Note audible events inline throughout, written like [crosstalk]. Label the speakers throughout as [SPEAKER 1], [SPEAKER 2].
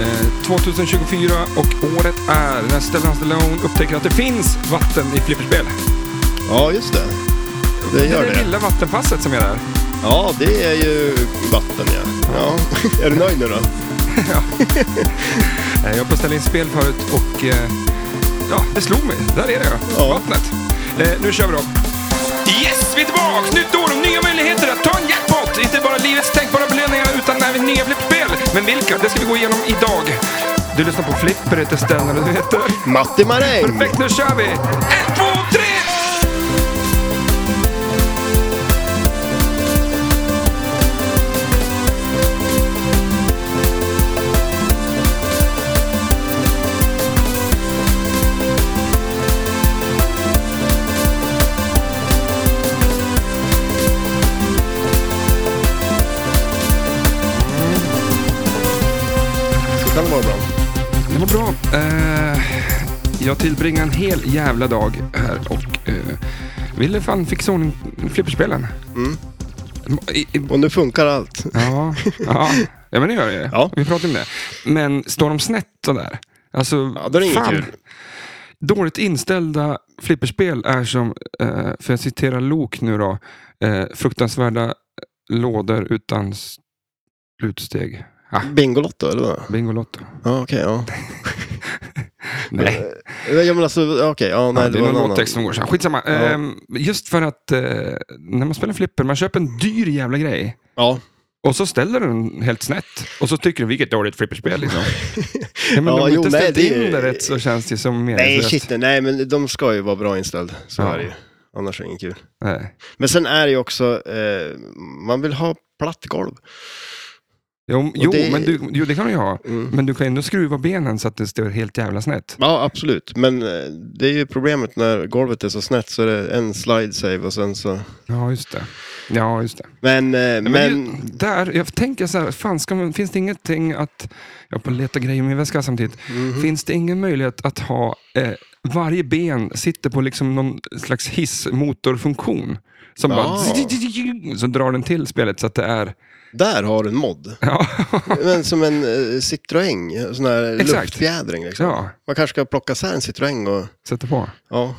[SPEAKER 1] Eh, 2024 och året är när Stellan Stallone upptäcker att det finns vatten i flipperspel.
[SPEAKER 2] Ja, just det. Det gör
[SPEAKER 1] är det
[SPEAKER 2] det.
[SPEAKER 1] lilla vattenpasset som är där.
[SPEAKER 2] Ja, det är ju vatten ja. ja. [laughs] Är du nöjd nu då?
[SPEAKER 1] Eh, Jag beställde in spel förut och eh, ja, det slog mig. Där är det ja.
[SPEAKER 2] Ja.
[SPEAKER 1] vattnet. Eh, nu kör vi då. Yes, vi är tillbaka! Nytt år och nya möjligheter att ta en jackpot! Inte bara livets tänkbara belöningar utan även nya flippspel. Men vilka? Det ska vi gå igenom idag. Du lyssnar på Flipper, heter Stellan och du heter...
[SPEAKER 2] Matti Maräng!
[SPEAKER 1] Perfekt, nu kör vi! Ett, två, tre!
[SPEAKER 2] Så kan det vara bra.
[SPEAKER 1] Det var bra. Eh, jag tillbringade en hel jävla dag här och eh, ville fan fixa ordning flipperspelen.
[SPEAKER 2] Mm.
[SPEAKER 1] I, i,
[SPEAKER 2] Och nu funkar allt.
[SPEAKER 1] ja, ja. ja, men det gör det ju.
[SPEAKER 2] Ja.
[SPEAKER 1] Vi pratade om det. Men står de snett sådär? Alltså,
[SPEAKER 2] Ja, då är det inget kul.
[SPEAKER 1] Dåligt inställda flipperspel är som, eh, för jag citerar Lok nu då, eh, fruktansvärda lådor utan slutsteg. Ah,
[SPEAKER 2] Bingolotto eller vad?
[SPEAKER 1] Bingolotto.
[SPEAKER 2] Ja, okej. ja.
[SPEAKER 1] Nej.
[SPEAKER 2] ja. men alltså, ja, okej. ja, nej,
[SPEAKER 1] ja, det är
[SPEAKER 2] var en
[SPEAKER 1] någon
[SPEAKER 2] annan.
[SPEAKER 1] låttext som går så här. Skitsamma.
[SPEAKER 2] Ja.
[SPEAKER 1] Ehm, just för att eh, när man spelar flipper, man köper en dyr jävla grej.
[SPEAKER 2] Ja,
[SPEAKER 1] Och så ställer den helt snett. Och så tycker du, vilket dåligt flipperspel
[SPEAKER 2] [laughs]
[SPEAKER 1] liksom. ja, men
[SPEAKER 2] Ja,
[SPEAKER 1] om du
[SPEAKER 2] jo,
[SPEAKER 1] inte
[SPEAKER 2] nej,
[SPEAKER 1] ställt
[SPEAKER 2] det är-
[SPEAKER 1] in det rätt så känns det som
[SPEAKER 2] Nej,
[SPEAKER 1] meningslöst.
[SPEAKER 2] shit, nej, men de ska ju vara bra inställd. Så
[SPEAKER 1] Ja.
[SPEAKER 2] är det ju. Annars är det inget kul.
[SPEAKER 1] Nej.
[SPEAKER 2] Men sen är det ju också, eh, man vill ha platt golv.
[SPEAKER 1] Jo, jo,
[SPEAKER 2] det-
[SPEAKER 1] men du, jo, det kan du ju ha.
[SPEAKER 2] Mm.
[SPEAKER 1] Men du kan ändå skruva benen så att det står helt jävla snett.
[SPEAKER 2] Ja, absolut. Men eh, det är ju problemet när golvet är så snett så är det en slide save och sen så...
[SPEAKER 1] Ja, just det. Ja, just det.
[SPEAKER 2] Men, eh, men,
[SPEAKER 1] Men ju, där, jag tänker så här, fan, ska man, finns det ingenting att... Jag är på att leta grejer i min väska samtidigt. Finns det ingen möjlighet att ha... Eh, varje ben sitter på liksom någon slags hissmotorfunktion. Som
[SPEAKER 2] Ja.
[SPEAKER 1] bara... Så drar den till spelet så att det är... [laughs]
[SPEAKER 2] där har du en mod.
[SPEAKER 1] Ja,
[SPEAKER 2] Men som en eh, Citroën, sån här
[SPEAKER 1] Exakt.
[SPEAKER 2] luftfjädring. Liksom.
[SPEAKER 1] ja
[SPEAKER 2] Man kanske ska plocka isär en Citroën och...
[SPEAKER 1] sätter på.
[SPEAKER 2] Ja,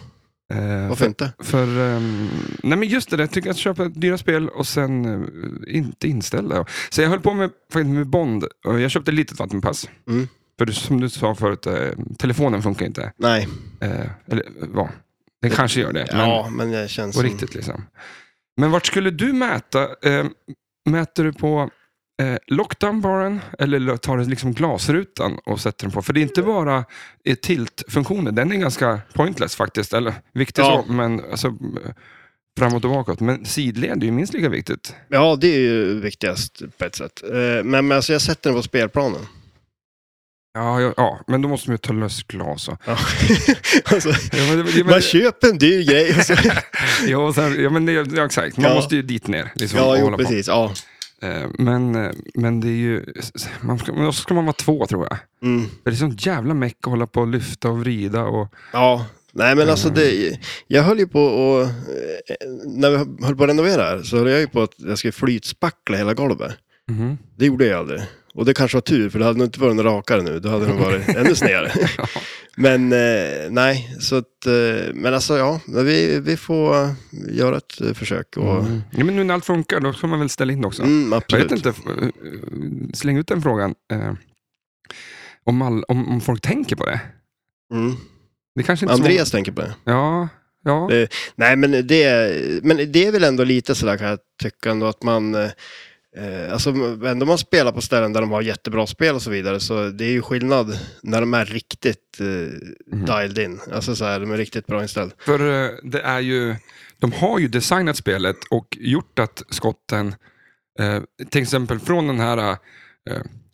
[SPEAKER 1] Eh,
[SPEAKER 2] varför
[SPEAKER 1] för,
[SPEAKER 2] inte?
[SPEAKER 1] för, ehm, nej men just det, där, jag tycker att köpa dyra spel och sen eh, inte inställa. Så jag höll på med, faktiskt med Bond. och Jag köpte ett litet vattenpass.
[SPEAKER 2] Mm.
[SPEAKER 1] För det- som du sa förut, eh, telefonen funkar inte.
[SPEAKER 2] Nej,
[SPEAKER 1] Eh, eller vad? Den kanske gör det,
[SPEAKER 2] ja, men jag känns
[SPEAKER 1] men på
[SPEAKER 2] som...
[SPEAKER 1] riktigt liksom. Men vart skulle du mäta? Eh, mäter du på eh, lockdown-baren eller tar du liksom glasrutan och sätter den på? För det är inte
[SPEAKER 2] Mm.
[SPEAKER 1] bara eh, tilt-funktionen, den är ganska pointless faktiskt. Eller viktig
[SPEAKER 2] Ja.
[SPEAKER 1] så, men alltså, eh, framåt och bakåt. Men sidled är ju minst lika viktigt.
[SPEAKER 2] Ja, det är ju viktigast på ett sätt. Eh, Men, men alltså, jag sätter den på spelplanen.
[SPEAKER 1] Ja, ja, ja, men då måste man ju ta lös glas. Och.
[SPEAKER 2] Ja. [laughs] alltså,
[SPEAKER 1] Ja, men, det- men,
[SPEAKER 2] [laughs] man köper en dyr grej
[SPEAKER 1] [laughs]
[SPEAKER 2] och så...
[SPEAKER 1] ja, och sen, ja, men det, ja, exakt. Man
[SPEAKER 2] Ja.
[SPEAKER 1] måste ju dit ner. Liksom, och
[SPEAKER 2] ja,
[SPEAKER 1] hålla
[SPEAKER 2] jo,
[SPEAKER 1] på.
[SPEAKER 2] precis. Ja.
[SPEAKER 1] Eh, Men, eh, men det är ju... Man ska, men då ska man vara två tror jag.
[SPEAKER 2] Mm.
[SPEAKER 1] För Det är sånt jävla meck att hålla på och lyfta och vrida. Och,
[SPEAKER 2] Ja, nej men alltså
[SPEAKER 1] Mm.
[SPEAKER 2] det, jag höll ju på och, eh, när vi höll på att renovera här så höll jag ju på att jag skulle flytspackla hela golvet.
[SPEAKER 1] Mhm.
[SPEAKER 2] Det gjorde jag aldrig. Och det kanske var tur, för det hade nog inte varit någon rakare nu, då hade det nog
[SPEAKER 1] [laughs]
[SPEAKER 2] varit ännu snedare. Men eh, nej, så att, eh, men alltså ja, men vi, vi får göra ett eh, försök. Och, mm.
[SPEAKER 1] ja, men nu när allt funkar, då ska man väl ställa in också. jag
[SPEAKER 2] absolut.
[SPEAKER 1] vet inte, f- eh, släng ut den frågan. eh, Om, all, om, om folk tänker på det.
[SPEAKER 2] Mm.
[SPEAKER 1] det kanske inte är så-
[SPEAKER 2] Andreas tänker på det.
[SPEAKER 1] Ja, ja.
[SPEAKER 2] Det- Nej, men det, men det är väl ändå lite sådär kan jag tycka ändå att man... Eh, alltså ändå man spelar på ställen där de har jättebra spel och så vidare så det är ju skillnad när de är riktigt eh,
[SPEAKER 1] Mm.
[SPEAKER 2] dialed in. Alltså så här, de är riktigt bra inställd.
[SPEAKER 1] För eh, det är ju... De har ju designat spelet och gjort att skotten, eh, till exempel från den här eh,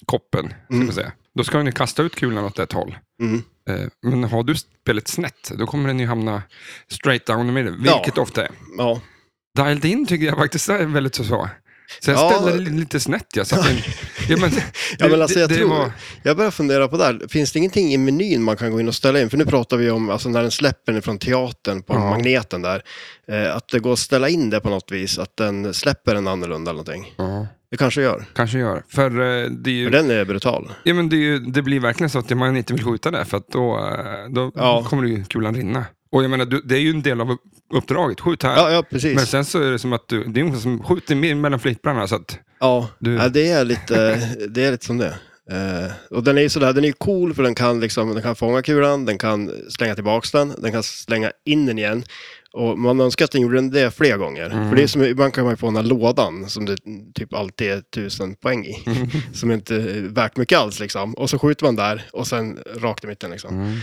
[SPEAKER 1] koppen, ska
[SPEAKER 2] Mm.
[SPEAKER 1] man säga. då ska den ju kasta ut kulan åt ett håll.
[SPEAKER 2] Mm.
[SPEAKER 1] Eh, Men har du spelet snett, då kommer den ju hamna straight down i mitten,
[SPEAKER 2] Ja.
[SPEAKER 1] vilket ofta är.
[SPEAKER 2] Ja.
[SPEAKER 1] Dialed in tycker jag faktiskt är väldigt så. så. Så jag
[SPEAKER 2] Ja.
[SPEAKER 1] ställer det lite snett. Jag, så att
[SPEAKER 2] [laughs]
[SPEAKER 1] den, ja, men,
[SPEAKER 2] Ja, men alltså, jag,
[SPEAKER 1] det, det
[SPEAKER 2] tror,
[SPEAKER 1] var-
[SPEAKER 2] jag börjar fundera på det här. Finns det ingenting i menyn man kan gå in och ställa in? För nu pratar vi om alltså, när den släpper den från teatern på
[SPEAKER 1] Ja.
[SPEAKER 2] magneten där. Eh, att det går att ställa in det på något vis, att den släpper den annorlunda eller någonting.
[SPEAKER 1] ja.
[SPEAKER 2] Det kanske gör.
[SPEAKER 1] Kanske gör. För eh, det, är
[SPEAKER 2] För
[SPEAKER 1] ju,
[SPEAKER 2] den är brutal.
[SPEAKER 1] ja, men det, är ju, det blir verkligen så att man inte vill skjuta där, för att då, eh, då
[SPEAKER 2] Ja.
[SPEAKER 1] kommer ju kulan rinna. Och jag menar, du, det är ju en del av uppdraget. Skjut här.
[SPEAKER 2] Ja, ja precis.
[SPEAKER 1] Men sen så är det som att du, det är ungefär som skjuter mer mellan flipprarna. Så att,
[SPEAKER 2] Ja,
[SPEAKER 1] Du-
[SPEAKER 2] ja det, är lite, det är lite som det. Eh, och den är ju sådär, den är ju cool för den kan, liksom, den kan fånga kulan, den kan slänga tillbaks den, den kan slänga in den igen. Och man önskar att den gjorde det flera gånger.
[SPEAKER 1] Mm.
[SPEAKER 2] För det är som, ibland kan man ju få den här lådan som det typ alltid är tusen poäng i.
[SPEAKER 1] Mm.
[SPEAKER 2] [laughs] Som inte är värt mycket alls liksom. Och så skjuter man där och sen rakt i mitten liksom.
[SPEAKER 1] mm.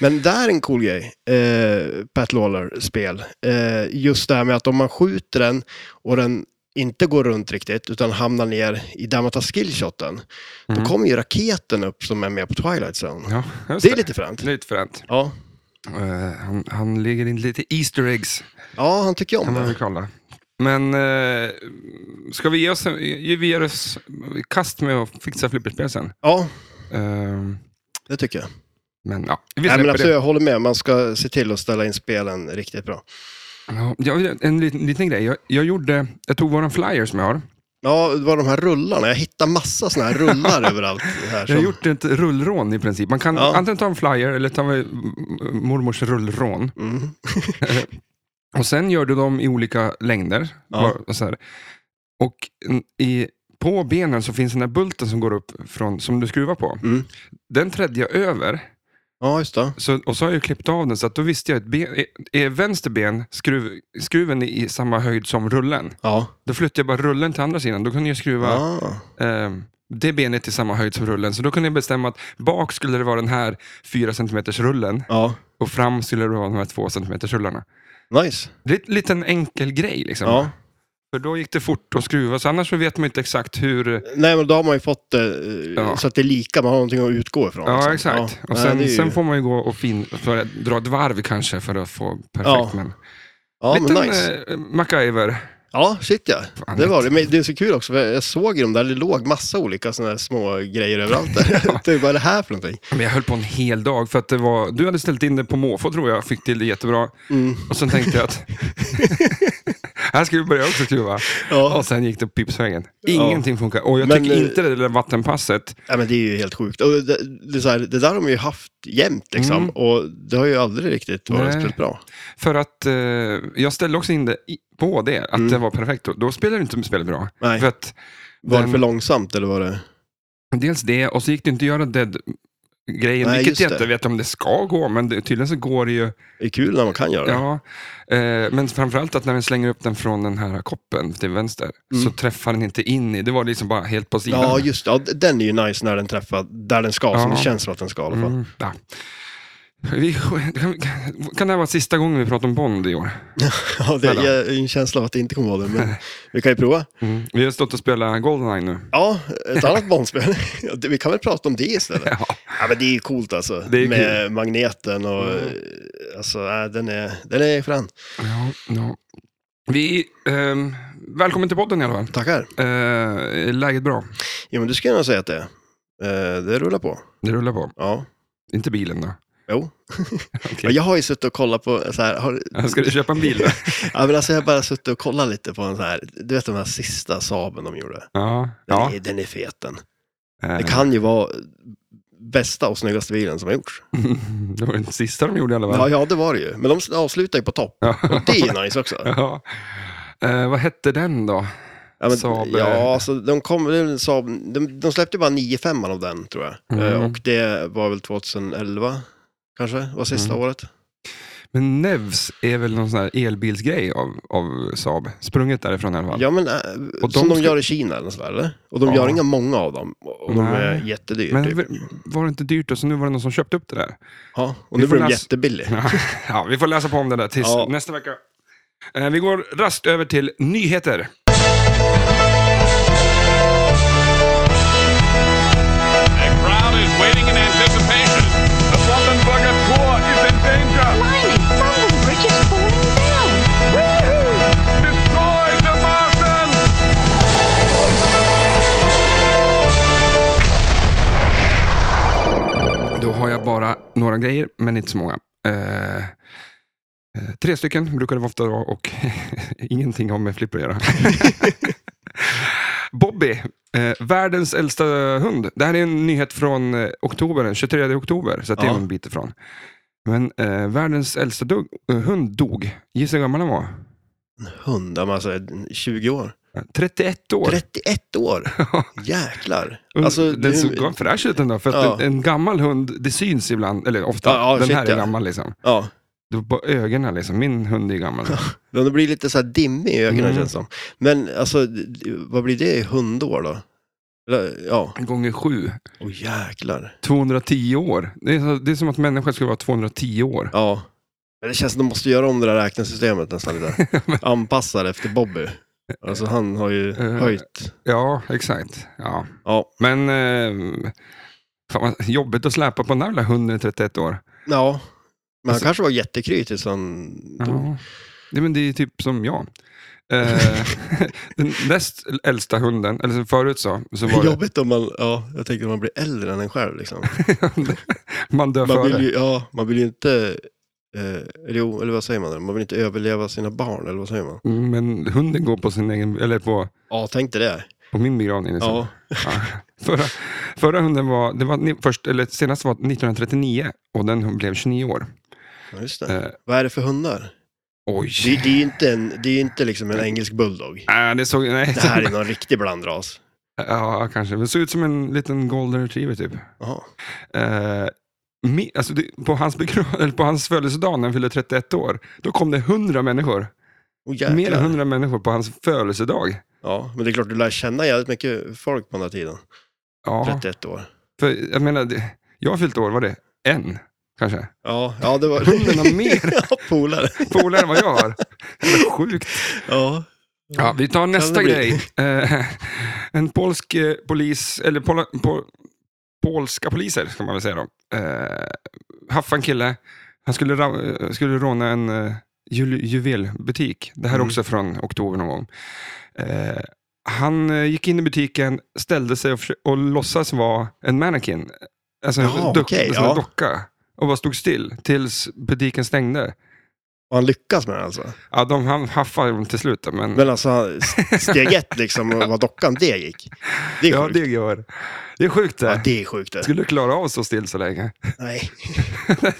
[SPEAKER 2] Men där är en cool grej, eh, Pat Lawler-spel. Eh, just det här med att om man skjuter den och den inte går runt riktigt utan hamnar ner i där man tar skillshoten,
[SPEAKER 1] Mm.
[SPEAKER 2] då kommer ju raketen upp som är med på Twilight Zone.
[SPEAKER 1] Ja, just
[SPEAKER 2] Det är lite fränt.
[SPEAKER 1] Lite fränt.
[SPEAKER 2] Ja.
[SPEAKER 1] Eh, han, han lägger in lite Easter eggs,
[SPEAKER 2] ja, han tycker ju om
[SPEAKER 1] kan man väl
[SPEAKER 2] det.
[SPEAKER 1] kalla Men eh, ska vi ge oss, ge, vi ger oss i kast med att fixa flipperspel sen?
[SPEAKER 2] Ja,
[SPEAKER 1] Eh,
[SPEAKER 2] det tycker jag.
[SPEAKER 1] men ja, vi
[SPEAKER 2] Nej,
[SPEAKER 1] släpper
[SPEAKER 2] men alltså,
[SPEAKER 1] det.
[SPEAKER 2] jag håller med, man ska se till att ställa in spelen riktigt bra.
[SPEAKER 1] Ja, jag- en liten, liten grej. Jag, jag, gjorde, jag tog våran flyer som jag har.
[SPEAKER 2] Ja, det var de här rullarna. Jag hittar massa såna
[SPEAKER 1] [laughs]
[SPEAKER 2] här rullar överallt. Här,
[SPEAKER 1] Jag har
[SPEAKER 2] som...
[SPEAKER 1] gjort ett rullrån i princip. Man kan
[SPEAKER 2] Ja.
[SPEAKER 1] antingen ta en flyer eller ta med mormors rullrån.
[SPEAKER 2] mm.
[SPEAKER 1] Och sen gör du dem i olika längder.
[SPEAKER 2] Ja.
[SPEAKER 1] Var- Och, så här. och n- i, på benen så finns den här bulten som går upp från, som du skruvar på.
[SPEAKER 2] Mm.
[SPEAKER 1] Den trädde jag över
[SPEAKER 2] Ja, just det.
[SPEAKER 1] så, och så har jag klippt av den så att då visste jag att ben, är- är vänster ben skruv, skruven i, i samma höjd som rullen.
[SPEAKER 2] Ja. Ah.
[SPEAKER 1] Då flyttade jag bara rullen till andra sidan. Då kunde jag skruva
[SPEAKER 2] ja.
[SPEAKER 1] ehm, det benet i samma höjd som rullen. Så då kunde jag bestämma att bak skulle det vara den här 4 cm rullen
[SPEAKER 2] ja.
[SPEAKER 1] och fram skulle det vara de här 2 cm rullarna.
[SPEAKER 2] Nice.
[SPEAKER 1] Det är en liten enkel grej. Liksom.
[SPEAKER 2] Ja.
[SPEAKER 1] För då gick det fort att skruva, så annars så vet man ju inte exakt hur...
[SPEAKER 2] Nej, men då har man ju fått det eh,
[SPEAKER 1] Ja.
[SPEAKER 2] så att det är lika, man har någonting att utgå ifrån.
[SPEAKER 1] Ja,
[SPEAKER 2] liksom.
[SPEAKER 1] exakt.
[SPEAKER 2] Ja.
[SPEAKER 1] Och
[SPEAKER 2] Nej,
[SPEAKER 1] sen,
[SPEAKER 2] det är ju-
[SPEAKER 1] sen får man ju gå och fin, för att dra ett varv kanske för att få perfekt.
[SPEAKER 2] Ja,
[SPEAKER 1] men,
[SPEAKER 2] ja,
[SPEAKER 1] liten
[SPEAKER 2] men nice.
[SPEAKER 1] eh, MacGyver.
[SPEAKER 2] Ja, shit ja.
[SPEAKER 1] Fan,
[SPEAKER 2] Det var det. Men det är så kul också, för jag såg ju de där, det låg massa olika sådana här små grejer
[SPEAKER 1] [laughs]
[SPEAKER 2] överallt där. det är bara det här för någonting.
[SPEAKER 1] Men jag höll på en hel dag för att det var... Du hade ställt in det på måfå tror jag, fick till det jättebra.
[SPEAKER 2] Mm.
[SPEAKER 1] Och sen tänkte jag
[SPEAKER 2] [laughs]
[SPEAKER 1] att... Här ska vi börja också skruva.
[SPEAKER 2] Ja.
[SPEAKER 1] Och sen gick det pipsvängen. Ingenting funkar. Och jag
[SPEAKER 2] Men,
[SPEAKER 1] tycker
[SPEAKER 2] eh,
[SPEAKER 1] inte det där vattenpasset.
[SPEAKER 2] ja, men det är ju helt sjukt. Och det, det, är så här, det där har de ju haft jämt liksom,
[SPEAKER 1] Mm.
[SPEAKER 2] och det har ju aldrig riktigt varit
[SPEAKER 1] Nej.
[SPEAKER 2] speciellt bra.
[SPEAKER 1] För att eh, jag ställde också in det i- på det, att
[SPEAKER 2] Mm.
[SPEAKER 1] det var perfekt. Då, då spelar det inte spelet bra.
[SPEAKER 2] Nej.
[SPEAKER 1] För att
[SPEAKER 2] Var
[SPEAKER 1] den-
[SPEAKER 2] det för långsamt eller var det...
[SPEAKER 1] Dels det, och så gick det inte att göra dead-grejen,
[SPEAKER 2] Nej,
[SPEAKER 1] vilket
[SPEAKER 2] just
[SPEAKER 1] jag inte
[SPEAKER 2] det.
[SPEAKER 1] vet om det ska gå, men det, tydligen så går det ju.
[SPEAKER 2] Det är kul när man kan göra det.
[SPEAKER 1] Ja, eh, men framförallt att när den slänger upp den från den här koppen till vänster,
[SPEAKER 2] Mm.
[SPEAKER 1] så träffar den inte in i, det var liksom bara helt på sidan.
[SPEAKER 2] Ja, just det. Ja, den är ju nice när den träffar där den ska, som
[SPEAKER 1] Ja.
[SPEAKER 2] det känns som att den ska i alla fall.
[SPEAKER 1] Mm, ja. Vi, kan, kan det här vara sista gången vi pratar om Bond i år?
[SPEAKER 2] Ja, det
[SPEAKER 1] Snälla.
[SPEAKER 2] är en känsla av att det inte kommer vara det, men vi kan ju prova.
[SPEAKER 1] Vi har stått och spelat Goldeneye nu.
[SPEAKER 2] Ja,
[SPEAKER 1] [laughs]
[SPEAKER 2] ett annat Bondspel. Ja, det- Vi kan väl prata om det istället.
[SPEAKER 1] Ja.
[SPEAKER 2] Ja, men det är ju coolt alltså.
[SPEAKER 1] Det är
[SPEAKER 2] med magneten och...
[SPEAKER 1] Mm.
[SPEAKER 2] eh, Alltså, äh, den är, den är frän.
[SPEAKER 1] Ja, ja. Vi, ehm, välkommen till podden i alla fall.
[SPEAKER 2] Tackar.
[SPEAKER 1] Eh, är läget bra?
[SPEAKER 2] Jo, men du skulle jag nog säga att det är. Eh, Det rullar på.
[SPEAKER 1] Det rullar på.
[SPEAKER 2] Ja.
[SPEAKER 1] Inte bilen då?
[SPEAKER 2] Jo. Ja, Jag har ju suttit och kollat på så här, har,
[SPEAKER 1] Ja, Ska du köpa en bil då?
[SPEAKER 2] [laughs] ja, men alltså jag har bara suttit och kollat lite på en så här, du vet den här sista Saaben de gjorde?
[SPEAKER 1] Ja.
[SPEAKER 2] Den,
[SPEAKER 1] ja.
[SPEAKER 2] är, den är fet den.
[SPEAKER 1] Eh,
[SPEAKER 2] Det kan ju vara bästa och snyggaste bilen som har gjorts.
[SPEAKER 1] [laughs] det var den sista de gjorde i alla
[SPEAKER 2] Ja,
[SPEAKER 1] fall.
[SPEAKER 2] ja, det var det ju. Men de avslutar ju på topp. Och det är ju nice också.
[SPEAKER 1] [laughs] Ja. Eh, vad hette den då?
[SPEAKER 2] Ja, men,
[SPEAKER 1] Saab, eh.
[SPEAKER 2] ja alltså, de, kom, det är väl Saab, de, de släppte ju bara 9-5 av den, tror jag.
[SPEAKER 1] Mm.
[SPEAKER 2] Eh, Och det var väl 2011, kanske, var sista
[SPEAKER 1] Mm.
[SPEAKER 2] året.
[SPEAKER 1] Men Nevs är väl någon sån här elbilsgrej av, av Saab. Sprunget därifrån i alla fall.
[SPEAKER 2] Ja, men eh,
[SPEAKER 1] Och
[SPEAKER 2] som
[SPEAKER 1] de
[SPEAKER 2] de
[SPEAKER 1] ska-
[SPEAKER 2] gör i Kina eller nåt sådär, eller? Och de
[SPEAKER 1] Ja.
[SPEAKER 2] gör inga många av dem. Och de är
[SPEAKER 1] Nej.
[SPEAKER 2] jättedyra.
[SPEAKER 1] Men
[SPEAKER 2] typ.
[SPEAKER 1] v- var det inte dyrt och så nu var det någon som köpte upp det där?
[SPEAKER 2] Ja, och
[SPEAKER 1] vi
[SPEAKER 2] nu
[SPEAKER 1] får
[SPEAKER 2] blir de
[SPEAKER 1] läs-
[SPEAKER 2] jättebilliga.
[SPEAKER 1] [laughs] ja, vi får läsa på om det där tills
[SPEAKER 2] Ja.
[SPEAKER 1] nästa vecka. Eh, vi går rast över till nyheter.
[SPEAKER 3] The crowd is waiting in anticipation. The Brandenburger Tor is in danger.
[SPEAKER 4] Blimey, Brandon Bridge is falling down.
[SPEAKER 3] Destroy the Martians!
[SPEAKER 1] Då har jag bara några grejer, men inte så många. Eh, eh, tre [laughs] stycken brukar det ofta vara och ingenting har med flipper att göra. [laughs] Bobby, eh, världens äldsta hund. Det här är en nyhet från eh, oktober, den 23 oktober, så att det är
[SPEAKER 2] Ja.
[SPEAKER 1] en bit ifrån. Men eh, världens äldsta dog, eh, hund dog. Gissa hur gammal han var?
[SPEAKER 2] Hund, ja, men alltså 20 år.
[SPEAKER 1] 31 år.
[SPEAKER 2] 31 år?
[SPEAKER 1] [laughs]
[SPEAKER 2] Jäklar.
[SPEAKER 1] Und-
[SPEAKER 2] Alltså,
[SPEAKER 1] den
[SPEAKER 2] du-
[SPEAKER 1] såg gav fräsch ut ändå, för att
[SPEAKER 2] Ja.
[SPEAKER 1] en, en gammal hund, det syns ibland, eller ofta,
[SPEAKER 2] Ja, ja,
[SPEAKER 1] den
[SPEAKER 2] shit,
[SPEAKER 1] här är
[SPEAKER 2] ja.
[SPEAKER 1] gammal liksom.
[SPEAKER 2] Ja,
[SPEAKER 1] Du, på ögonen liksom, min hund är ju gammal.
[SPEAKER 2] men det blir lite så här dimmig i ögonen
[SPEAKER 1] Mm.
[SPEAKER 2] känns det som. Men alltså, d- d- vad blir det i hundår då? Eller, Ja,
[SPEAKER 1] Gånger sju,
[SPEAKER 2] åh jäklar.
[SPEAKER 1] 210 år. Det är, så- det är som att människan skulle vara 210 år.
[SPEAKER 2] Ja. Men det känns som att de måste göra om det där räknesystemet nästan
[SPEAKER 1] [laughs]
[SPEAKER 2] lite. Anpassa det efter Bobby. Alltså han har ju
[SPEAKER 1] Eh.
[SPEAKER 2] höjt.
[SPEAKER 1] Ja, exakt. Ja.
[SPEAKER 2] Ja,
[SPEAKER 1] Men eh, fan vad jobbigt att släpa på den där lilla hunden i 31 år.
[SPEAKER 2] ja. Men han
[SPEAKER 1] Alltså-
[SPEAKER 2] kanske var jättekry tills han dog.
[SPEAKER 1] Ja. Det, men det är typ som jag. Eh, [laughs] den näst äldsta hunden, eller som förut så, så var det,
[SPEAKER 2] Jobbigt om man, ja, jag tänkte om man blir äldre än en själv
[SPEAKER 1] [laughs]
[SPEAKER 2] liksom.
[SPEAKER 1] man dör
[SPEAKER 2] Man vill
[SPEAKER 1] före.
[SPEAKER 2] ju, ja, man vill ju inte, eh, eller jo, eller vad säger man? då? Man vill inte överleva sina barn, eller vad säger man?
[SPEAKER 1] Mm, Men hunden går på sin egen, eller på,
[SPEAKER 2] Ja, tänk dig det.
[SPEAKER 1] på min begravning. Liksom.
[SPEAKER 2] Ja,
[SPEAKER 1] Ja. [laughs] Förra, förra hunden var, det var ni- först, eller senast var 1939 och den blev 29 år.
[SPEAKER 2] ja, just det.
[SPEAKER 1] Eh,
[SPEAKER 2] Vad är det för hundar?
[SPEAKER 1] oj.
[SPEAKER 2] Det, det är ju inte, en, det är ju inte liksom en engelsk bulldog.
[SPEAKER 1] Äh, det såg, nej.
[SPEAKER 2] Det här är någon riktig blandras.
[SPEAKER 1] [laughs] Ja, kanske. Det såg ut som en liten golden retriever typ.
[SPEAKER 2] Jaha.
[SPEAKER 1] Eh, mi, alltså det, på, hans begra- eller på hans födelsedag när han fyllde 31 år, då kom det 100 människor.
[SPEAKER 2] Oh, jäklar.
[SPEAKER 1] Mer än 100 människor på hans födelsedag.
[SPEAKER 2] Ja, men det är klart du lär känna jävligt mycket folk på den här tiden.
[SPEAKER 1] Ja,
[SPEAKER 2] 31 år.
[SPEAKER 1] för jag menar, det, jag har fyllt år, var det en? Kanske.
[SPEAKER 2] Ja, ja det var...
[SPEAKER 1] Hunden har mer
[SPEAKER 2] [laughs] ja, polare.
[SPEAKER 1] polare än vad jag
[SPEAKER 2] [laughs]
[SPEAKER 1] har. Jävla Sjukt.
[SPEAKER 2] Ja.
[SPEAKER 1] Ja, vi tar nästa
[SPEAKER 2] det bli?
[SPEAKER 1] grej. Eh, [laughs] en polsk eh, polis, eller pola, po, polska poliser ska man väl säga då. Eh, haffade en kille. Han skulle, ra- eh, skulle råna en eh, jul, juvelbutik. Det här är
[SPEAKER 2] Mm.
[SPEAKER 1] också från oktober någon gång. Eh, han eh, gick in i butiken, ställde sig och, försö- och låtsas vara en mannequin. Alltså en
[SPEAKER 2] Jaha,
[SPEAKER 1] dock-
[SPEAKER 2] okej,
[SPEAKER 1] alltså en
[SPEAKER 2] ja.
[SPEAKER 1] docka. Och bara stod still tills butiken stängde.
[SPEAKER 2] Och han lyckas med det alltså.
[SPEAKER 1] Ja, de, han haffade dem till slut. då, Men,
[SPEAKER 2] Men alltså, han- steg ett liksom, och vad dockan, det gick. Det är
[SPEAKER 1] ja,
[SPEAKER 2] sjukt.
[SPEAKER 1] det gör. Det är sjukt det.
[SPEAKER 2] Ja, det är sjukt det.
[SPEAKER 1] Skulle du klara av att stå still så länge? [laughs]
[SPEAKER 2] Nej,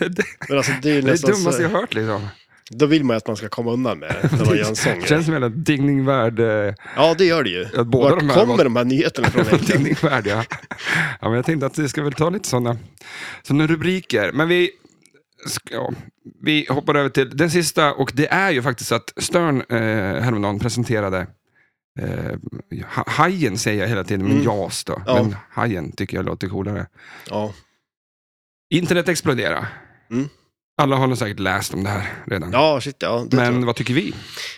[SPEAKER 1] det,
[SPEAKER 2] men alltså det är
[SPEAKER 1] det
[SPEAKER 2] ju
[SPEAKER 1] är det
[SPEAKER 2] nästan
[SPEAKER 1] dummaste jag
[SPEAKER 2] så,
[SPEAKER 1] har hört. Liksom.
[SPEAKER 2] Då vill man ju att man ska komma undan med det när man gör en sång.
[SPEAKER 1] Det [laughs] känns som hela Digningvärd. Eh,
[SPEAKER 2] Ja, det gör det ju.
[SPEAKER 1] Ja, båda
[SPEAKER 2] Vart
[SPEAKER 1] de här
[SPEAKER 2] kommer
[SPEAKER 1] var-
[SPEAKER 2] de här nyheterna
[SPEAKER 1] [laughs]
[SPEAKER 2] från egentligen?
[SPEAKER 1] digningvärd ja. ja men jag tänkte att vi ska väl ta lite sådana såna rubriker. Men vi, ska- ja, vi hoppar över till den sista. Och det är ju faktiskt att Stern eh, häromdagen presenterade eh, ha- Hajen säger jag hela tiden, men
[SPEAKER 2] Mm.
[SPEAKER 1] JAS då.
[SPEAKER 2] Ja.
[SPEAKER 1] Men Hajen tycker jag låter coolare.
[SPEAKER 2] Ja,
[SPEAKER 1] Internet explodera.
[SPEAKER 2] Mm.
[SPEAKER 1] Alla har nog säkert läst om det här redan.
[SPEAKER 2] ja shit ja. Det tror
[SPEAKER 1] Men
[SPEAKER 2] jag.
[SPEAKER 1] vad tycker vi?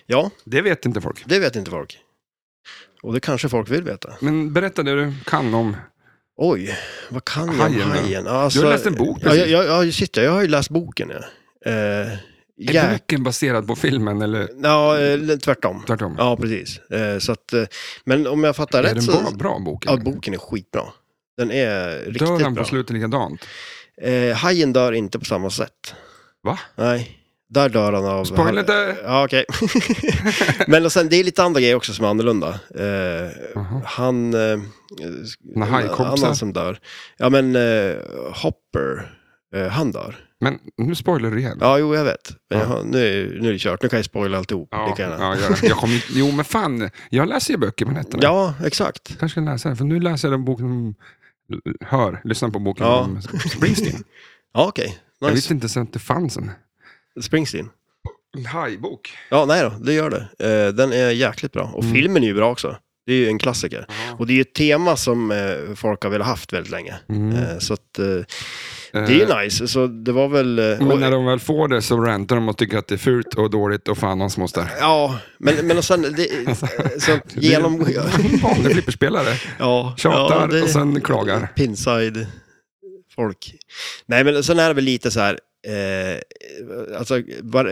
[SPEAKER 2] Ja,
[SPEAKER 1] Det vet inte folk.
[SPEAKER 2] det vet inte folk. Och det kanske folk vill veta.
[SPEAKER 1] Men berätta det du kan om...
[SPEAKER 2] Oj, vad kan jag
[SPEAKER 1] Hajen,
[SPEAKER 2] om
[SPEAKER 1] ja.
[SPEAKER 2] hajen? Ja, Alltså,
[SPEAKER 1] Du har läst en bok
[SPEAKER 2] Ja,
[SPEAKER 1] precis.
[SPEAKER 2] ja, ja, ja, shit ja, jag har ju läst boken. Ja. Eh,
[SPEAKER 1] Är
[SPEAKER 2] ja,
[SPEAKER 1] boken baserad på filmen eller
[SPEAKER 2] ja, eller tvärtom.
[SPEAKER 1] tvärtom?
[SPEAKER 2] Ja, precis. Eh, så att, eh, men om jag fattar
[SPEAKER 1] är
[SPEAKER 2] rätt
[SPEAKER 1] den
[SPEAKER 2] så...
[SPEAKER 1] bra, bra boken?
[SPEAKER 2] Ja, boken är skitbra. Den är riktigt
[SPEAKER 1] Dör han
[SPEAKER 2] bra.
[SPEAKER 1] på slutet likadant?
[SPEAKER 2] Eh, hajen dör inte på samma sätt.
[SPEAKER 1] Va?
[SPEAKER 2] Nej, där dör han av...
[SPEAKER 1] Spoiler där!
[SPEAKER 2] Ja, okej. [laughs] Men och sen, det är lite andra grejer också som är annorlunda. Eh,
[SPEAKER 1] Jaha.
[SPEAKER 2] han... Eh,
[SPEAKER 1] Den här hajkompisar.
[SPEAKER 2] annan som dör. Ja, men eh, Hopper, eh, han dör.
[SPEAKER 1] Men nu spoilar du igen.
[SPEAKER 2] Ja, jo, jag vet. Men
[SPEAKER 1] Ja.
[SPEAKER 2] jag har- nu, nu är det kört. Nu kan jag spoila alltihop.
[SPEAKER 1] ja,
[SPEAKER 2] lika gärna.
[SPEAKER 1] ja, gör det. jag kommer, inte- jo men fan, jag läser ju böcker på nätterna.
[SPEAKER 2] ja, exakt.
[SPEAKER 1] kanske ska läsa den, för nu läser jag den boken om... Hör, lyssna på boken
[SPEAKER 2] Ja.
[SPEAKER 1] om
[SPEAKER 2] [laughs]
[SPEAKER 1] Springsteen.
[SPEAKER 2] Ja, okej.
[SPEAKER 1] Jag
[SPEAKER 2] Nice.
[SPEAKER 1] visste inte ens att det fanns en.
[SPEAKER 2] Springsteen.
[SPEAKER 1] En hajbok.
[SPEAKER 2] Ja, nej då, det gör det. Eh, den är jäkligt bra. Och
[SPEAKER 1] Mm.
[SPEAKER 2] filmen är ju bra också. Det är ju en klassiker.
[SPEAKER 1] Jaha.
[SPEAKER 2] Och det är ju ett tema som eh, folk har velat haft väldigt länge.
[SPEAKER 1] Mm.
[SPEAKER 2] Eh, så att, eh, det är
[SPEAKER 1] Eh.
[SPEAKER 2] ju nice. Så det var väl... Eh,
[SPEAKER 1] Men
[SPEAKER 2] och,
[SPEAKER 1] när de väl får det så rantar de och tycker att det är fult och dåligt och fan hans moster.
[SPEAKER 2] Ja, men, men och sen... Det, så genom...
[SPEAKER 1] [laughs] Det är en vanlig flipperspelare.
[SPEAKER 2] Ja,
[SPEAKER 1] Tjatar
[SPEAKER 2] ja, det-
[SPEAKER 1] och sen klagar.
[SPEAKER 2] Pinside-folk. Nej, men sen är det väl lite så här... Eh, alltså, bara,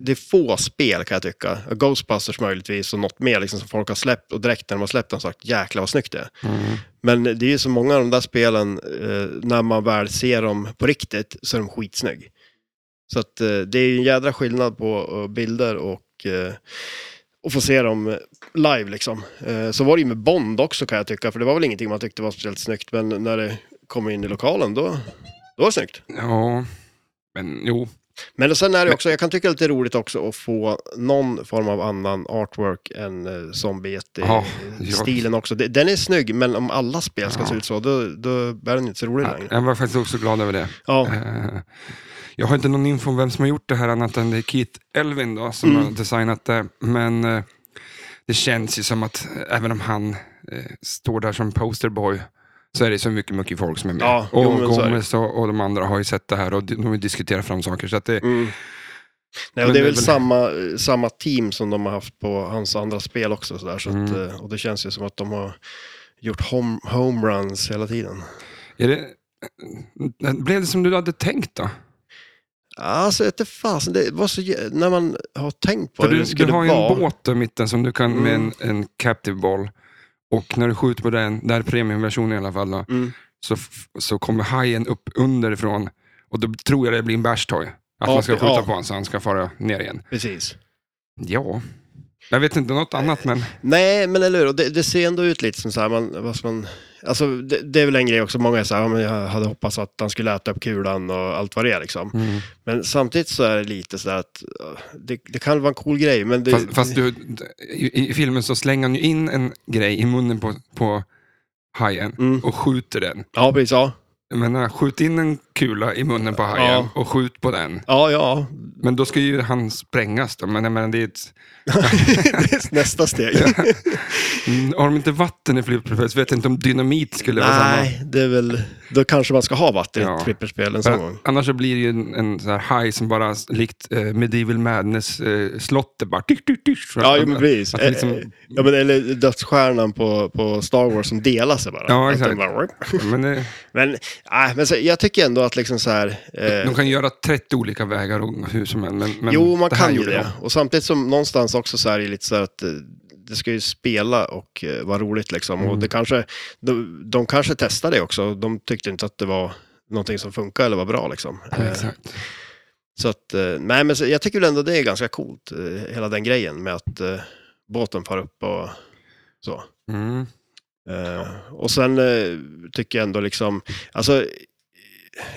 [SPEAKER 2] det är få spel kan jag tycka. Ghostbusters möjligtvis och något mer liksom, som folk har släppt och direkt när de har släppt har de sagt jäklar vad snyggt det är.
[SPEAKER 1] Mm.
[SPEAKER 2] Men det är ju så många av de där spelen, eh, när man väl ser dem på riktigt så är de skitsnygg. Så att eh, det är ju en jädra skillnad på eh, bilder och, eh, och få se dem eh, live liksom. Eh, Så var det ju med Bond också kan jag tycka, för det var väl ingenting man tyckte var speciellt snyggt, men när det kom in i lokalen då, då var det snyggt.
[SPEAKER 1] Ja, men jo.
[SPEAKER 2] Men sen är det också, jag kan tycka det är lite roligt också att få någon form av annan artwork än eh,
[SPEAKER 1] Ja,
[SPEAKER 2] zombie-stilen också. De- Den är snygg, men om alla spel ska
[SPEAKER 1] Ja.
[SPEAKER 2] se ut så, då, då är den inte så rolig längre.
[SPEAKER 1] Jag var faktiskt också glad över det.
[SPEAKER 2] Ja,
[SPEAKER 1] Eh, Jag har inte någon info om vem som har gjort det här annat än det är Keith Elvin då, som
[SPEAKER 2] Mm.
[SPEAKER 1] har designat det. Men eh, det känns ju som att eh, även om han eh, står där som posterboy så är det så mycket, mycket folk som är med.
[SPEAKER 2] Ja,
[SPEAKER 1] och
[SPEAKER 2] jo, men så är det.
[SPEAKER 1] Gomez och, och de andra har ju sett det här och de de har ju diskuterat fram saker. Så att det,
[SPEAKER 2] mm. Nej,
[SPEAKER 1] Men
[SPEAKER 2] och det
[SPEAKER 1] det
[SPEAKER 2] är
[SPEAKER 1] är
[SPEAKER 2] väl
[SPEAKER 1] väl-
[SPEAKER 2] samma, eh, samma team som de har haft på hans andra spel också. Så där, så att,
[SPEAKER 1] Mm.
[SPEAKER 2] eh, och det känns ju som att de har gjort home, homeruns hela tiden.
[SPEAKER 1] är det, eh, blev det som du hette tänkt då?
[SPEAKER 2] Alltså, jag vet inte fasen, det var så, jä- när man har tänkt på
[SPEAKER 1] För
[SPEAKER 2] hur
[SPEAKER 1] du,
[SPEAKER 2] det
[SPEAKER 1] du
[SPEAKER 2] skulle
[SPEAKER 1] har ju
[SPEAKER 2] vara.
[SPEAKER 1] en båt där i mitten som du kan med
[SPEAKER 2] Mm.
[SPEAKER 1] en, en captive ball. Och när du skjuter på den, där är premiumversionen i alla fall, då,
[SPEAKER 2] Mm.
[SPEAKER 1] så, f- så kommer hajen upp underifrån. Och då tror jag det blir en bärstoy. Att
[SPEAKER 2] Ja,
[SPEAKER 1] man ska
[SPEAKER 2] det-
[SPEAKER 1] skjuta
[SPEAKER 2] ja.
[SPEAKER 1] på honom så han ska fara ner igen.
[SPEAKER 2] Precis.
[SPEAKER 1] Ja, jag vet inte något annat men...
[SPEAKER 2] Eh, Nej, men eller hur? Och Det, det ser ändå ut lite som så här, man, vad ska man, alltså det, det är väl en grej också, många är så här, ja, men jag hade hoppats att han skulle äta upp kulan och allt vad det är liksom.
[SPEAKER 1] Mm.
[SPEAKER 2] Men samtidigt så är det lite så här att, ja, det, det kan vara en cool grej, men det...
[SPEAKER 1] Fast, fast du, i, i filmen så slänger han ju in en grej i munnen på, på hajen
[SPEAKER 2] Mm.
[SPEAKER 1] och skjuter den.
[SPEAKER 2] Ja, precis, ja.
[SPEAKER 1] Jag menar, skjut in en kula i munnen på hajen
[SPEAKER 2] Ja.
[SPEAKER 1] och skjut på den.
[SPEAKER 2] Ja, ja.
[SPEAKER 1] Men då ska ju han sprängas då. Men jag menar, det är ett...
[SPEAKER 2] det är nästa steg.
[SPEAKER 1] [laughs] Mm, Har de inte vatten i flipperspel så vet jag inte om dynamit skulle vara samma.
[SPEAKER 2] Nej, det är väl, då kanske man ska ha vatten i
[SPEAKER 1] Ja.
[SPEAKER 2] ett flipperspel en
[SPEAKER 1] För
[SPEAKER 2] sån
[SPEAKER 1] att
[SPEAKER 2] gång.
[SPEAKER 1] Annars så blir det ju en, en sån här haj som bara s- likt eh, Medieval Madness eh, slottet bara... Tisch, tisch, tisch, Så
[SPEAKER 2] Ja,
[SPEAKER 1] att-
[SPEAKER 2] jo, men precis.
[SPEAKER 1] att det liksom-
[SPEAKER 2] Eh, eh, Ja, men, eller dödsstjärnan på, på Star Wars som delar sig bara.
[SPEAKER 1] Ja,
[SPEAKER 2] Att
[SPEAKER 1] exakt.
[SPEAKER 2] den bara-
[SPEAKER 1] men eh,
[SPEAKER 2] eh.
[SPEAKER 1] det,
[SPEAKER 2] Men, nej, men så, jag tycker ändå att liksom så här... eh,
[SPEAKER 1] de kan göra 30 olika vägar och hur som helst. Men, men
[SPEAKER 2] jo, man
[SPEAKER 1] här
[SPEAKER 2] kan ju
[SPEAKER 1] gjorde
[SPEAKER 2] det. Och samtidigt som någonstans också så här är det lite så här att eh, det ska ju spela och eh, vara roligt liksom.
[SPEAKER 1] Mm.
[SPEAKER 2] Och det kanske, de, de kanske testade det också. De tyckte inte att det var någonting som funkar eller var bra liksom.
[SPEAKER 1] de.
[SPEAKER 2] Eh,
[SPEAKER 1] Exakt.
[SPEAKER 2] Så att, eh, nej men så, jag tycker väl ändå det är ganska coolt, eh, hela den grejen med att eh, båten far upp och så.
[SPEAKER 1] Mm.
[SPEAKER 2] Eh, och sen eh, tycker jag ändå liksom, alltså, eh,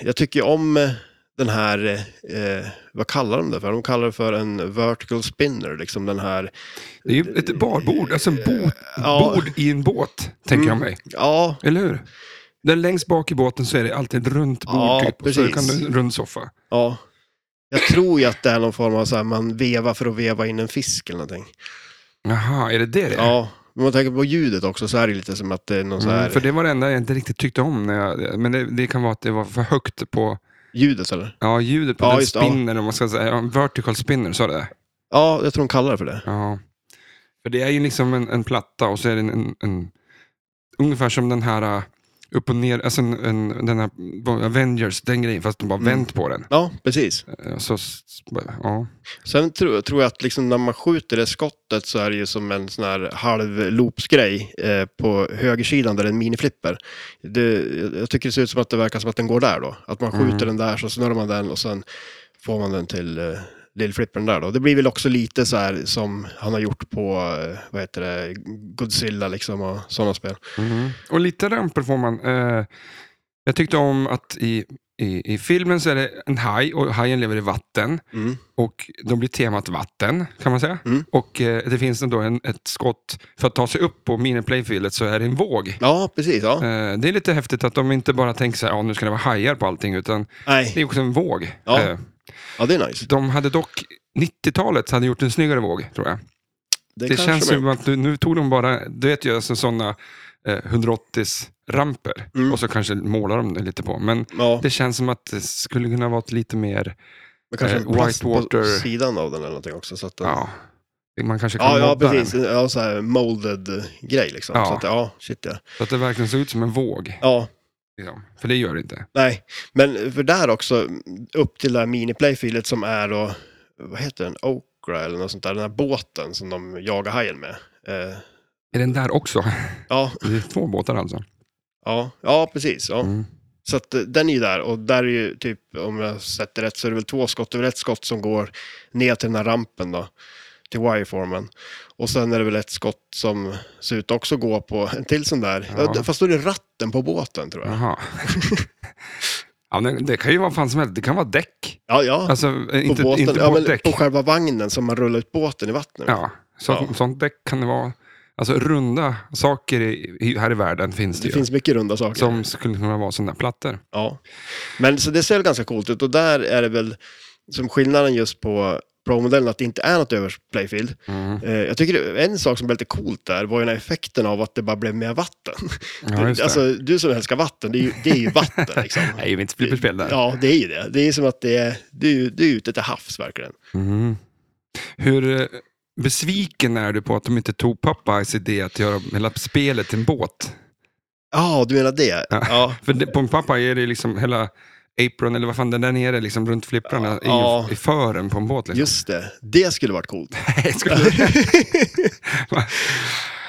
[SPEAKER 2] jag tycker om eh, den här, eh, vad kallar de det för? De kallar det för en vertical spinner, liksom den här,
[SPEAKER 1] Det är ju ett barbord, alltså en bot,
[SPEAKER 2] ja. Mm.
[SPEAKER 1] bord i en båt, tänker jag mig.
[SPEAKER 2] ja,
[SPEAKER 1] Eller hur? Där längst bak i båten så är det alltid ett runt bord,
[SPEAKER 2] Ja,
[SPEAKER 1] typ, och så
[SPEAKER 2] precis.
[SPEAKER 1] kan du en rund soffa.
[SPEAKER 2] ja. Jag tror ju att det är någon form av så här, man vevar för att veva in en fisk eller någonting.
[SPEAKER 1] Jaha, är det det det är?
[SPEAKER 2] Ja, men man tänker på ljudet också så är det lite som att det är någon så här,
[SPEAKER 1] Mm, för det var det enda jag inte riktigt tyckte om. När jag, men det, det kan vara att det var för högt på
[SPEAKER 2] ljudet eller?
[SPEAKER 1] ja, ljudet på
[SPEAKER 2] Ja,
[SPEAKER 1] den
[SPEAKER 2] just det,
[SPEAKER 1] spinnern. Om man ska säga, ja, en vertical spinner, sa du det?
[SPEAKER 2] Ja, jag tror de kallar det för det.
[SPEAKER 1] Ja. För det är ju liksom en, en platta och så är det en, en, en ungefär som den här uh, upp och ner, alltså en, en, den här vad, Avengers, den grejen, fast de
[SPEAKER 2] Mm.
[SPEAKER 1] bara vänt på den.
[SPEAKER 2] Ja, precis.
[SPEAKER 1] Eh, Så, s- ja.
[SPEAKER 2] Sen tror, tror jag att liksom när man skjuter det skottet så är det ju som en sån här halv loopsgrej eh, på högersidan där det är en miniflipper. Det, jag- jag tycker det ser ut som att det verkar som att den går där då. Att man
[SPEAKER 1] Mm.
[SPEAKER 2] skjuter den där så snurrar man den och sen får man den till eh, lillflippern där då. Det blir väl också lite så här som han har gjort på, eh, vad heter det, Godzilla liksom och sådana spel.
[SPEAKER 1] Mhm. Och lite ramper får man. Eh, jag tyckte om att i, i, i filmen så är det en haj och hajen lever i vatten.
[SPEAKER 2] Mm.
[SPEAKER 1] Och då blir temat vatten, kan man säga.
[SPEAKER 2] Mm.
[SPEAKER 1] Och eh, det finns ändå en, ett skott, för att ta sig upp på miniplayfieldet så är det en våg.
[SPEAKER 2] Ja, precis. Ja.
[SPEAKER 1] Eh, det är lite häftigt att de inte bara tänker så här, ja, nu ska det vara hajar på allting, utan det
[SPEAKER 2] Nej,
[SPEAKER 1] är också en våg.
[SPEAKER 2] Ja.
[SPEAKER 1] Eh,
[SPEAKER 2] ja det är nice.
[SPEAKER 1] de hade dock, 90-talet hade gjort en snyggare våg, tror jag.
[SPEAKER 2] Det,
[SPEAKER 1] Det,
[SPEAKER 2] kanske
[SPEAKER 1] känns
[SPEAKER 2] de-
[SPEAKER 1] som att nu- nu tog de bara, du vet ju, alltså sådana eh, 180-ramper.
[SPEAKER 2] Mm.
[SPEAKER 1] Och så kanske målar de det lite på. Men
[SPEAKER 2] Ja,
[SPEAKER 1] det känns som att det skulle kunna vara ett lite mer,
[SPEAKER 2] men kanske
[SPEAKER 1] eh,
[SPEAKER 2] en plast på
[SPEAKER 1] Whitewater-
[SPEAKER 2] sidan av den eller någonting också. Så att den...
[SPEAKER 1] ja, man kanske kan
[SPEAKER 2] Ja, ja
[SPEAKER 1] modda
[SPEAKER 2] precis.
[SPEAKER 1] den.
[SPEAKER 2] Ja, så här molded eh, grej liksom.
[SPEAKER 1] Ja.
[SPEAKER 2] Så att, ja, shit ja.
[SPEAKER 1] Så att det verkligen ser ut som en våg.
[SPEAKER 2] Ja,
[SPEAKER 1] Liksom. För det gör det inte.
[SPEAKER 2] nej. Men för där också, upp till det här miniplayfilet som är då, vad heter den, Okra eller något sånt där, den här båten som de jagar hajen med. Eh,
[SPEAKER 1] Är den där också?
[SPEAKER 2] ja,
[SPEAKER 1] Det är två båtar alltså.
[SPEAKER 2] ja, ja, precis. Ja.
[SPEAKER 1] Mm.
[SPEAKER 2] Så att eh, den är ju där och där är ju typ, om jag sett det rätt, så är det väl två skott, det är väl ett skott som går ner till den här rampen då. till wireformen. Och sen är det väl ett skott som ser ut också gå på en till sån där.
[SPEAKER 1] Ja.
[SPEAKER 2] Ja. Fast då är det ratten på båten tror jag.
[SPEAKER 1] Jaha. [laughs] ja, men det kan ju vara fan som helst. Det kan vara däck.
[SPEAKER 2] Ja, ja.
[SPEAKER 1] Alltså, eh,
[SPEAKER 2] på
[SPEAKER 1] inte,
[SPEAKER 2] båten.
[SPEAKER 1] inte
[SPEAKER 2] ja, men
[SPEAKER 1] båtdäck.
[SPEAKER 2] på själva vagnen som man rullar ut båten i vattnet.
[SPEAKER 1] Ja, så,
[SPEAKER 2] Ja.
[SPEAKER 1] sånt däck kan det vara. Alltså runda saker i, i- här i världen finns det,
[SPEAKER 2] Det
[SPEAKER 1] ju.
[SPEAKER 2] finns mycket runda saker.
[SPEAKER 1] Som skulle kunna vara sådana där plattor.
[SPEAKER 2] Ja. Men så det ser väl ganska coolt ut och där är det väl som skillnaden just på Pro-modellen att det inte är något över playfield.
[SPEAKER 1] Mm.
[SPEAKER 2] Eh, jag tycker det- en sak som blev lite coolt där var ju den här effekten av att det bara blev mer vatten.
[SPEAKER 1] Ja, just det.
[SPEAKER 2] alltså, du som älskar vatten, det är ju, det är ju vatten liksom.
[SPEAKER 1] [laughs] Nej, vi inte flipperspel där.
[SPEAKER 2] Ja, det är ju det. Det är som att det är, du, är ju- du är ute till havs verkligen.
[SPEAKER 1] Mm. Hur eh, besviken är du på att de inte tog Popeyes idé att göra hela spelet till en båt?
[SPEAKER 2] Ja, du menar det?
[SPEAKER 1] Ja.
[SPEAKER 2] Ja.
[SPEAKER 1] För det, på en Popeye är det liksom hela apron, eller vad fan den där nere, liksom runt flipprarna i-
[SPEAKER 2] Ja.
[SPEAKER 1] i, fören på en båt. Liksom.
[SPEAKER 2] Just det, det skulle
[SPEAKER 1] [laughs]
[SPEAKER 2] varit coolt.
[SPEAKER 1] Nej, skulle du-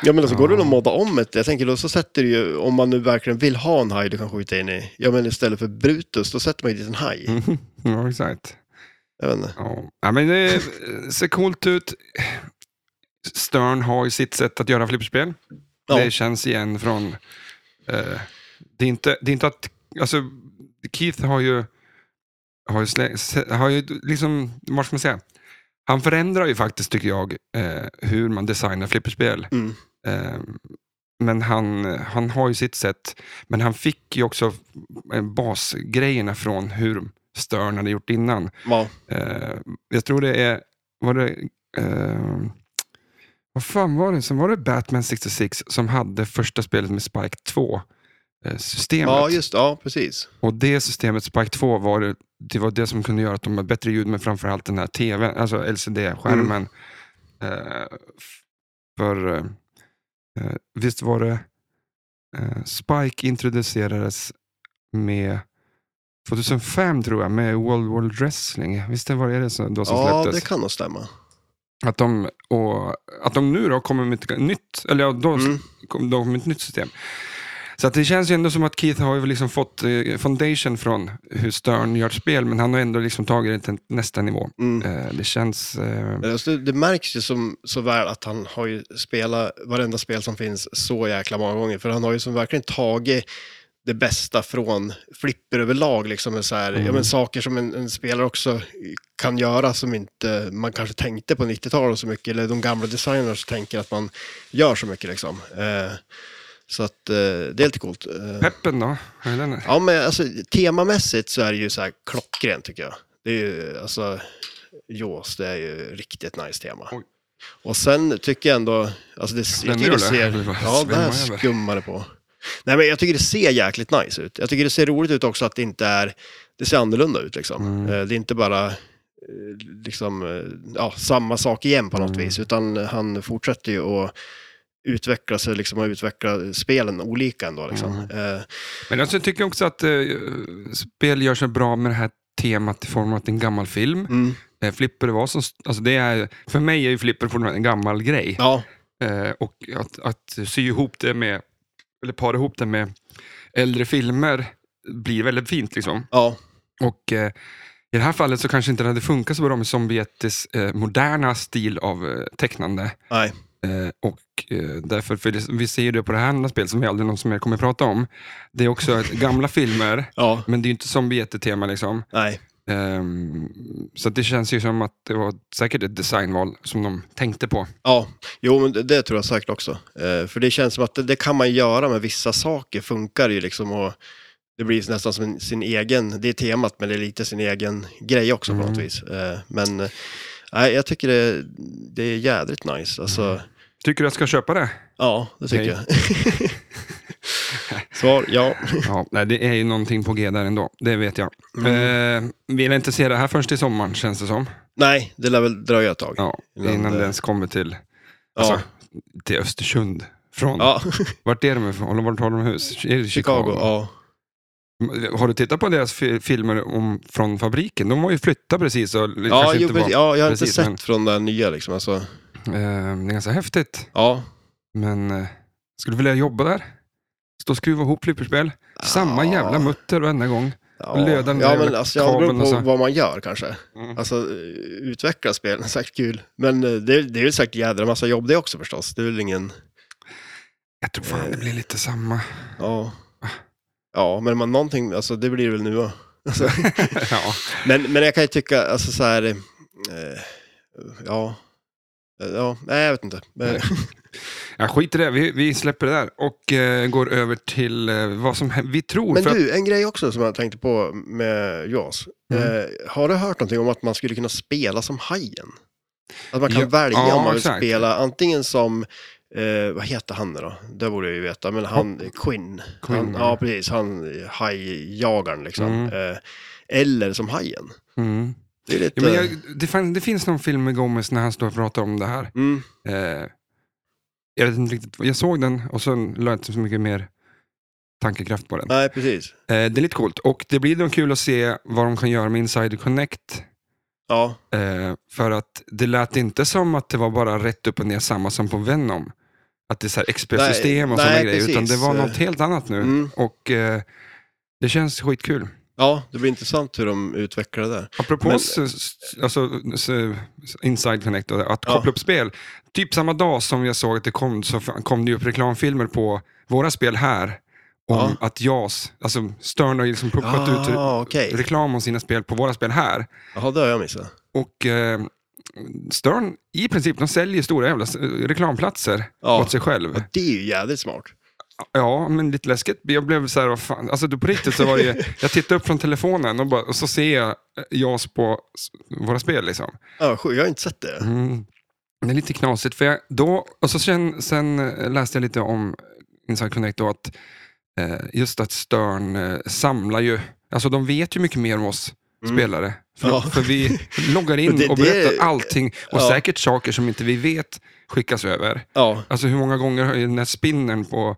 [SPEAKER 2] Ja men alltså går det väl att modda om ett, jag tänker då så sätter du ju, om man nu verkligen vill ha en haj du kan skjuta in i, ja men istället för Brutus då sätter man ju dit en haj.
[SPEAKER 1] Mhm. ja, exakt.
[SPEAKER 2] Jag vet inte.
[SPEAKER 1] Ja. ja, men det eh, ser coolt ut. Stern har ju sitt sätt att göra flipperspel.
[SPEAKER 2] Ja.
[SPEAKER 1] Det känns igen från... Eh, det, är inte, det är inte att... Alltså, Keith har ju... Har ju, slä, se- har ju liksom... Vad ska man säga? Han förändrar ju faktiskt, tycker jag, eh, hur man designar flipperspel.
[SPEAKER 2] Mm.
[SPEAKER 1] Eh, men han, han har ju sitt sätt. Men han fick ju också eh, basgrejerna från hur Stern hade gjort innan.
[SPEAKER 2] Ja.
[SPEAKER 1] Eh, jag tror det är... Var det, eh, vad fan var det? Sen var det Batman 66 som hade första spelet med Spike eh, 2-systemet.
[SPEAKER 2] ja, just ja precis.
[SPEAKER 1] och det systemet, Spike 2, var det, det var det som kunde göra att de hade bättre ljud, men framförallt den här tvn, alltså LCD-skärmen.
[SPEAKER 2] Mm.
[SPEAKER 1] Eh, f- för eh, eh, visst var det... Eh, Spike introducerades med 2005 tror jag, med World World Wrestling. Visst var det det som, då som
[SPEAKER 2] Ja,
[SPEAKER 1] släpptes?
[SPEAKER 2] det kan nog stämma.
[SPEAKER 1] Att de, och, att de nu då kommer med ett nytt, eller ja, då
[SPEAKER 2] Mm.
[SPEAKER 1] kom de med ett nytt system. Så att det känns ju ändå som att Keith har ju liksom fått eh, foundation från hur Stern gör spel, men han har ändå liksom tagit det till nästa nivå.
[SPEAKER 2] Mm.
[SPEAKER 1] Eh, det känns... Eh,
[SPEAKER 2] Men Alltså, det, det märks ju som, så väl att han har ju spelat varenda spel som finns så jäkla många gånger. För han har ju som verkligen tagit det bästa från flipper överlag. Liksom, med så här, ja, men saker som en, en spelare också kan göra som inte man kanske tänkte på 90-talet så mycket. Eller de gamla designers tänker att man gör så mycket. Liksom. Eh, så att, eh, det är lite coolt. Eh,
[SPEAKER 1] peppen då? Är den,
[SPEAKER 2] ja, men, alltså, temamässigt så är det ju så här klockrent tycker jag. Det är ju, alltså, Jaws, det är ju riktigt nice tema.
[SPEAKER 1] Oj.
[SPEAKER 2] Och sen tycker jag ändå, alltså det, jag
[SPEAKER 1] Den
[SPEAKER 2] tycker
[SPEAKER 1] gör
[SPEAKER 2] det
[SPEAKER 1] det.
[SPEAKER 2] ser,
[SPEAKER 1] Det bara
[SPEAKER 2] ja det här
[SPEAKER 1] svämmar över.
[SPEAKER 2] skummar det på. Nej men jag tycker det ser jäkligt nice ut. Jag tycker det ser roligt ut också att det inte är, det ser annorlunda ut liksom.
[SPEAKER 1] Mm.
[SPEAKER 2] Eh, Det är inte bara eh, liksom, eh, ja, samma sak igen på
[SPEAKER 1] Mm.
[SPEAKER 2] något vis, utan han fortsätter ju att utveckla sig liksom, och utveckla spelen olika ändå. Liksom. Eh,
[SPEAKER 1] Men alltså, jag tycker också att eh, spel gör sig bra med det här temat i form av att det är en gammal film.
[SPEAKER 2] Mm.
[SPEAKER 1] Eh, flipper var som, alltså det är, för mig är ju flipper fortfarande en gammal grej.
[SPEAKER 2] Ja,
[SPEAKER 1] Eh, och att, att sy ihop det med, eller para ihop det med äldre filmer blir väldigt fint. liksom.
[SPEAKER 2] ja,
[SPEAKER 1] Och eh, i det här fallet så kanske inte det hade funkat så bra med Zombiettes eh, moderna stil av eh, tecknande.
[SPEAKER 2] nej,
[SPEAKER 1] Eh, och eh, därför, för det, vi ser ju det på det här andra spelet som vi aldrig någonsin mer kommer prata om. Det är också ett- gamla filmer,
[SPEAKER 2] ja,
[SPEAKER 1] men det är ju inte Zombiette-tema liksom.
[SPEAKER 2] nej.
[SPEAKER 1] Ehm, så att det känns ju som att det var säkert ett designval som de tänkte på.
[SPEAKER 2] Ja, jo, men det, det tror jag säkert också. Eh, för det känns som att det, det kan man göra med vissa saker, funkar det ju liksom. Och det blir nästan som en, sin egen, det är temat, men det är lite sin egen grej också
[SPEAKER 1] Mm.
[SPEAKER 2] på något vis. Eh, men eh, nej, jag tycker det, det är jädrigt nice. Alltså,
[SPEAKER 1] Mm. Tycker du jag ska köpa det?
[SPEAKER 2] Ja, det tycker
[SPEAKER 1] Okej.
[SPEAKER 2] jag. [laughs] Svar, ja.
[SPEAKER 1] Ja, nej, det är ju någonting på G där ändå, det vet jag.
[SPEAKER 2] Mm.
[SPEAKER 1] Eh, vill inte se det här först i sommaren känns det som.
[SPEAKER 2] Nej, det lär väl dröja ett tag.
[SPEAKER 1] Ja,
[SPEAKER 2] Innan
[SPEAKER 1] innan
[SPEAKER 2] det-
[SPEAKER 1] det ens kommer till,
[SPEAKER 2] Ja.
[SPEAKER 1] alltså, till Östersund. Från,
[SPEAKER 2] Ja, Chicago,
[SPEAKER 1] Vart är de ifrån? Eller Vart har de hus? Är det Chicago? Mm,
[SPEAKER 2] ja.
[SPEAKER 1] Har du tittat på deras fi- filmer om, från fabriken? De har ju flyttat precis. Och det
[SPEAKER 2] Ja,
[SPEAKER 1] kanske
[SPEAKER 2] jo,
[SPEAKER 1] inte var,
[SPEAKER 2] precis, ja, jag har inte
[SPEAKER 1] precis,
[SPEAKER 2] sett
[SPEAKER 1] men-
[SPEAKER 2] från den nya liksom. Alltså,
[SPEAKER 1] eh, det är ganska häftigt.
[SPEAKER 2] ja.
[SPEAKER 1] Men eh, skulle du vilja jobba där? Stå och skruva ihop flipperspel? Samma
[SPEAKER 2] Ja.
[SPEAKER 1] jävla mutter varenda gång.
[SPEAKER 2] Ja,
[SPEAKER 1] Löda ner
[SPEAKER 2] ja, men
[SPEAKER 1] med
[SPEAKER 2] alltså, jag beror
[SPEAKER 1] kabeln och
[SPEAKER 2] på
[SPEAKER 1] så.
[SPEAKER 2] vad man gör kanske.
[SPEAKER 1] Mm.
[SPEAKER 2] Alltså eh, utveckla spel, [laughs] det är säkert kul. Men eh, det, det är ju säkert jädra massa jobb det också förstås. Det är väl ingen...
[SPEAKER 1] Jag tror fan det blir lite samma. [laughs]
[SPEAKER 2] Ja, ja men man, någonting, alltså, det blir det väl nu va? [laughs] alltså,
[SPEAKER 1] ja.
[SPEAKER 2] men, men jag kan ju tycka, alltså så här... Eh, ja. Eh, Ja, nej jag vet inte. Men,
[SPEAKER 1] Nej. ja, skit i det. Vi, vi släpper det där och eh, går över till eh, vad som hä- vi tror.
[SPEAKER 2] men
[SPEAKER 1] för
[SPEAKER 2] du, en grej också som jag tänkte på med JAS.
[SPEAKER 1] Mm.
[SPEAKER 2] Eh, har du hört någonting om att man skulle kunna spela som hajen? Att man kan
[SPEAKER 1] Ja,
[SPEAKER 2] välja
[SPEAKER 1] ja,
[SPEAKER 2] om man vill
[SPEAKER 1] exakt.
[SPEAKER 2] spela antingen som, eh, vad heter han nu då? Det borde jag ju veta, men han, Quinn.
[SPEAKER 1] Quinn,
[SPEAKER 2] han,
[SPEAKER 1] ja.
[SPEAKER 2] ja, precis. Han, eh, hajjagaren liksom.
[SPEAKER 1] Mm.
[SPEAKER 2] Eh, eller som hajen.
[SPEAKER 1] att, mm.
[SPEAKER 2] Det är lite...
[SPEAKER 1] ja, men jag, det, fan, det finns någon film med Gomez när han står och pratar om det här.
[SPEAKER 2] Mm.
[SPEAKER 1] Eh, jag vet inte riktigt. Jag såg den och sen la jag inte så mycket mer tankekraft på den.
[SPEAKER 2] Nej, precis.
[SPEAKER 1] Eh, det är lite coolt och det blir då kul att se vad de kan göra med Insider Connect.
[SPEAKER 2] Ja,
[SPEAKER 1] Eh, för att det lät inte som att det var bara rätt upp och ner samma som på Venom. Att det är så här XP-system och
[SPEAKER 2] Nej,
[SPEAKER 1] sådana
[SPEAKER 2] nej,
[SPEAKER 1] grejer. Utan det
[SPEAKER 2] precis.
[SPEAKER 1] var något helt annat nu.
[SPEAKER 2] Mm.
[SPEAKER 1] Och eh, det känns skitkul.
[SPEAKER 2] ja, det blir intressant hur de utvecklar det där.
[SPEAKER 1] Apropå
[SPEAKER 2] Men-
[SPEAKER 1] s- s- alltså, s- s- Inside Connect, och att
[SPEAKER 2] Ja.
[SPEAKER 1] koppla upp spel. Typ samma dag som jag såg att det kom så f- kom det upp reklamfilmer på våra spel här. Om att JAS, alltså Stern har ju liksom pumpat ut re-
[SPEAKER 2] Ja, Ah, okej.
[SPEAKER 1] reklam om sina spel på våra spel här.
[SPEAKER 2] Jaha, det har jag missat.
[SPEAKER 1] Och eh, Stern, i princip, de säljer stora jävla s- reklamplatser
[SPEAKER 2] Ja.
[SPEAKER 1] åt sig själv.
[SPEAKER 2] Och det är ju jävligt smart.
[SPEAKER 1] Ja, men lite läskigt. Jag blev så här, vad fan. Alltså du, på riktigt så var det ju, jag tittade upp från telefonen och, bara, och så ser jag eh, JAS på s- våra spel liksom.
[SPEAKER 2] Ja, sjukt. jag har inte sett det.
[SPEAKER 1] Mm. Det är lite knasigt. För jag, då, och så sen, sen eh, läste jag lite om Inside Connect då att eh, just att Stern eh, samlar ju, alltså de vet ju mycket mer om oss
[SPEAKER 2] Mm.
[SPEAKER 1] spelare. För,
[SPEAKER 2] Ja.
[SPEAKER 1] för
[SPEAKER 2] [laughs]
[SPEAKER 1] vi loggar in
[SPEAKER 2] Men det-
[SPEAKER 1] och
[SPEAKER 2] det-
[SPEAKER 1] berättar allting och
[SPEAKER 2] ja.
[SPEAKER 1] säkert saker som inte vi vet skickas över.
[SPEAKER 2] Ja,
[SPEAKER 1] Alltså hur många gånger har ju den här spinnen på,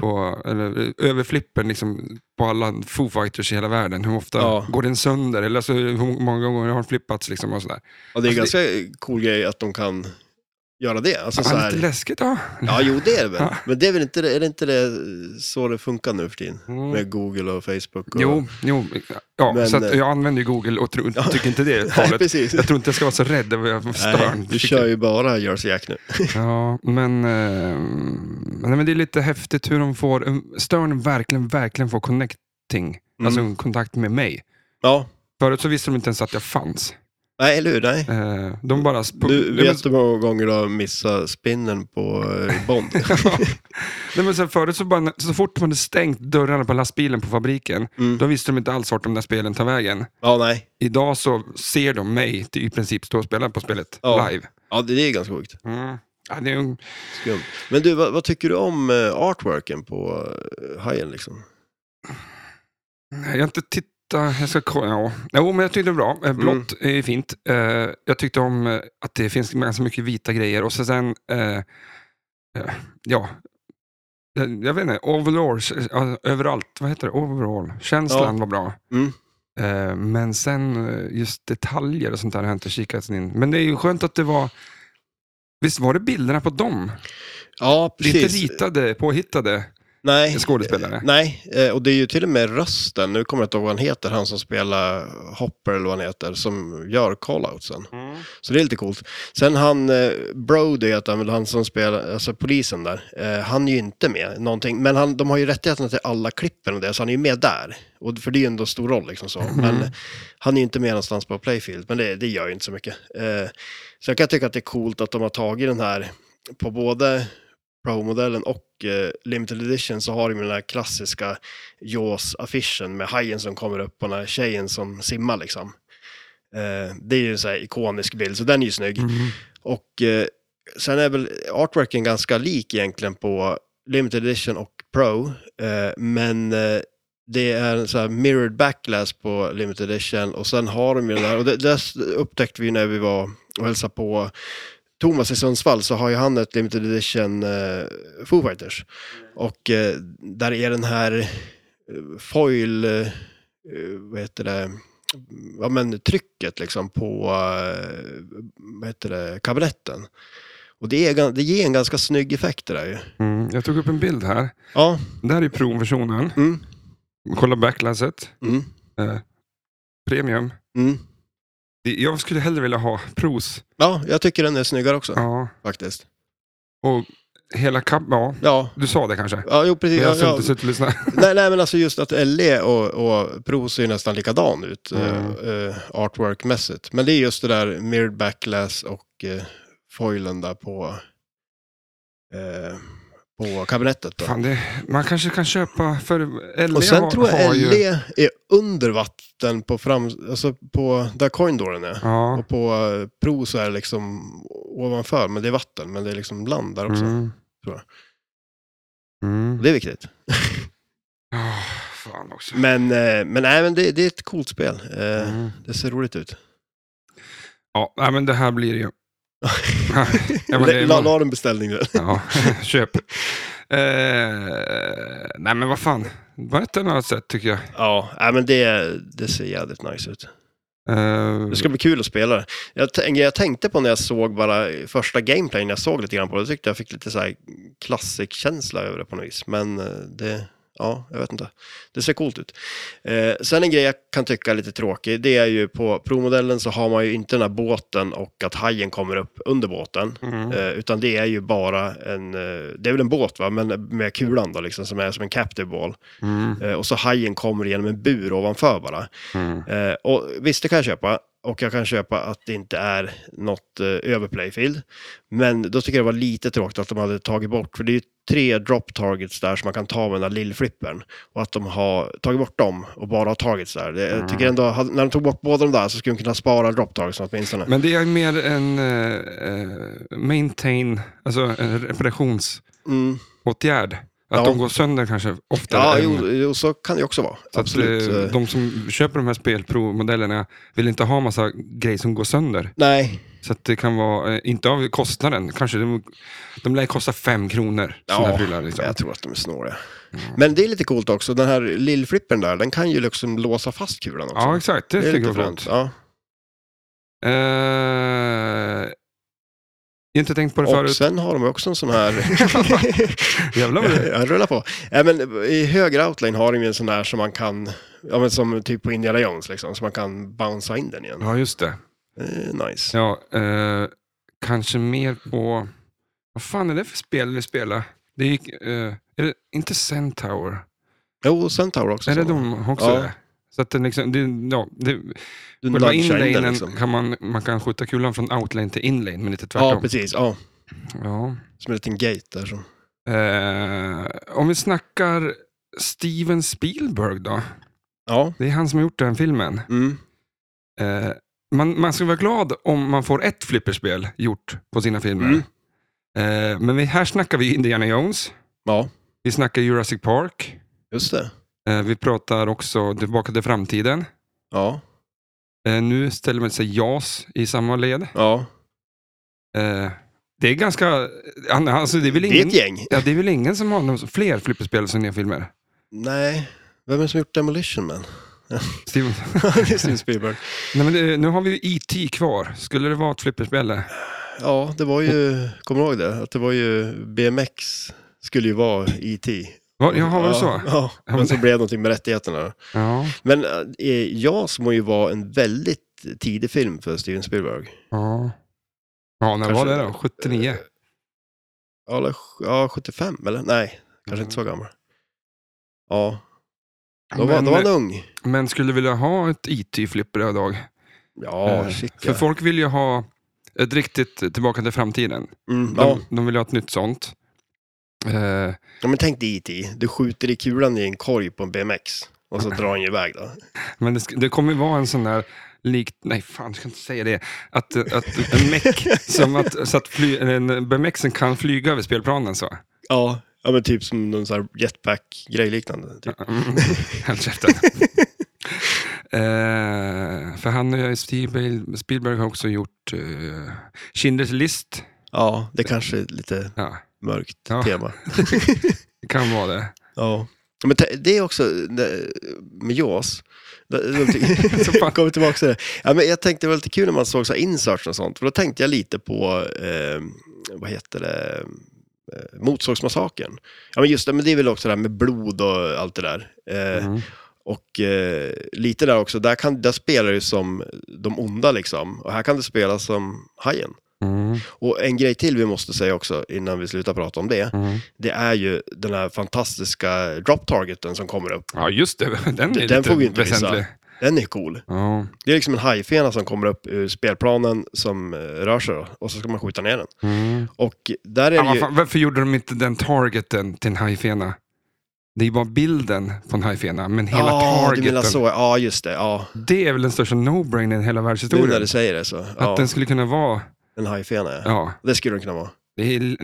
[SPEAKER 1] på eller eh, överflippen liksom, på alla Foo Fighters i hela världen, hur ofta
[SPEAKER 2] Ja.
[SPEAKER 1] går den sönder? Eller alltså, hur många gånger har den flippats liksom och sådär.
[SPEAKER 2] ja det är
[SPEAKER 1] Alltså,
[SPEAKER 2] ganska cool grej att de kan göra det. Alltså, så
[SPEAKER 1] Ja, lite
[SPEAKER 2] här,
[SPEAKER 1] läskigt ja.
[SPEAKER 2] ja, jo det är det väl.
[SPEAKER 1] Ja.
[SPEAKER 2] Men det är väl inte, är det inte det, så det funkar nu för tiden?
[SPEAKER 1] Mm.
[SPEAKER 2] Med Google och Facebook? Och...
[SPEAKER 1] Jo, jo ja,
[SPEAKER 2] Men,
[SPEAKER 1] så att
[SPEAKER 2] eh,
[SPEAKER 1] jag använder ju Google och tror,
[SPEAKER 2] Ja.
[SPEAKER 1] tycker inte det är
[SPEAKER 2] [laughs] Nej,
[SPEAKER 1] farligt. [laughs]
[SPEAKER 2] precis.
[SPEAKER 1] Jag tror inte jag ska vara så rädd över att jag
[SPEAKER 2] Nej,
[SPEAKER 1] störn.
[SPEAKER 2] du kör ju bara Jersey Jack nu.
[SPEAKER 1] Ja, men, eh, nej, men det är lite häftigt hur de får, Stern verkligen, verkligen får connecting,
[SPEAKER 2] Mm.
[SPEAKER 1] alltså en kontakt med mig.
[SPEAKER 2] Ja,
[SPEAKER 1] Förut så visste de inte ens att jag fanns.
[SPEAKER 2] nej eller hur? Nej.
[SPEAKER 1] Eh, De bara... sp-
[SPEAKER 2] Du
[SPEAKER 1] nej, men-
[SPEAKER 2] vet hur många gånger du har missat spinnen på eh, Bond?
[SPEAKER 1] [laughs] Nej, men sen förut så, bara, så fort man hade stängt dörrarna på lastbilen på fabriken,
[SPEAKER 2] Mm.
[SPEAKER 1] då visste de inte alls vart de där spelen tar vägen.
[SPEAKER 2] Ja, nej.
[SPEAKER 1] Idag så ser de mig till, i princip stå och spela på spelet
[SPEAKER 2] Ja.
[SPEAKER 1] live.
[SPEAKER 2] Ja, det det är ganska sjukt.
[SPEAKER 1] Mm. Ja, det är ju-
[SPEAKER 2] Skumt. Men du, vad, vad tycker du om eh, artworken på eh, hajen liksom?
[SPEAKER 1] jag har inte tittat, jag ska kolla. Ja. Jo, men jag tyckte det var bra.
[SPEAKER 2] Mm.
[SPEAKER 1] Eh, Blått är ju fint. Eh, jag tyckte om eh, att det finns ganska mycket vita grejer och så sen, eh, eh, ja. Eh, Jag, jag vet inte, overall, eh, överallt, vad heter det? Overall. Känslan
[SPEAKER 2] Ja.
[SPEAKER 1] var bra.
[SPEAKER 2] Mm.
[SPEAKER 1] Eh, Men sen eh, just detaljer och sånt där har jag inte kikat in. Men det är ju skönt att det var... Visst var det bilderna på dem?
[SPEAKER 2] Ja,
[SPEAKER 1] Det är inte ritade, påhittade
[SPEAKER 2] Nej.
[SPEAKER 1] skådespelare?
[SPEAKER 2] Eh, Nej, eh, och det är ju till och med rösten, nu kommer jag inte ihåg vad han heter, han som spelar Hopper eller vad han heter, som gör call-outsen. Så det är lite coolt. Sen han, eh, Brody heter han, väl, han som spelar, alltså polisen där, eh, han är ju inte med någonting, men han, de har ju rättigheterna till alla klippen och det, så han är ju med där. Och, för det är ju ändå stor roll liksom så. Men han är ju inte med någonstans på Playfield, men det, det gör ju inte så mycket. Eh, så jag kan tycka att det är coolt att de har tagit den här, på både Pro-modellen och eh, Limited Edition så har de ju den här klassiska Jaws-affischen med hajen som kommer upp och den här tjejen som simmar liksom. Eh, det är ju en sån här ikonisk bild, så den är ju snygg.
[SPEAKER 1] Mm.
[SPEAKER 2] Och eh, sen är väl artworken ganska lik egentligen på Limited Edition och Pro, eh, men eh, det är en sån här mirrored backlash på Limited Edition och sen har de ju den här, och det, det upptäckte vi när vi var och hälsade på Thomas i Sundsvall så har ju han ett Limited Edition eh, Foo Fighters. Och eh, där är den här eh, foil, eh, vad heter det, ja men trycket liksom på, eh, vad heter det, kabinetten. Och det, är, gan- det ger en ganska snygg effekt det där ju.
[SPEAKER 1] Mm. Jag tog upp en bild här.
[SPEAKER 2] Ja,
[SPEAKER 1] Där är provversionen.
[SPEAKER 2] mm,
[SPEAKER 1] Kolla backlasset.
[SPEAKER 2] mm.
[SPEAKER 1] eh, premium.
[SPEAKER 2] Mm.
[SPEAKER 1] Det- Jag skulle hellre vilja ha pros.
[SPEAKER 2] Ja, jag tycker den är snyggare också
[SPEAKER 1] Ja.
[SPEAKER 2] faktiskt.
[SPEAKER 1] Och hela kap... Ja,
[SPEAKER 2] Ja,
[SPEAKER 1] du sa det kanske?
[SPEAKER 2] ja jo precis.
[SPEAKER 1] Men jag
[SPEAKER 2] Ja,
[SPEAKER 1] har
[SPEAKER 2] ja.
[SPEAKER 1] inte suttit och lyssnat.
[SPEAKER 2] Nej, nej, men alltså just att LE och, och Pro ser ju nästan likadan ut
[SPEAKER 1] Mm.
[SPEAKER 2] eh, eh, artwork-mässigt. Men det är just det där mirrored backlash och eh, foilen där på, eh, på kabinettet. Då.
[SPEAKER 1] Fan, det, man kanske kan köpa för LE
[SPEAKER 2] Och sen
[SPEAKER 1] har,
[SPEAKER 2] tror
[SPEAKER 1] har
[SPEAKER 2] jag E
[SPEAKER 1] ju-
[SPEAKER 2] LE är under vatten på, fram, alltså på där coindoren är.
[SPEAKER 1] Ja.
[SPEAKER 2] Och på eh, Pro så är det liksom ovanför, men det är vatten. Men det är liksom land där också.
[SPEAKER 1] Mm.
[SPEAKER 2] tror jag.
[SPEAKER 1] Mm.
[SPEAKER 2] Det är viktigt.
[SPEAKER 1] Ja, fan också.
[SPEAKER 2] Men, eh, men, nej, men det, det är ett coolt spel. Eh,
[SPEAKER 1] Mm.
[SPEAKER 2] Det ser roligt ut.
[SPEAKER 1] Ja, nej, men det här blir ju... [laughs] Ja, men det
[SPEAKER 2] la,
[SPEAKER 1] är
[SPEAKER 2] [laughs] la,
[SPEAKER 1] bra.
[SPEAKER 2] la en beställning nu.
[SPEAKER 1] Ja, [laughs] köp. Eh, nej, men vad fan. Var ett annat sätt tycker jag.
[SPEAKER 2] Ja, nej, men det, det ser jävligt nice ut.
[SPEAKER 1] Eh,
[SPEAKER 2] Det ska bli kul att spela det. Jag, tänk- jag tänkte på när jag såg bara första gameplayen, jag såg lite grann på det, jag tyckte jag fick lite så här klassikkänsla över det på något vis. Men eh, det, ja, jag vet inte. Det ser coolt ut. Eh, sen en grej jag kan tycka är lite tråkig, det är ju på provmodellen så har man ju inte den här båten och att hajen kommer upp under båten.
[SPEAKER 1] mm.
[SPEAKER 2] Eh, utan det är ju bara en, eh, det är väl en båt va, men med kulan då liksom, som är som en captive ball.
[SPEAKER 1] Mm.
[SPEAKER 2] Eh, och så hajen kommer genom en bur ovanför bara.
[SPEAKER 1] Mm.
[SPEAKER 2] Eh, och visst, det kan jag köpa. Och jag kan köpa att det inte är något eh, överplayfield. Men då tycker jag det var lite tråkigt att de hade tagit bort, för det är ju tre drop targets där som man kan ta med den där lillflippern. Och att de har tagit bort dem och bara har targets där. Det, jag
[SPEAKER 1] Mm.
[SPEAKER 2] tycker ändå, hade- när de tog bort båda de där så skulle de kunna spara drop targets åtminstone.
[SPEAKER 1] Men det är mer en eh, eh, maintain, alltså en reparationsåtgärd.
[SPEAKER 2] Mm.
[SPEAKER 1] Att
[SPEAKER 2] Ja.
[SPEAKER 1] de går sönder kanske oftare.
[SPEAKER 2] Ja,
[SPEAKER 1] än-
[SPEAKER 2] jo, jo, så kan det också vara.
[SPEAKER 1] Så att,
[SPEAKER 2] Absolut.
[SPEAKER 1] eh,
[SPEAKER 2] Eh,
[SPEAKER 1] de som köper de här spelprovmodellerna vill inte ha massa grejer som går sönder.
[SPEAKER 2] Nej,
[SPEAKER 1] Så att det kan vara, eh, inte av kostnaden, kanske de, de lär kosta fem kronor. såna här prylar, liksom. Mm.
[SPEAKER 2] jag tror att de är snåriga. Men det är lite coolt också, den här lillflippern där, den kan ju liksom låsa fast kulan också.
[SPEAKER 1] Ja, exakt. Det,
[SPEAKER 2] det är
[SPEAKER 1] tycker
[SPEAKER 2] lite
[SPEAKER 1] jag var flott.
[SPEAKER 2] fränt. Ja.
[SPEAKER 1] Eh, jag har inte tänkt på det
[SPEAKER 2] Och
[SPEAKER 1] förut.
[SPEAKER 2] sen har de också en sån här...
[SPEAKER 1] [laughs] Jävlar vad det
[SPEAKER 2] jag rullar på. [laughs] Ja, men I högra outline har de ju en sån där som man kan, ja, men som typ på Indiana Jones, liksom, så man kan bouncea in den igen.
[SPEAKER 1] Ja, just det.
[SPEAKER 2] Eh, nice.
[SPEAKER 1] Ja, eh, kanske mer på... Vad fan är det för spel vi spelar? Det gick, eh, är det inte Centaur?
[SPEAKER 2] Jo, och sen Tower också.
[SPEAKER 1] Är det
[SPEAKER 2] så.
[SPEAKER 1] de också?
[SPEAKER 2] Ja.
[SPEAKER 1] det? Så att den liksom, det, ja, det,
[SPEAKER 2] Du
[SPEAKER 1] själva
[SPEAKER 2] nudgar in den
[SPEAKER 1] inlanen
[SPEAKER 2] liksom.
[SPEAKER 1] kan man, man kan skjuta kulan från outlane till inlane, men inte
[SPEAKER 2] Ja,
[SPEAKER 1] tvärtom.
[SPEAKER 2] precis. Ja,
[SPEAKER 1] Ja.
[SPEAKER 2] som en liten gate där. Som...
[SPEAKER 1] Eh, om vi snackar Steven Spielberg då.
[SPEAKER 2] Ja.
[SPEAKER 1] Det är han som har gjort den filmen.
[SPEAKER 2] Mm.
[SPEAKER 1] Eh, man, man ska vara glad om man får ett flipperspel gjort på sina filmer.
[SPEAKER 2] Mm.
[SPEAKER 1] Eh, men vi, här snackar vi Indiana Jones,
[SPEAKER 2] ja,
[SPEAKER 1] vi snackar Jurassic Park,
[SPEAKER 2] just det.
[SPEAKER 1] eh, vi pratar också Tillbaka till framtiden.
[SPEAKER 2] Ja,
[SPEAKER 1] Eh, nu ställer man sig JAS i samma led.
[SPEAKER 2] ja.
[SPEAKER 1] Eh, det är ganska... an- Alltså, det, är väl
[SPEAKER 2] Det är
[SPEAKER 1] ingen,
[SPEAKER 2] ett gäng.
[SPEAKER 1] ja, det är väl ingen som har någon, fler flipperspel som nya filmer?
[SPEAKER 2] Nej, vem är det som gjort
[SPEAKER 1] [laughs]
[SPEAKER 2] Demolition Man? [laughs]
[SPEAKER 1] Steven.
[SPEAKER 2] det är Steven Spielberg.
[SPEAKER 1] Nej, men det, nu har vi ju E.T. kvar. Skulle det vara ett flipperspel? eller?
[SPEAKER 2] Ja, det var ju, kommer du ihåg det? Att det var ju BMX skulle ju vara E.T.
[SPEAKER 1] Va, jaha, var det så?
[SPEAKER 2] Ja, ja.
[SPEAKER 1] men-
[SPEAKER 2] men så blev det någonting med rättigheterna.
[SPEAKER 1] Ja.
[SPEAKER 2] Men eh, JAS må ju vara en väldigt tidig film för Steven Spielberg.
[SPEAKER 1] Ja, ja när
[SPEAKER 2] Kanske-
[SPEAKER 1] var det då? 79?
[SPEAKER 2] Ja, eller, ja 75 eller? Nej, kanske inte så gammal. Ja, då var,
[SPEAKER 1] Mm. men, eh,
[SPEAKER 2] då var han ung.
[SPEAKER 1] men skulle vilja ha ett IT-flipper idag?
[SPEAKER 2] Ja,
[SPEAKER 1] eh,
[SPEAKER 2] shit
[SPEAKER 1] För
[SPEAKER 2] ja.
[SPEAKER 1] folk vill ju ha ett riktigt Tillbaka till framtiden.
[SPEAKER 2] Mm,
[SPEAKER 1] De,
[SPEAKER 2] ja.
[SPEAKER 1] de vill ju ha ett nytt sånt. Eh,
[SPEAKER 2] ja, men tänk dig E.T. Du skjuter i kulan i en korg på en BMX
[SPEAKER 1] [laughs]
[SPEAKER 2] och så drar han ju iväg då.
[SPEAKER 1] men det, sk- det kommer ju vara en sån där likt, nej fan jag ska inte säga det, att, eh, att en meck, som att, så att fly, en bemexen kan flyga över spelplanen så.
[SPEAKER 2] Ja, ja men typ som någon sån här jetpack-grej liknande. Typ.
[SPEAKER 1] Mm. [laughs] Håll käften. Eh, för han och Steve Spielberg har också gjort uh, Schindler's list.
[SPEAKER 2] Ja, det kanske är lite
[SPEAKER 1] Ja,
[SPEAKER 2] mörkt
[SPEAKER 1] Ja.
[SPEAKER 2] tema.
[SPEAKER 1] det kan vara det.
[SPEAKER 2] Ja. Men te- det är också det- med JAS. det- de [laughs] ty-
[SPEAKER 1] Så fan.
[SPEAKER 2] Kommer tillbaka till det. Ja, men jag tänkte det var lite kul när man såg så här inserts och sånt. För då tänkte jag lite på, eh, vad heter det, eh, Motorsågsmassakern. Ja, men just det, men det är väl också det här med blod och allt det där. Eh,
[SPEAKER 1] Mm.
[SPEAKER 2] Och eh, lite där också, där, kan, där spelar du som de onda liksom. Och här kan du spela som hajen.
[SPEAKER 1] Mm,
[SPEAKER 2] Och en grej till vi måste säga också innan vi slutar prata om det.
[SPEAKER 1] mm.
[SPEAKER 2] Det är ju den här fantastiska drop targeten som kommer upp.
[SPEAKER 1] Ja, just det. Den är
[SPEAKER 2] Den
[SPEAKER 1] lite
[SPEAKER 2] får vi inte missa.
[SPEAKER 1] väsentlig.
[SPEAKER 2] Den är cool.
[SPEAKER 1] Ja.
[SPEAKER 2] Det är liksom en hajfena som kommer upp ur spelplanen som eh, rör sig då, och så ska man skjuta ner den.
[SPEAKER 1] Mm.
[SPEAKER 2] Och där är
[SPEAKER 1] Ja,
[SPEAKER 2] det
[SPEAKER 1] vad
[SPEAKER 2] ju...
[SPEAKER 1] fan, varför gjorde de inte den targeten till en hajfena? Det är bara bilden på en hajfena, men hela
[SPEAKER 2] Ja, du menar
[SPEAKER 1] targeten.
[SPEAKER 2] så. Ja, just det. Ja,
[SPEAKER 1] Det är väl den största no-brainen i hela
[SPEAKER 2] nu när
[SPEAKER 1] världshistorien.
[SPEAKER 2] du säger det så.
[SPEAKER 1] Att
[SPEAKER 2] Ja,
[SPEAKER 1] den skulle kunna vara...
[SPEAKER 2] En hajfena, ja.
[SPEAKER 1] Ja,
[SPEAKER 2] Det skulle den kunna vara.
[SPEAKER 1] det är,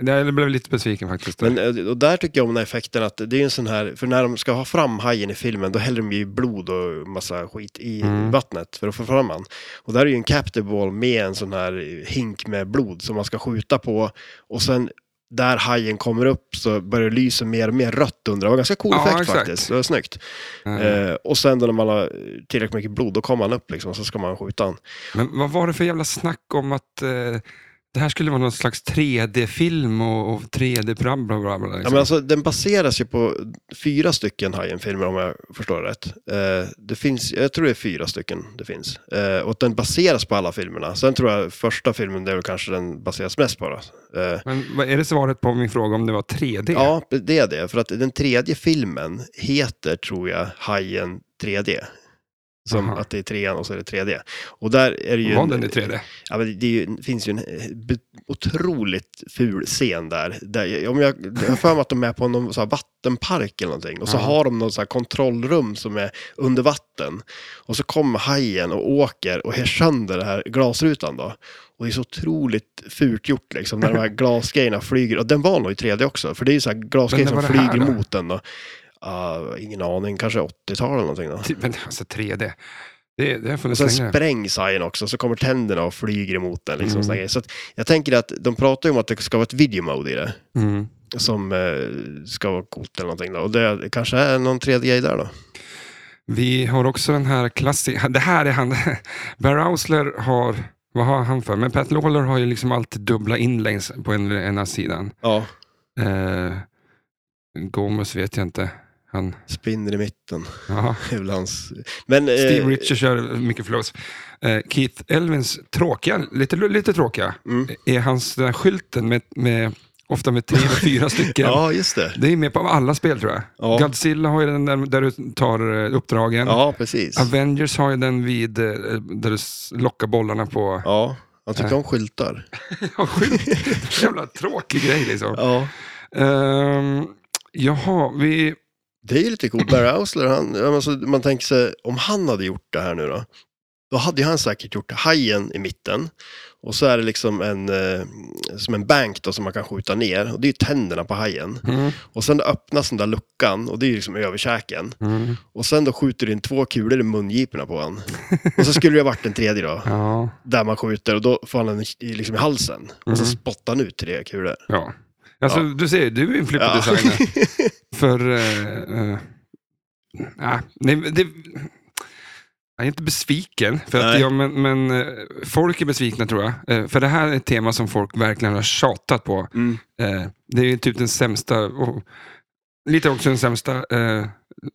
[SPEAKER 1] nah, jag blev lite besviken faktiskt.
[SPEAKER 2] Men, eh, och där tycker jag om den här effekten att det är en sån här, för när de ska ha fram hajen i filmen då häller de ju blod och massa skit i
[SPEAKER 1] Mm.
[SPEAKER 2] vattnet för att få fram han. Och där är ju en captive ball med en sån här hink med blod som man ska skjuta på och sen där hajen kommer upp så börjar det lysa mer och mer rött under. Det var en ganska cool
[SPEAKER 1] Ja,
[SPEAKER 2] effekt
[SPEAKER 1] exakt.
[SPEAKER 2] faktiskt. Det var snyggt.
[SPEAKER 1] Eh,
[SPEAKER 2] Eh, och sen då när man har tillräckligt mycket blod då kommer han upp liksom och så ska man skjuta han.
[SPEAKER 1] Men vad var det för jävla snack om att eh, det här skulle vara någon slags 3D-film och, och 3D bla bla bla. bla
[SPEAKER 2] Ja,
[SPEAKER 1] liksom.
[SPEAKER 2] men alltså, den baseras ju på fyra stycken Hajen-filmer om jag förstår det rätt. Eh, det finns, jag tror det är fyra stycken det finns. Eh, och den baseras på alla filmerna. Sen tror jag första filmen, det är väl kanske den baseras mest på. Då. Eh,
[SPEAKER 1] men vad är det svaret på min fråga om det var 3D?
[SPEAKER 2] ja, det är det. För att den tredje filmen heter, tror jag, Hajen 3D. Som
[SPEAKER 1] Aha.
[SPEAKER 2] att det är trean och så är det 3D. Och där är det ju...
[SPEAKER 1] var
[SPEAKER 2] en-
[SPEAKER 1] den i 3D?
[SPEAKER 2] Ja, men det är ju, det finns ju en eh, be- otroligt ful scen där. där jag, om jag, jag har för mig att de är på någon så här vattenpark eller någonting. Och så
[SPEAKER 1] Ja.
[SPEAKER 2] har de någon så här kontrollrum som är under vatten. Och så kommer hajen och åker och här sönder den här glasrutan då. Och det är så otroligt fult gjort liksom när
[SPEAKER 1] [laughs]
[SPEAKER 2] de här glasgrejerna flyger. Och den var nog i 3D också. För det är ju så här glasgrejer
[SPEAKER 1] Men när
[SPEAKER 2] som
[SPEAKER 1] var det här
[SPEAKER 2] flyger
[SPEAKER 1] då?
[SPEAKER 2] mot den då. Ah, ingen aning, kanske 80-tal eller någonting då.
[SPEAKER 1] Ty- Men alltså 3D, det, det har
[SPEAKER 2] Och
[SPEAKER 1] funnits
[SPEAKER 2] sen
[SPEAKER 1] länge.
[SPEAKER 2] sprängs hajen också, så kommer tänderna och flyger emot den. Liksom,
[SPEAKER 1] Mm.
[SPEAKER 2] såna grejer. Så att, jag tänker att de pratar ju om att det ska vara ett video mode i det.
[SPEAKER 1] Mm.
[SPEAKER 2] Som eh, ska vara coolt eller någonting. Då. Och det kanske är någon tredje grej där då.
[SPEAKER 1] Vi har också den här klassiska, [laughs] det här är han, Bear Ausler har, vad har han för? Men Pat Lawler har ju liksom alltid dubbla inlängs på en, ena sidan.
[SPEAKER 2] Ja,
[SPEAKER 1] Eh, Gomez vet jag inte. Han,
[SPEAKER 2] spinner i mitten. [laughs]
[SPEAKER 1] ja.
[SPEAKER 2] Det är väl hans... Men... eh,
[SPEAKER 1] Steve Richards kör mycket flows. Eh, Keith Elvins tråkiga, lite, lite tråkiga,
[SPEAKER 2] Mm.
[SPEAKER 1] är hans den här skylten med, med, ofta med tre eller fyra stycken.
[SPEAKER 2] [laughs] Ja, just det.
[SPEAKER 1] Det är med på alla spel tror jag.
[SPEAKER 2] Ja.
[SPEAKER 1] Godzilla har ju den där, där du tar eh, uppdragen.
[SPEAKER 2] Ja, precis.
[SPEAKER 1] Avengers har ju den vid, eh, där du s- lockar bollarna på.
[SPEAKER 2] Ja, han tycker om skyltar.
[SPEAKER 1] [laughs] Ja. sjukt. Jävla tråkig grej liksom.
[SPEAKER 2] Ja.
[SPEAKER 1] Ehm, jaha, vi...
[SPEAKER 2] Det är ju lite coolt. Barry Ausler, han, alltså, man tänker sig, om han hade gjort det här nu då, då hade ju han säkert gjort hajen i mitten. Och så är det liksom en, eh, som en bank då som man kan skjuta ner. Och det är ju tänderna på hajen.
[SPEAKER 1] Mm,
[SPEAKER 2] Och sen öppnas den där luckan och det är ju liksom överkäken.
[SPEAKER 1] mm,
[SPEAKER 2] Och sen då skjuter du in två kulor i mungiporna på honom. Och så skulle det ha varit en tredje då,
[SPEAKER 1] ja,
[SPEAKER 2] där man skjuter och då får han den i- liksom i halsen. Och så
[SPEAKER 1] Mm.
[SPEAKER 2] spottar han ut tre kulor.
[SPEAKER 1] ja. Alltså,
[SPEAKER 2] Ja.
[SPEAKER 1] Du ser, du är en flipper
[SPEAKER 2] Ja. [laughs]
[SPEAKER 1] designer. För... Eh, eh, ah, nej, det, jag är inte besviken, för att,
[SPEAKER 2] Nej.
[SPEAKER 1] ja, men, men eh, folk är besvikna tror jag. Eh, för det här är ett tema som folk verkligen har tjatat på.
[SPEAKER 2] Mm.
[SPEAKER 1] Eh, det är ju typ den sämsta, och, lite också den sämsta eh,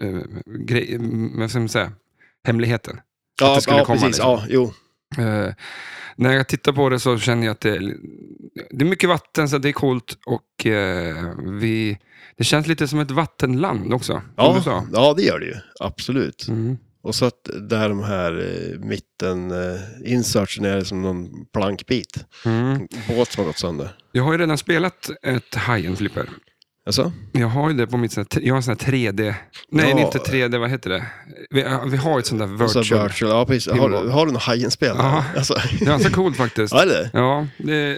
[SPEAKER 1] eh, grej, mm, vad ska man säga, hemligheten.
[SPEAKER 2] Ja,
[SPEAKER 1] det skulle
[SPEAKER 2] ja
[SPEAKER 1] komma,
[SPEAKER 2] precis.
[SPEAKER 1] liksom.
[SPEAKER 2] Ja, jo.
[SPEAKER 1] Eh, när jag tittar på det så känner jag att det är, det är mycket vatten, så det är coolt. Och eh, vi, det känns lite som ett vattenland också. som du sa.
[SPEAKER 2] Ja, ja, det gör det ju. Absolut.
[SPEAKER 1] Mm.
[SPEAKER 2] Och så att där de här eh, mitten eh, insertsen är som någon plankbit.
[SPEAKER 1] Mm.
[SPEAKER 2] En Båt som har gått sönder.
[SPEAKER 1] Jag har ju redan spelat ett Hajen Flipper.
[SPEAKER 2] Alltså?
[SPEAKER 1] Jag har ju det på mitt sån här, jag har en sån här 3D, nej
[SPEAKER 2] Ja. Alltså,
[SPEAKER 1] inte 3D, vad heter det? Vi, vi har ett sånt där
[SPEAKER 2] Virtual. Så här
[SPEAKER 1] virtual.
[SPEAKER 2] virtual. Ja, precis. Har, du-
[SPEAKER 1] Pinball.
[SPEAKER 2] har du något Hajen-spel?
[SPEAKER 1] Ja.
[SPEAKER 2] Alltså.
[SPEAKER 1] Det är ganska coolt faktiskt.
[SPEAKER 2] [laughs] Ja, eller?
[SPEAKER 1] Ja, det,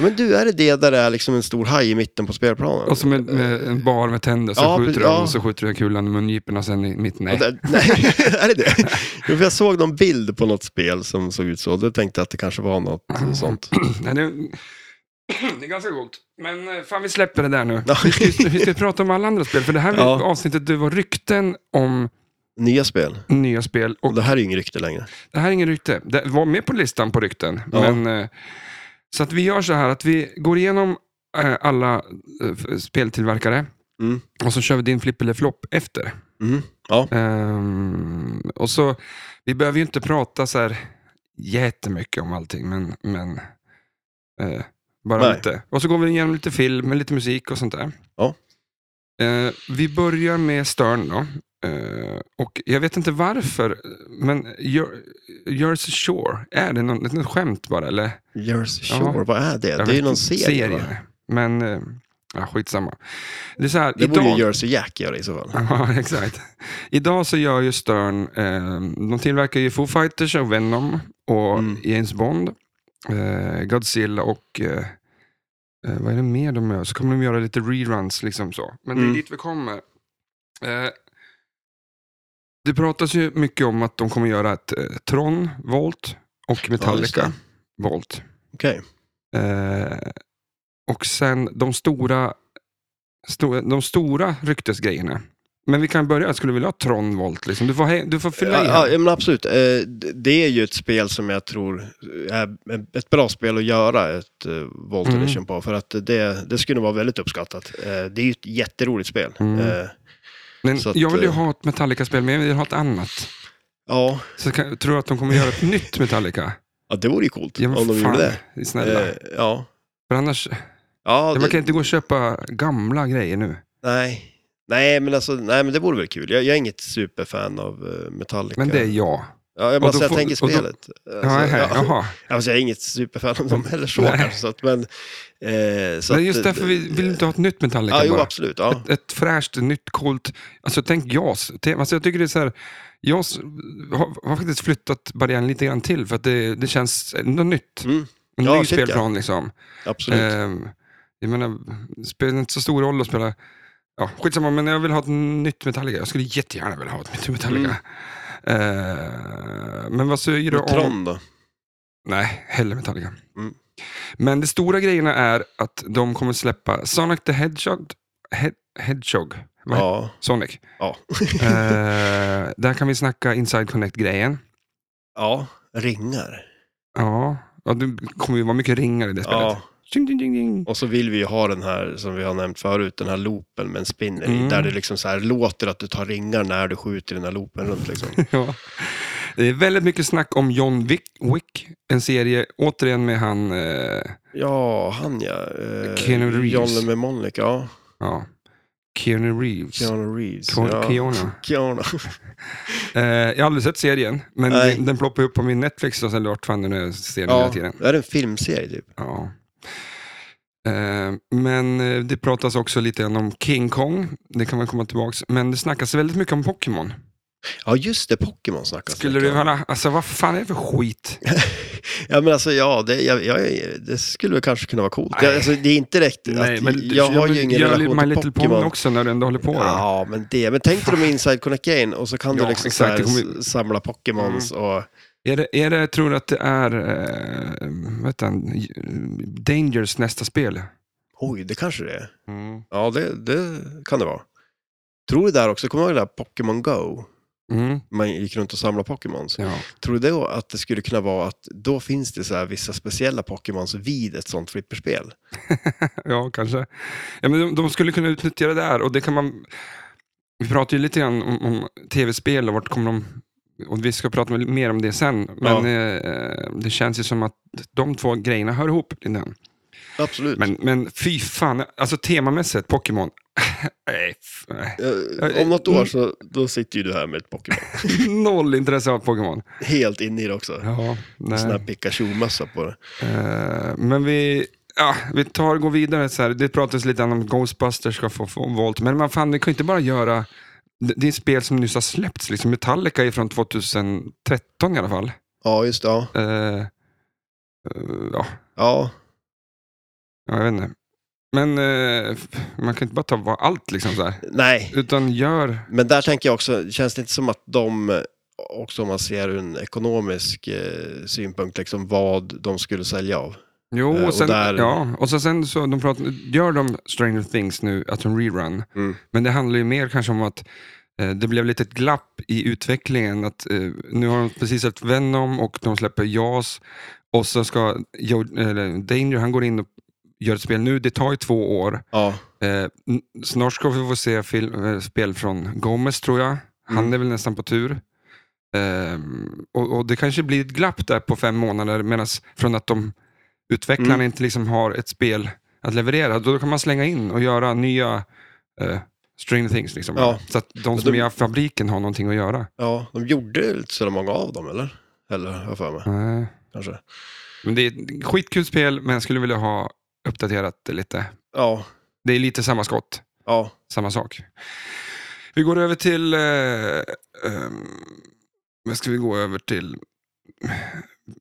[SPEAKER 2] Men du, är det det där det är liksom en stor haj i mitten på spelplanen?
[SPEAKER 1] och som en, med en bar med tänder, så
[SPEAKER 2] Ja,
[SPEAKER 1] skjuter
[SPEAKER 2] precis,
[SPEAKER 1] du
[SPEAKER 2] ja.
[SPEAKER 1] och så skjuter du kulan i mungiporna och sen i mitt
[SPEAKER 2] Ja,
[SPEAKER 1] nej.
[SPEAKER 2] det- [laughs] Nej, är det det? Jo, för jag såg någon bild på något spel som såg ut så. Då tänkte jag att det kanske var något
[SPEAKER 1] Mm. [laughs]
[SPEAKER 2] sånt.
[SPEAKER 1] Nej, det, [clears throat] det är ganska coolt. Men eh, fan, vi släpper det där nu.
[SPEAKER 2] Ja. [laughs]
[SPEAKER 1] Vi ska, vi ska prata om alla andra spel, för det här
[SPEAKER 2] Ja.
[SPEAKER 1] avsnittet det var rykten om
[SPEAKER 2] Nya spel.
[SPEAKER 1] nya spel. Och
[SPEAKER 2] Och det här är ju inget rykte längre.
[SPEAKER 1] det här är ingen rykte. Det var med på listan på rykten.
[SPEAKER 2] Ja.
[SPEAKER 1] Men, eh, så att vi gör så här att vi går igenom eh, alla eh, f- speltillverkare
[SPEAKER 2] Mm.
[SPEAKER 1] Och så kör vi din flipp eller flopp efter.
[SPEAKER 2] Mm. Ja.
[SPEAKER 1] Ehm, och så, vi behöver ju inte prata så här jättemycket om allting, men, men eh, bara
[SPEAKER 2] Nej.
[SPEAKER 1] lite. Och så går vi igenom lite film, lite musik och sånt där.
[SPEAKER 2] Ja.
[SPEAKER 1] Eh, vi börjar med Stern då. Eh, och jag vet inte varför, men Jer- Jersey Shore, är det någon, något skämt bara? Eller?
[SPEAKER 2] Jersey
[SPEAKER 1] Ja.
[SPEAKER 2] Shore, vad är det?
[SPEAKER 1] Jag
[SPEAKER 2] det är
[SPEAKER 1] vet
[SPEAKER 2] ju någon
[SPEAKER 1] inte.
[SPEAKER 2] serie. va?
[SPEAKER 1] Men eh, ja, skitsamma. Det, är så här,
[SPEAKER 2] Det
[SPEAKER 1] idag...
[SPEAKER 2] borde ju Jersey Jack göra i så fall.
[SPEAKER 1] [laughs] Ja, exakt. Idag så gör ju Stern, eh, de tillverkar ju Foo Fighters och Venom och
[SPEAKER 2] Mm.
[SPEAKER 1] James Bond, eh, Godzilla och eh, eh, vad är det mer de gör? Så kommer de göra lite reruns liksom så. Men det
[SPEAKER 2] Mm.
[SPEAKER 1] är dit vi kommer. Eh, det pratas ju mycket om att de kommer göra ett eh, Tron, Volt och Metallica,
[SPEAKER 2] det.
[SPEAKER 1] Volt.
[SPEAKER 2] Okej.
[SPEAKER 1] Eh, och sen de stora, sto, de stora ryktesgrejerna. Men vi kan börja, skulle du vilja ha Tronvolt? Liksom? Du, får he, du får fylla i.
[SPEAKER 2] Ja,
[SPEAKER 1] här.
[SPEAKER 2] ja, men absolut. Eh, d- Det är ju ett spel som jag tror är ett bra spel att göra ett eh, Volt
[SPEAKER 1] Mm.
[SPEAKER 2] Edition på. För att det, det skulle vara väldigt uppskattat. Eh, Det är ju ett jätteroligt spel.
[SPEAKER 1] Mm.
[SPEAKER 2] Eh,
[SPEAKER 1] Men
[SPEAKER 2] så att,
[SPEAKER 1] jag vill ju
[SPEAKER 2] eh,
[SPEAKER 1] ha ett Metallica-spel, men jag vill ha ett annat.
[SPEAKER 2] Ja,
[SPEAKER 1] Så kan, tror du att de kommer
[SPEAKER 2] [laughs]
[SPEAKER 1] göra ett nytt Metallica?
[SPEAKER 2] ja det vore ju coolt
[SPEAKER 1] Ja, men
[SPEAKER 2] om de
[SPEAKER 1] fan,
[SPEAKER 2] gjorde det.
[SPEAKER 1] Snälla.
[SPEAKER 2] Eh, Ja,
[SPEAKER 1] För annars, ja,
[SPEAKER 2] ja
[SPEAKER 1] man kan
[SPEAKER 2] det,
[SPEAKER 1] inte gå och köpa gamla grejer nu.
[SPEAKER 2] nej. Nej, men alltså, nej, men det vore väl kul. Jag, jag är inget superfan av eh, Metallica.
[SPEAKER 1] Men det är jag.
[SPEAKER 2] Ja, jag
[SPEAKER 1] och då
[SPEAKER 2] bara säger, jag
[SPEAKER 1] får-
[SPEAKER 2] tänker
[SPEAKER 1] och då-
[SPEAKER 2] spelet. Alltså,
[SPEAKER 1] Ja, här,
[SPEAKER 2] ja.
[SPEAKER 1] jaha.
[SPEAKER 2] Alltså, jag är inget superfan
[SPEAKER 1] [laughs]
[SPEAKER 2] av dem heller så
[SPEAKER 1] Nej.
[SPEAKER 2] kanske. Så att, men, eh, så
[SPEAKER 1] Men
[SPEAKER 2] att-
[SPEAKER 1] just därför vi vill inte ha ett nytt Metallica
[SPEAKER 2] Ja, jo,
[SPEAKER 1] bara.
[SPEAKER 2] absolut. Ja.
[SPEAKER 1] ett, ett fräscht, nytt, coolt. Alltså tänk JAS. Te- Alltså, jag tycker det är så här, JAS har, har faktiskt flyttat barriären lite grann till för att det, det känns något nytt.
[SPEAKER 2] Mm.
[SPEAKER 1] En
[SPEAKER 2] Ja,
[SPEAKER 1] ny
[SPEAKER 2] shit, ja.
[SPEAKER 1] spelplan liksom.
[SPEAKER 2] Absolut.
[SPEAKER 1] Ehm, jag menar, det spelar inte så stor roll att spela, ja skitsamma, men jag vill ha ett nytt Metallica. Jag skulle jättegärna vilja ha ett nytt Metallica.
[SPEAKER 2] Mm.
[SPEAKER 1] Ehm, men vad säger du
[SPEAKER 2] Och
[SPEAKER 1] om...
[SPEAKER 2] Tron då?
[SPEAKER 1] Nej, hellre Metallica.
[SPEAKER 2] Mm.
[SPEAKER 1] Men de stora grejerna är att de kommer släppa Sonic the Hedgehog. He- Hedgehog. Vad
[SPEAKER 2] Ja.
[SPEAKER 1] Sonic.
[SPEAKER 2] Ja.
[SPEAKER 1] [laughs] Eh, där kan vi snacka Inside Connect-grejen.
[SPEAKER 2] ja, ringar.
[SPEAKER 1] Ja. ja, det kommer ju vara mycket ringar i det spelet.
[SPEAKER 2] Ja.
[SPEAKER 1] Ding, ding, ding, ding.
[SPEAKER 2] Och så vill vi ju ha den här, som vi har nämnt förut, den här loopen med en spinner
[SPEAKER 1] Mm.
[SPEAKER 2] i. Där det liksom så här låter att du tar ringar när du skjuter den här loopen runt. Liksom.
[SPEAKER 1] [laughs] Ja. Det är väldigt mycket snack om John Wick, Wick en serie återigen med han, eh,
[SPEAKER 2] Ja, han ja. Eh,
[SPEAKER 1] Keanu Reeves.
[SPEAKER 2] John Lememonic, ja.
[SPEAKER 1] ja, Keanu Reeves.
[SPEAKER 2] Keanu Reeves.
[SPEAKER 1] Ke-
[SPEAKER 2] ja.
[SPEAKER 1] Keanu.
[SPEAKER 2] Keanu.
[SPEAKER 1] Eh, jag har aldrig sett serien, men
[SPEAKER 2] Nej.
[SPEAKER 1] den, den ploppar upp på min Netflix och sen vart fan den är serien hela
[SPEAKER 2] Ja,
[SPEAKER 1] tiden.
[SPEAKER 2] det är en filmserie typ.
[SPEAKER 1] Ja. Eh, Men eh, det pratas också lite grann om King Kong. Det kan man komma tillbaks. Men det snackas väldigt mycket om Pokémon.
[SPEAKER 2] Ja, just det, Pokémon snackas
[SPEAKER 1] Skulle
[SPEAKER 2] mycket
[SPEAKER 1] du
[SPEAKER 2] om.
[SPEAKER 1] höra, alltså vad fan är det för
[SPEAKER 2] [laughs]
[SPEAKER 1] skit?
[SPEAKER 2] Ja, men alltså ja, det, jag, jag, det skulle väl kanske kunna vara coolt.
[SPEAKER 1] Nej.
[SPEAKER 2] Jag, alltså, det är inte direkt att, jag har ju ingen
[SPEAKER 1] gör
[SPEAKER 2] relation
[SPEAKER 1] My
[SPEAKER 2] till
[SPEAKER 1] Little
[SPEAKER 2] Pokémon.
[SPEAKER 1] Pony också när du ändå håller på. då.
[SPEAKER 2] Ja, men det. Men tänk dig de Inside Connect-grejen och så kan
[SPEAKER 1] Ja,
[SPEAKER 2] du liksom
[SPEAKER 1] exakt,
[SPEAKER 2] så
[SPEAKER 1] det
[SPEAKER 2] här,
[SPEAKER 1] kommer Mm. ju-
[SPEAKER 2] s- samla Pokémons och...
[SPEAKER 1] Är det, är det, tror du att det är, eh, vad heter han, Dangers nästa spel?
[SPEAKER 2] Oj, det kanske det är. Ja, det, det kan det vara. Tror du där också, kommer du ihåg det där Pokémon Go?
[SPEAKER 1] Mm,
[SPEAKER 2] Man gick runt och samlade Pokémons.
[SPEAKER 1] ja.
[SPEAKER 2] Tror du då att det skulle kunna vara att då finns det så här vissa speciella Pokémons vid ett sånt flipperspel?
[SPEAKER 1] ja, kanske. Ja, men de, de skulle kunna utnyttja det där och det kan man... Vi pratar ju lite grann om, om tv-spel och vart kommer de... Och vi ska prata med- mer om det sen, men eh, det känns ju som att de två grejerna hör ihop. Innan.
[SPEAKER 2] Absolut.
[SPEAKER 1] Men, men fy fan, alltså temamässigt, Pokémon. [laughs] Nej, f- nej.
[SPEAKER 2] Eh, Om
[SPEAKER 1] Mm.
[SPEAKER 2] något år så då sitter ju du här med ett Pokémon.
[SPEAKER 1] Noll intresse av Pokémon.
[SPEAKER 2] Helt inne i det också.
[SPEAKER 1] Ja, nej.
[SPEAKER 2] Sån här Pikachu-mössa på det.
[SPEAKER 1] Eh, men vi, ja, vi tar, går vidare. Så här. Det pratas lite om att Ghostbusters ska få, få Volt, men man fan, vi kan ju inte bara göra... Det det är spel som nyss har släppts. Liksom Metallica är från 2013 i alla fall.
[SPEAKER 2] Ja, just det. Ja.
[SPEAKER 1] Eh, eh, ja,
[SPEAKER 2] ja.
[SPEAKER 1] jag vet inte. Men eh, f- man kan inte bara ta va- allt liksom så här.
[SPEAKER 2] Nej,
[SPEAKER 1] Utan gör...
[SPEAKER 2] men där tänker jag också, känns det inte som att de, eh, också om man ser ur en ekonomisk eh, synpunkt, liksom vad de skulle sälja av?
[SPEAKER 1] Jo,
[SPEAKER 2] Eh, och
[SPEAKER 1] och sen,
[SPEAKER 2] där-
[SPEAKER 1] ja, och så sen så de pratar, gör de Stranger Things nu, att de rerun.
[SPEAKER 2] Mm.
[SPEAKER 1] Men det handlar ju mer kanske om att eh, det blev lite ett glapp i utvecklingen. Att, eh, nu har de precis släppt Venom och de släpper JAS. Och så ska Joe, eller Danger, han går in och gör ett spel nu, det tar ju två år.
[SPEAKER 2] Ja.
[SPEAKER 1] Eh, n- snart ska vi få se film, eh, spel från Gomez tror jag. Han
[SPEAKER 2] Mm.
[SPEAKER 1] är väl nästan på tur. Ehm, och, och det kanske blir ett glapp där på fem månader medan från att de utvecklarna
[SPEAKER 2] Mm.
[SPEAKER 1] inte liksom har ett spel att leverera. Då kan man slänga in och göra nya eh, string things. Liksom.
[SPEAKER 2] Ja.
[SPEAKER 1] Så att de som
[SPEAKER 2] de-
[SPEAKER 1] är i fabriken har någonting att göra.
[SPEAKER 2] ja, de gjorde inte så många av dem, eller? Eller, har jag för mig.
[SPEAKER 1] Nej.
[SPEAKER 2] Kanske.
[SPEAKER 1] Eh, Men det är ett skitkul spel, men jag skulle vilja ha uppdaterat det lite.
[SPEAKER 2] Ja,
[SPEAKER 1] Det är lite samma skott,
[SPEAKER 2] ja.
[SPEAKER 1] samma sak. Vi går över till... Eh, ehm, vad ska vi gå över till?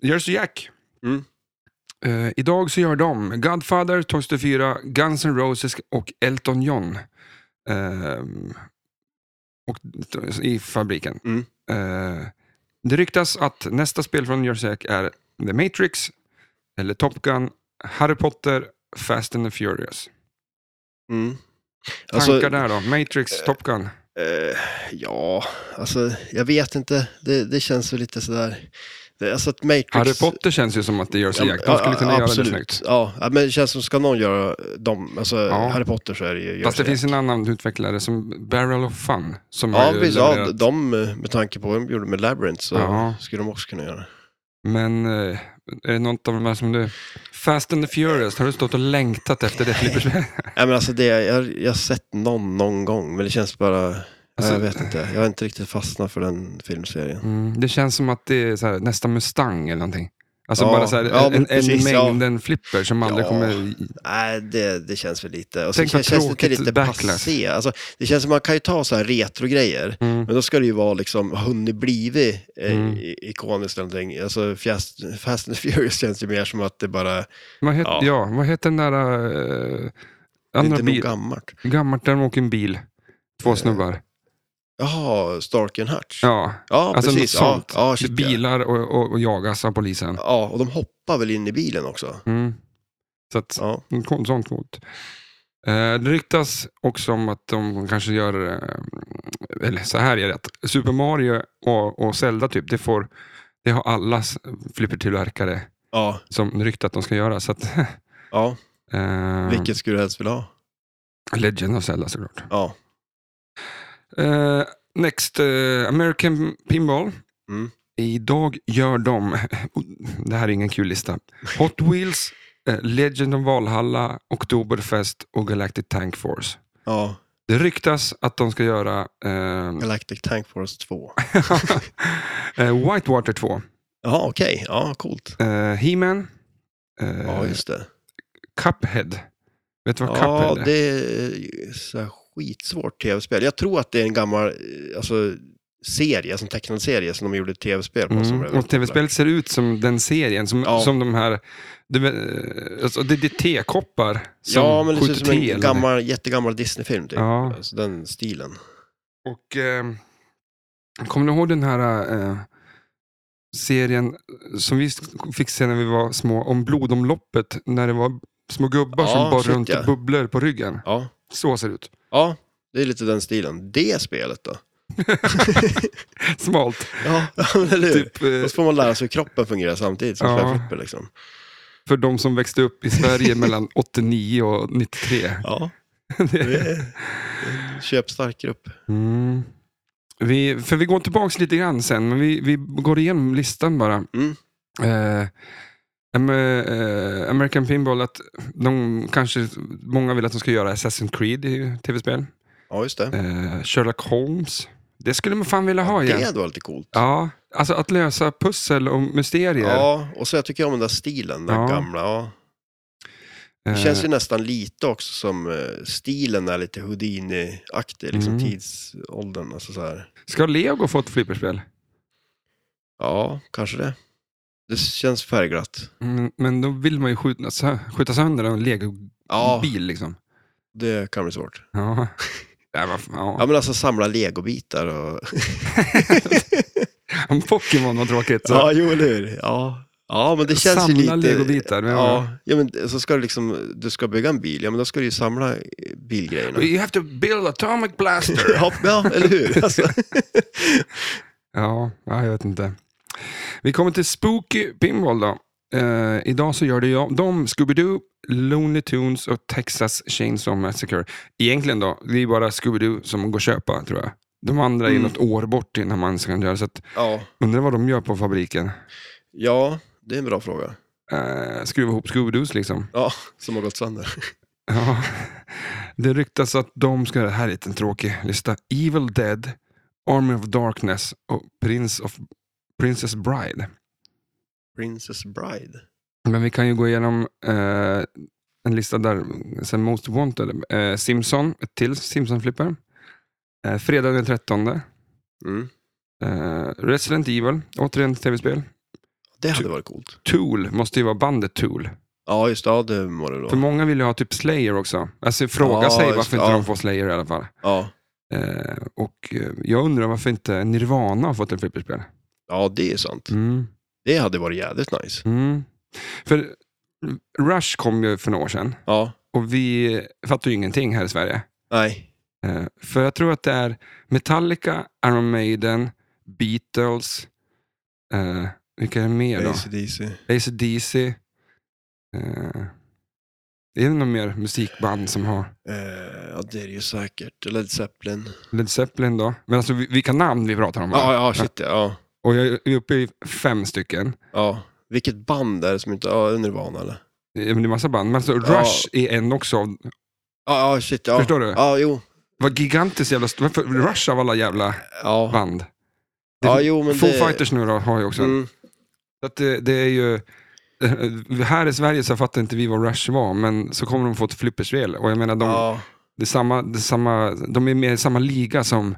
[SPEAKER 1] Jersey Jack.
[SPEAKER 2] Mm.
[SPEAKER 1] Eh, idag så gör de Godfather, Toy Story 4, Guns N' Roses och Elton John. Ehm, och, I fabriken.
[SPEAKER 2] Mm.
[SPEAKER 1] Eh, det ryktas att nästa spel från Jersey Jack är The Matrix, eller Top Gun, Harry Potter, Fast and the Furious.
[SPEAKER 2] Mm.
[SPEAKER 1] Tankar
[SPEAKER 2] Alltså,
[SPEAKER 1] där då? Matrix, Top Gun?
[SPEAKER 2] Eh, ja, alltså jag vet inte. Det, det känns väl lite sådär. Det, alltså att Matrix...
[SPEAKER 1] Harry Potter känns ju som att det gör sig Jack. De skulle kunna göra det
[SPEAKER 2] absolut.
[SPEAKER 1] snyggt.
[SPEAKER 2] Ja, ja, men det känns som ska någon göra dem, alltså
[SPEAKER 1] Ja.
[SPEAKER 2] Harry Potter så är det ju...
[SPEAKER 1] Fast det
[SPEAKER 2] Jersey
[SPEAKER 1] finns en annan utvecklare som Barrel of Fun. Som
[SPEAKER 2] Jack.
[SPEAKER 1] har
[SPEAKER 2] Ja,
[SPEAKER 1] ju
[SPEAKER 2] precis. Ja,
[SPEAKER 1] levererat.
[SPEAKER 2] de, med tanke på vad de gjorde med Labyrinth så
[SPEAKER 1] Ja.
[SPEAKER 2] skulle de också kunna göra det.
[SPEAKER 1] Men eh, är det något av de här som du... Fast and the Furious, har du stått och längtat efter det
[SPEAKER 2] [laughs]
[SPEAKER 1] Flipper?
[SPEAKER 2] Nej, men alltså det, jag, jag har sett någon någon gång, men det känns bara...
[SPEAKER 1] Alltså-
[SPEAKER 2] jag vet inte. Jag har inte riktigt fastnat för den filmserien.
[SPEAKER 1] Mm, det känns som att det är så här, nästan Mustang eller någonting. Alltså
[SPEAKER 2] Ja,
[SPEAKER 1] bara så här,
[SPEAKER 2] ja, men
[SPEAKER 1] en, en
[SPEAKER 2] precis, ja.
[SPEAKER 1] mängden flipper som aldrig
[SPEAKER 2] Ja.
[SPEAKER 1] kommer...
[SPEAKER 2] Nej, det, det känns väl lite... Och
[SPEAKER 1] Tänk
[SPEAKER 2] sen
[SPEAKER 1] vad
[SPEAKER 2] känns det inte
[SPEAKER 1] tråkigt
[SPEAKER 2] lite
[SPEAKER 1] backlash.
[SPEAKER 2] passé. Alltså, det känns som man kan ju ta så här retrogrejer,
[SPEAKER 1] Mm.
[SPEAKER 2] men då ska det ju vara liksom, har hunnit blivit eh,
[SPEAKER 1] Mm.
[SPEAKER 2] i- ikoniskt eller någonting. Alltså, Fast, Fast and Furious [laughs] känns ju mer som att det bara,
[SPEAKER 1] Vad heter, ja.
[SPEAKER 2] Ja.
[SPEAKER 1] vad heter den där... eh,
[SPEAKER 2] det är
[SPEAKER 1] andra
[SPEAKER 2] inte Eh, nog
[SPEAKER 1] bil,
[SPEAKER 2] gammalt.
[SPEAKER 1] gammalt där de åker en bil. Två snubbar.
[SPEAKER 2] Jaha, Stark and Hutch. Ja,
[SPEAKER 1] Ja, alltså
[SPEAKER 2] precis.
[SPEAKER 1] något sånt.
[SPEAKER 2] Ja, ja, shit, ja.
[SPEAKER 1] bilar och, och, och jagas av polisen.
[SPEAKER 2] Ja, och de hoppar väl in i bilen också.
[SPEAKER 1] Mm. Så att,
[SPEAKER 2] Ja,
[SPEAKER 1] Kon- Sånt coolt. Eh, Det ryktas också om att de kanske gör, eh, eller så här är det, att Super Mario och, och Zelda typ, det, får, det har alla s- flippertillverkare
[SPEAKER 2] ja,
[SPEAKER 1] som ryktat att de ska göra. Så att, [laughs]
[SPEAKER 2] ja.
[SPEAKER 1] eh,
[SPEAKER 2] vilket skulle du helst vilja ha?
[SPEAKER 1] Legend of Zelda såklart.
[SPEAKER 2] Ja,
[SPEAKER 1] Eh, next, eh, American Pinball.
[SPEAKER 2] Mm.
[SPEAKER 1] Idag gör de, [laughs] det här är ingen kul lista, Hot Wheels, eh, Legend of Valhalla, Oktoberfest och Galactic Tank Force.
[SPEAKER 2] ja.
[SPEAKER 1] Det ryktas att de ska göra eh, [laughs]
[SPEAKER 2] Galactic Tank Force 2.
[SPEAKER 1] eh, Whitewater 2,
[SPEAKER 2] Ja, okej. Ja, coolt.
[SPEAKER 1] eh, He-Man, eh,
[SPEAKER 2] Ja, just det.
[SPEAKER 1] Cuphead. Vet du vad
[SPEAKER 2] Ja,
[SPEAKER 1] Cuphead är?
[SPEAKER 2] det är så här skitsvårt tv-spel. Jag tror att det är en gammal eh, alltså, serie, alltså en tecknad serie som de gjorde ett tv-spel på. som blev
[SPEAKER 1] Mm. Och
[SPEAKER 2] väldigt
[SPEAKER 1] tv-spelet ser ut som den serien, som,
[SPEAKER 2] Ja.
[SPEAKER 1] som de här... Det, eh, alltså, det, det är tekoppar som
[SPEAKER 2] Ja, men det ser ut som
[SPEAKER 1] skjuter te
[SPEAKER 2] en
[SPEAKER 1] eller
[SPEAKER 2] gammal, jättegammal Disney-film. Typ.
[SPEAKER 1] Ja.
[SPEAKER 2] Alltså, den stilen.
[SPEAKER 1] Och eh, kommer du ihåg den här eh, serien som vi fick se när vi var små, om blodomloppet, när det var små gubbar
[SPEAKER 2] Ja,
[SPEAKER 1] som bar
[SPEAKER 2] shit,
[SPEAKER 1] runt
[SPEAKER 2] ja.
[SPEAKER 1] i bubblor på ryggen?
[SPEAKER 2] Ja.
[SPEAKER 1] Så ser det ut. [laughs]
[SPEAKER 2] ja, det är lite den stilen. Det spelet då?
[SPEAKER 1] Smalt.
[SPEAKER 2] Ja, [laughs] men eller hur?
[SPEAKER 1] Typ, eh,
[SPEAKER 2] Och så får man lära sig hur kroppen fungerar samtidigt som
[SPEAKER 1] Ja.
[SPEAKER 2] flipper liksom.
[SPEAKER 1] för de som växte upp i Sverige
[SPEAKER 2] [laughs]
[SPEAKER 1] mellan 89 och 93. [laughs]
[SPEAKER 2] Ja, det är en köpstark grupp.
[SPEAKER 1] Mm. Vi, för vi går tillbaka lite grann sen, men vi, vi går igenom listan bara.
[SPEAKER 2] Mm.
[SPEAKER 1] Eh, Am- eh, American Pinball, att de kanske, många vill att de ska göra Assassin's Creed i tv-spel.
[SPEAKER 2] Ja, just det.
[SPEAKER 1] Eh, Sherlock Holmes. Det skulle man fan vilja ha igen.
[SPEAKER 2] Det var lite coolt.
[SPEAKER 1] Ja, alltså att lösa pussel och mysterier.
[SPEAKER 2] Ja, och så jag tycker om den där stilen, den
[SPEAKER 1] Ja.
[SPEAKER 2] gamla. Ja.
[SPEAKER 1] Eh,
[SPEAKER 2] Det känns ju nästan lite också som eh, stilen är lite Houdini-aktig, liksom
[SPEAKER 1] Mm.
[SPEAKER 2] tidsåldern. Alltså så här.
[SPEAKER 1] Ska Lego få ett flipperspel?
[SPEAKER 2] Ja, kanske det. Det känns färgglatt.
[SPEAKER 1] Mm, men då vill man ju skjuta, sö- skjuta sönder en Lego
[SPEAKER 2] Ja,
[SPEAKER 1] bil liksom.
[SPEAKER 2] det kan bli svårt. [laughs]
[SPEAKER 1] Ja. Nej, vad fan,
[SPEAKER 2] Ja,
[SPEAKER 1] ja.
[SPEAKER 2] men alltså samla legobitar och...
[SPEAKER 1] [laughs] Om Pokémon var tråkigt. Så.
[SPEAKER 2] ja, jo, eller hur? Ja. ja, men det känns ju lite...
[SPEAKER 1] Samla legobitar. men-
[SPEAKER 2] Ja, ja, men så ska du liksom, du ska bygga en bil, ja men då ska du ju samla eh, bilgrejerna.
[SPEAKER 1] You have to build atomic blaster.
[SPEAKER 2] [laughs] Ja, ja, eller hur? Alltså,
[SPEAKER 1] [laughs] ja, ja, jag vet inte. Vi kommer till Spooky Pinball då. Eh, idag så gör det jag, de Scooby-Doo, Lonely Tunes och Texas Chainsaw Massacre. Egentligen då, det är bara Scooby-Doo som går att köpa tror jag. De andra är
[SPEAKER 2] Mm.
[SPEAKER 1] något år bort innan man ens kan göra så att,
[SPEAKER 2] Ja.
[SPEAKER 1] undrar vad de gör på fabriken.
[SPEAKER 2] ja, det är en bra fråga.
[SPEAKER 1] Eh, skruva ihop Scooby-Doos liksom.
[SPEAKER 2] Ja, som har gått sönder. [laughs]
[SPEAKER 1] Ja. [laughs] Det ryktas att de ska, här är en tråkig lista, Evil Dead, Army of Darkness och Prince of, Princess Bride.
[SPEAKER 2] Princess Bride.
[SPEAKER 1] Men vi kan ju gå igenom eh, en lista där, sen Most Wanted, eh, Simpson, ett till Simpson-flipper. Eh, Fredag den 13.
[SPEAKER 2] Mm.
[SPEAKER 1] Eh, Resident Evil, återigen ett tv-spel.
[SPEAKER 2] Det hade varit coolt.
[SPEAKER 1] Tool, måste ju vara bandet Tool.
[SPEAKER 2] Ja, just det. Ja, det var det
[SPEAKER 1] För
[SPEAKER 2] då.
[SPEAKER 1] många vill ju ha typ Slayer också. Alltså fråga
[SPEAKER 2] Ja,
[SPEAKER 1] sig
[SPEAKER 2] just-
[SPEAKER 1] varför inte
[SPEAKER 2] ja.
[SPEAKER 1] de får Slayer i alla fall.
[SPEAKER 2] Ja.
[SPEAKER 1] Eh, och eh, jag undrar varför inte Nirvana har fått ett flipperspel.
[SPEAKER 2] ja, det är sant.
[SPEAKER 1] Mm.
[SPEAKER 2] Det hade varit jävligt nice.
[SPEAKER 1] Mm. För Rush kom ju för några år sedan
[SPEAKER 2] Ja,
[SPEAKER 1] och vi fattar ju ingenting här i Sverige.
[SPEAKER 2] nej.
[SPEAKER 1] Eh, För jag tror att det är Metallica, Iron Maiden, Beatles, eh, vilka är det mer då?
[SPEAKER 2] AC/DC.
[SPEAKER 1] AC/DC. Eh, är det någon mer musikband som har
[SPEAKER 2] Eh, ja, det är det ju säkert. Led Zeppelin.
[SPEAKER 1] Led Zeppelin då? Men alltså vi- vilka namn vi pratar om va?
[SPEAKER 2] Ja, ja, shit ja. ja.
[SPEAKER 1] Och jag är uppe i fem stycken.
[SPEAKER 2] ja. Vilket band är det som inte... Ja, Nirvana eller?
[SPEAKER 1] Eh, men Det är massa band. Men alltså
[SPEAKER 2] Ja.
[SPEAKER 1] Rush är en också. av-
[SPEAKER 2] Ja, ja, shit ja.
[SPEAKER 1] Förstår du?
[SPEAKER 2] Ja, jo.
[SPEAKER 1] Vad gigantiskt jävla... st- Varför Rush av alla jävla
[SPEAKER 2] Ja,
[SPEAKER 1] band? Det-
[SPEAKER 2] ja jo, men
[SPEAKER 1] Foo
[SPEAKER 2] det...
[SPEAKER 1] Fighters nu då har ju också en
[SPEAKER 2] Mm.
[SPEAKER 1] Så att det, det är ju... eh, Här i Sverige så fattar inte vi vad Rush var, men så kommer de få ett flipperspel. Och jag menar, de,
[SPEAKER 2] Ja,
[SPEAKER 1] det är samma, det är samma, de är med i samma liga som,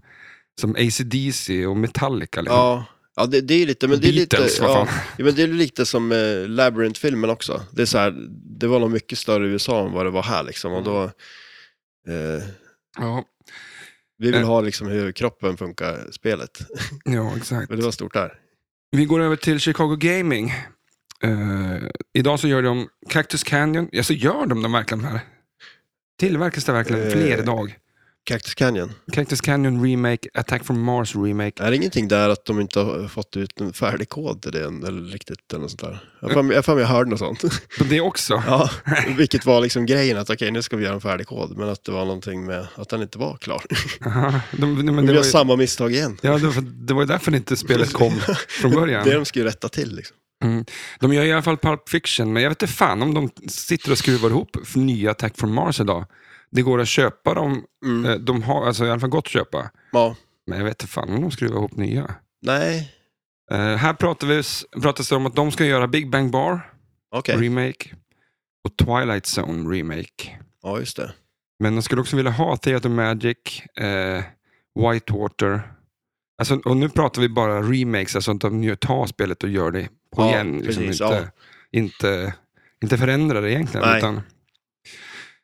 [SPEAKER 1] som ACDC och Metallica. Liksom.
[SPEAKER 2] ja. ja det, det är lite... Men det är
[SPEAKER 1] Beatles,
[SPEAKER 2] lite,
[SPEAKER 1] vad
[SPEAKER 2] ja,
[SPEAKER 1] fan.
[SPEAKER 2] ja, men det är lite som eh, Labyrinth-filmen också. Det är så här, det var nog mycket större i USA än vad det var här liksom. Och då...
[SPEAKER 1] Mm.
[SPEAKER 2] Eh,
[SPEAKER 1] Ja.
[SPEAKER 2] vi vill
[SPEAKER 1] Eh.
[SPEAKER 2] ha liksom hur kroppen funkar, spelet.
[SPEAKER 1] ja, exakt.
[SPEAKER 2] Men det var stort där.
[SPEAKER 1] Vi går över till Chicago Gaming. Eh, idag så gör de Cactus Canyon. Ja, så gör de de verkligen här? Tillverkas det verkligen
[SPEAKER 2] Eh.
[SPEAKER 1] fler idag?
[SPEAKER 2] Cactus Canyon.
[SPEAKER 1] Cactus Canyon Remake, Attack from Mars Remake.
[SPEAKER 2] Är det ingenting där att de inte har fått ut en färdig kod till det än, eller riktigt eller något sånt där? Jag har för mig- jag har för mig jag hörde
[SPEAKER 1] [laughs]
[SPEAKER 2] något sånt.
[SPEAKER 1] Så det också. [laughs]
[SPEAKER 2] ja, [laughs] vilket var liksom grejen att okej nu ska vi göra en färdig kod men att det var någonting med att den inte var klar.
[SPEAKER 1] Aha. De,
[SPEAKER 2] [laughs]
[SPEAKER 1] de, men
[SPEAKER 2] vi
[SPEAKER 1] det
[SPEAKER 2] gör
[SPEAKER 1] var ju...
[SPEAKER 2] samma misstag igen.
[SPEAKER 1] Ja, det var, det var ju därför inte spelet
[SPEAKER 2] [laughs]
[SPEAKER 1] kom från
[SPEAKER 2] Det
[SPEAKER 1] början.
[SPEAKER 2] de ska ju rätta till liksom.
[SPEAKER 1] De gör i alla fall Pulp Fiction, men jag vet inte fan om de sitter och skruvar ihop för nya Attack from Mars idag. Det går att köpa dem,
[SPEAKER 2] Mm.
[SPEAKER 1] eh, de har alltså i alla fall gått att köpa,
[SPEAKER 2] Ja,
[SPEAKER 1] men jag vet inte fan om de skruvar ihop nya.
[SPEAKER 2] nej,
[SPEAKER 1] Eh, här pratar vi, pratas det om att de ska göra Big Bang Bar
[SPEAKER 2] okej.
[SPEAKER 1] remake och Twilight Zone remake.
[SPEAKER 2] Ja, just det.
[SPEAKER 1] Men de skulle också vilja ha Theater Magic, eh, Whitewater. Alltså, och nu pratar vi bara remakes, alltså att de ju tar spelet och gör det på
[SPEAKER 2] Ja,
[SPEAKER 1] igen. Liksom
[SPEAKER 2] precis,
[SPEAKER 1] inte, inte, inte förändra det egentligen.
[SPEAKER 2] Nej.
[SPEAKER 1] Utan,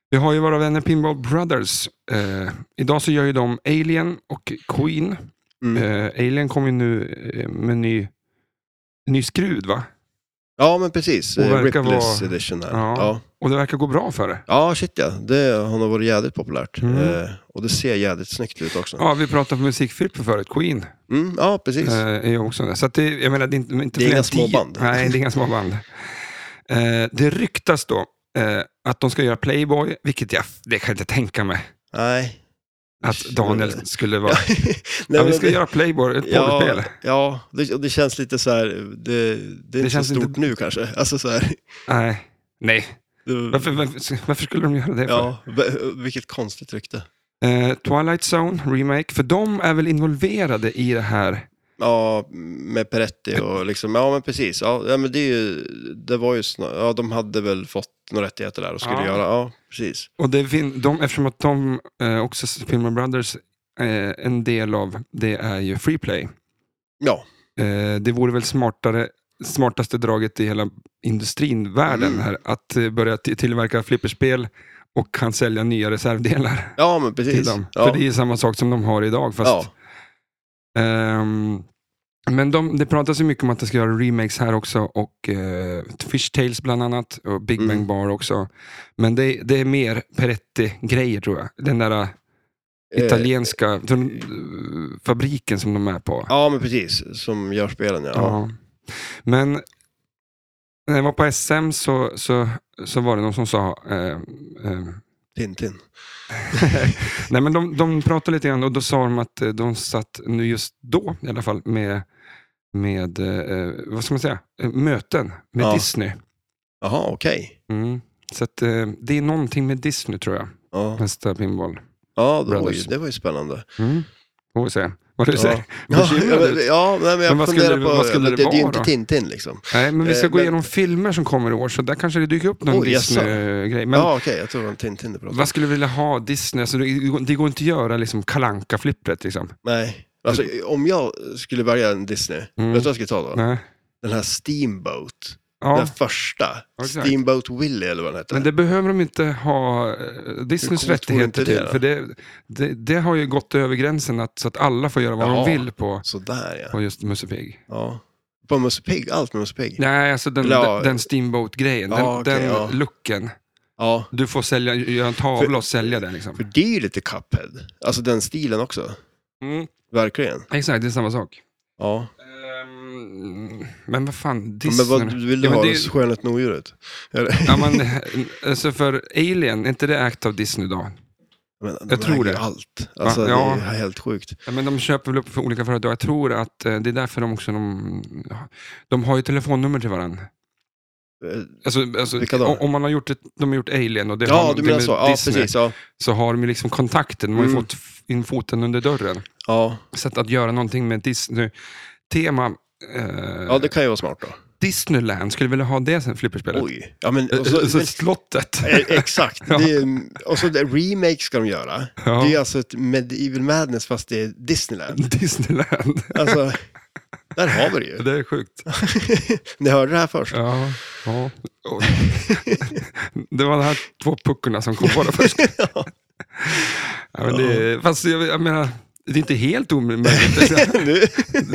[SPEAKER 1] vi har ju våra vänner Pinball Brothers. Eh, idag så gör ju de Alien och Queen.
[SPEAKER 2] Mm.
[SPEAKER 1] Eh, Alien kommer ju nu eh, med ny, ny skrud va?
[SPEAKER 2] Ja, men precis.
[SPEAKER 1] Och
[SPEAKER 2] Eh,
[SPEAKER 1] verkar
[SPEAKER 2] Ripley's
[SPEAKER 1] vara-
[SPEAKER 2] edition där.
[SPEAKER 1] Ja.
[SPEAKER 2] Ja. Ja.
[SPEAKER 1] Och det verkar gå bra för det.
[SPEAKER 2] shit ja. Det har nog varit jädrigt populärt.
[SPEAKER 1] Mm.
[SPEAKER 2] Eh, och det ser jädrigt snyggt ut också.
[SPEAKER 1] Ja, vi pratade om musikfilm förut, Queen.
[SPEAKER 2] Mm, ja, precis.
[SPEAKER 1] Eh, är ju också det. Så att det, jag menar, det är inte, inte
[SPEAKER 2] Det är
[SPEAKER 1] fler
[SPEAKER 2] inga
[SPEAKER 1] än tio-
[SPEAKER 2] småband.
[SPEAKER 1] Nej, det är inga småband. Eh, det ryktas då eh, att de ska göra Playboy, vilket jag, det kan jag inte tänka mig.
[SPEAKER 2] Nej.
[SPEAKER 1] Att
[SPEAKER 2] [laughs]
[SPEAKER 1] Daniel skulle vara...
[SPEAKER 2] Nej,
[SPEAKER 1] ja, vi
[SPEAKER 2] men
[SPEAKER 1] ska
[SPEAKER 2] det-
[SPEAKER 1] göra Playboy, ett porrspel.
[SPEAKER 2] Ja, ja det, och det känns lite så här, det, det är inte
[SPEAKER 1] känns
[SPEAKER 2] så stort
[SPEAKER 1] inte-
[SPEAKER 2] nu kanske. Alltså så här,
[SPEAKER 1] Nej. Nej,
[SPEAKER 2] det,
[SPEAKER 1] varför, varför, varför skulle de göra det? för?
[SPEAKER 2] ja, v- vilket konstigt rykte.
[SPEAKER 1] Eh, Twilight Zone, remake, för de är väl involverade i det här?
[SPEAKER 2] Ja, med Peretti och liksom, ja men precis. Ja, ja, men det, är ju, det var ju snar, ja, de hade väl fått några rättigheter där och skulle
[SPEAKER 1] Ja.
[SPEAKER 2] göra, ja precis.
[SPEAKER 1] Och det fin- de, eftersom att de eh, också, Filmer Brothers, eh, en del av det är ju Freeplay.
[SPEAKER 2] Ja,
[SPEAKER 1] Eh, det vore väl smartare, smartaste draget i hela industrin, världen,
[SPEAKER 2] Mm.
[SPEAKER 1] här, att eh, börja t- tillverka flipperspel och kan sälja nya reservdelar [laughs]
[SPEAKER 2] ja men
[SPEAKER 1] till
[SPEAKER 2] precis.
[SPEAKER 1] dem.
[SPEAKER 2] Ja,
[SPEAKER 1] För det är samma sak som de har idag. Fast,
[SPEAKER 2] ja.
[SPEAKER 1] ehm, men de, det pratas ju mycket om att de ska göra remakes här också och eh, Fish Tales bland annat och Big
[SPEAKER 2] Mm.
[SPEAKER 1] Bang Bar också. Men det, det är mer Peretti-grejer tror jag. Den där
[SPEAKER 2] Eh,
[SPEAKER 1] italienska den, eh, fabriken som de är på.
[SPEAKER 2] Ja men precis, som gör spelen ja.
[SPEAKER 1] Ja. Men När jag var på SM så, så, så var det någon som sa... Eh, eh,
[SPEAKER 2] Tintin.
[SPEAKER 1] nej men de, de pratade lite grann och då sa de att eh, de satt nu just då i alla fall med, med eh, vad ska man säga, Eh, möten med
[SPEAKER 2] Ja.
[SPEAKER 1] Disney.
[SPEAKER 2] Jaha, okej.
[SPEAKER 1] Mm. Så att, eh, det är någonting med Disney tror jag,
[SPEAKER 2] Ja,
[SPEAKER 1] nästa pinball.
[SPEAKER 2] ja då,
[SPEAKER 1] Brothers.
[SPEAKER 2] oj, det var ju spännande.
[SPEAKER 1] Mm. Får vi se vad du
[SPEAKER 2] Ja,
[SPEAKER 1] säger.
[SPEAKER 2] ja,
[SPEAKER 1] Bekymrad
[SPEAKER 2] ja,
[SPEAKER 1] ut.
[SPEAKER 2] men- ja nej, men jag
[SPEAKER 1] Men vad skulle
[SPEAKER 2] funderar
[SPEAKER 1] det-
[SPEAKER 2] på
[SPEAKER 1] vad skulle
[SPEAKER 2] det,
[SPEAKER 1] det
[SPEAKER 2] det, är ju
[SPEAKER 1] vara
[SPEAKER 2] inte
[SPEAKER 1] då?
[SPEAKER 2] Tintin liksom.
[SPEAKER 1] Nej, men vi ska
[SPEAKER 2] Eh,
[SPEAKER 1] gå
[SPEAKER 2] men-
[SPEAKER 1] igenom filmer som kommer i år, så där kanske det dyker upp någon
[SPEAKER 2] Oj, jaså.
[SPEAKER 1] Disney-grej. Men
[SPEAKER 2] ja, okej, jag tror det var Tintin du pratade om.
[SPEAKER 1] vad skulle du vilja ha Disney? Alltså, det, det går inte att göra liksom kalanka flippret liksom.
[SPEAKER 2] Nej, alltså om jag skulle välja en Disney,
[SPEAKER 1] Mm.
[SPEAKER 2] vet du vad jag skulle ta då?
[SPEAKER 1] Nej.
[SPEAKER 2] Den här Steamboat. Den
[SPEAKER 1] Ja,
[SPEAKER 2] första.
[SPEAKER 1] Exakt.
[SPEAKER 2] Steamboat Willie eller vad den hette.
[SPEAKER 1] men det behöver de inte ha eh, Disneys
[SPEAKER 2] Hur coolt vore
[SPEAKER 1] rättigheter
[SPEAKER 2] inte det
[SPEAKER 1] till.
[SPEAKER 2] då?
[SPEAKER 1] För det, det, det har ju gått över gränsen att, så att alla får göra vad
[SPEAKER 2] Ja.
[SPEAKER 1] de vill på,
[SPEAKER 2] Sådär ja.
[SPEAKER 1] på just Musse Pig.
[SPEAKER 2] ja. På Musse Pigg, allt med Musse Pigg.
[SPEAKER 1] Nej, alltså den,
[SPEAKER 2] Eller ja.
[SPEAKER 1] den Steamboat-grejen, den,
[SPEAKER 2] Ja, okej,
[SPEAKER 1] den
[SPEAKER 2] ja.
[SPEAKER 1] looken.
[SPEAKER 2] Ja.
[SPEAKER 1] Du får sälja, göra en tavla och sälja den. Liksom.
[SPEAKER 2] För det är ju lite Cuphead. Alltså den stilen också.
[SPEAKER 1] Mm.
[SPEAKER 2] Verkligen.
[SPEAKER 1] Exakt, det är samma sak.
[SPEAKER 2] Ja.
[SPEAKER 1] Ehm, men vad fan, Disney.
[SPEAKER 2] Men vad vill du
[SPEAKER 1] Ja, men
[SPEAKER 2] ha?
[SPEAKER 1] det-
[SPEAKER 2] Det... Skönhet med odjuret? Eller-
[SPEAKER 1] Ja,
[SPEAKER 2] [laughs]
[SPEAKER 1] men, alltså för Alien, är inte det ägt av Disney då?
[SPEAKER 2] Men,
[SPEAKER 1] jag
[SPEAKER 2] de
[SPEAKER 1] tror
[SPEAKER 2] äger
[SPEAKER 1] det.
[SPEAKER 2] Allt. Alltså
[SPEAKER 1] Ja, ja.
[SPEAKER 2] det är helt sjukt.
[SPEAKER 1] Ja, men de köper väl upp för olika företag. Jag tror att eh, det är därför de också... De, de har ju telefonnummer till varandra.
[SPEAKER 2] Eh,
[SPEAKER 1] Alltså, alltså,
[SPEAKER 2] Vilka då?
[SPEAKER 1] o- om man har gjort ett, de har gjort Alien och det har
[SPEAKER 2] Ja,
[SPEAKER 1] de- det
[SPEAKER 2] du menar
[SPEAKER 1] med
[SPEAKER 2] så. Ja,
[SPEAKER 1] Disney,
[SPEAKER 2] precis. Ja.
[SPEAKER 1] så har de ju liksom kontakten. De har ju
[SPEAKER 2] Mm.
[SPEAKER 1] fått f- in foten under dörren.
[SPEAKER 2] Ja.
[SPEAKER 1] Så att, att göra någonting med Disney-tema. Eh,
[SPEAKER 2] ja, det kan ju vara smart då.
[SPEAKER 1] Disneyland, skulle vilja ha det sen, flipperspelet?
[SPEAKER 2] Oj. Ja, men, och
[SPEAKER 1] Så,
[SPEAKER 2] så,
[SPEAKER 1] så
[SPEAKER 2] men,
[SPEAKER 1] slottet.
[SPEAKER 2] [laughs] Eh, Exakt.
[SPEAKER 1] Ja.
[SPEAKER 2] Det är, och så det- remake ska de göra.
[SPEAKER 1] Ja.
[SPEAKER 2] Det är alltså ett Medieval Madness fast det är Disneyland.
[SPEAKER 1] Disneyland.
[SPEAKER 2] Alltså, där har vi det ju. [laughs]
[SPEAKER 1] Det är sjukt.
[SPEAKER 2] Ni hörde det här först.
[SPEAKER 1] Ja, ja. Oj. [laughs] Det var de här två puckorna som kom på det först. Ja, men det, fast jag, jag menar, det är inte helt omöjligt. Alltså,
[SPEAKER 2] Nu.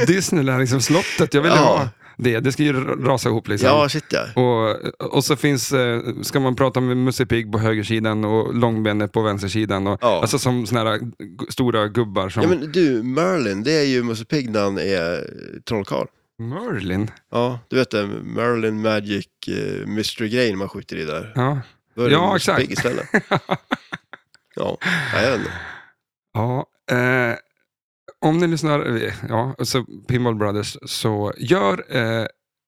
[SPEAKER 1] Disneyland, liksom slottet, jag vill
[SPEAKER 2] Ja.
[SPEAKER 1] ha det. Det ska ju ra- rasa ihop liksom.
[SPEAKER 2] Ja, shit ja.
[SPEAKER 1] Och, och så finns, eh, ska man prata med Musse Pigg på högersidan och Långbenet på vänstersidan. Och,
[SPEAKER 2] Ja.
[SPEAKER 1] Alltså som såna här g- stora gubbar som
[SPEAKER 2] ja men du, Merlin, det är ju Musse Pigg när han är eh, trollkarl.
[SPEAKER 1] Merlin.
[SPEAKER 2] Ja, du vet det, Merlin Magic eh, Mystery-grejen man skjuter i där.
[SPEAKER 1] Ja.
[SPEAKER 2] Då är det
[SPEAKER 1] Ja,
[SPEAKER 2] Musse
[SPEAKER 1] exakt. [laughs]
[SPEAKER 2] Pigg istället. Ja, nej, jag vet inte.
[SPEAKER 1] Ja, eh, om ni lyssnar, eh, ja, så Pinball Brothers, så gör eh,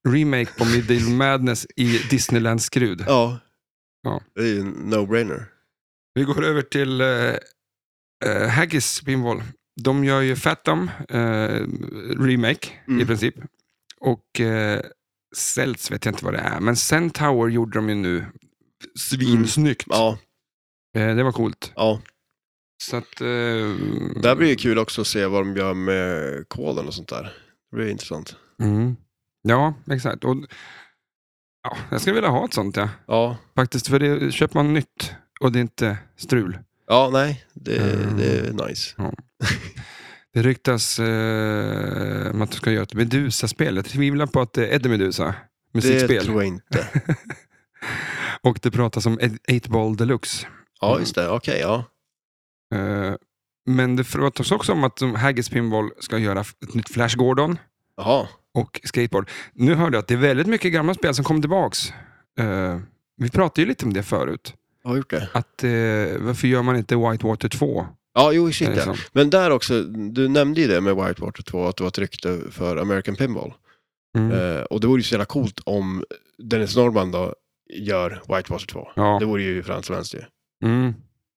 [SPEAKER 1] remake på Middle Madness i Disneyland-skrud.
[SPEAKER 2] Ja.
[SPEAKER 1] Ja.
[SPEAKER 2] Det är ju en no-brainer.
[SPEAKER 1] Vi går över till eh, eh, Haggis Pinball. De gör ju Fathom eh, remake i
[SPEAKER 2] Mm.
[SPEAKER 1] princip. Och eh, Celts vet jag inte vad det är, men Centaur gjorde de ju nu. Svinsnyggt.
[SPEAKER 2] Mm. Ja,
[SPEAKER 1] Eh, det var coolt.
[SPEAKER 2] ja.
[SPEAKER 1] Så att, eh,
[SPEAKER 2] Det här blir ju kul också att se vad de gör med koden och sånt där. Det blir intressant.
[SPEAKER 1] Mm. Ja, exakt. Och, ja, jag skulle vilja ha ett sånt, ja.
[SPEAKER 2] Ja,
[SPEAKER 1] Faktiskt, för det köper man nytt och det är inte strul.
[SPEAKER 2] ja nej, det,
[SPEAKER 1] Mm.
[SPEAKER 2] det är nice.
[SPEAKER 1] Det ryktas eh, om att du ska göra ett Medusa-spel. Jag tvivlar på att det är Eddie Medusa.
[SPEAKER 2] Det
[SPEAKER 1] Musikspel.
[SPEAKER 2] tror jag inte.
[SPEAKER 1] [laughs] Och det pratas om 8-Ball Deluxe.
[SPEAKER 2] Ja, just det. Okej, ja.
[SPEAKER 1] Eh, men det pratas också om att de- Haggis Pinball ska göra f- ett nytt Flash Gordon
[SPEAKER 2] Jaha.
[SPEAKER 1] och skateboard. Nu hörde jag att det är väldigt mycket gamla spel som kommer tillbaks. Eh, vi pratade ju lite om det förut.
[SPEAKER 2] Jag har gjort det.
[SPEAKER 1] att eh, varför gör man inte Whitewater 2?
[SPEAKER 2] Ja, jo, shit ja.
[SPEAKER 1] Liksom.
[SPEAKER 2] Men där också, du nämnde ju det med Whitewater 2, att det var ett rykte för American Pinball.
[SPEAKER 1] Mm.
[SPEAKER 2] Eh, och det vore ju så jävla coolt om Dennis Norman då gör Whitewater 2.
[SPEAKER 1] Ja.
[SPEAKER 2] Det vore ju främst vänster ju.
[SPEAKER 1] Mm.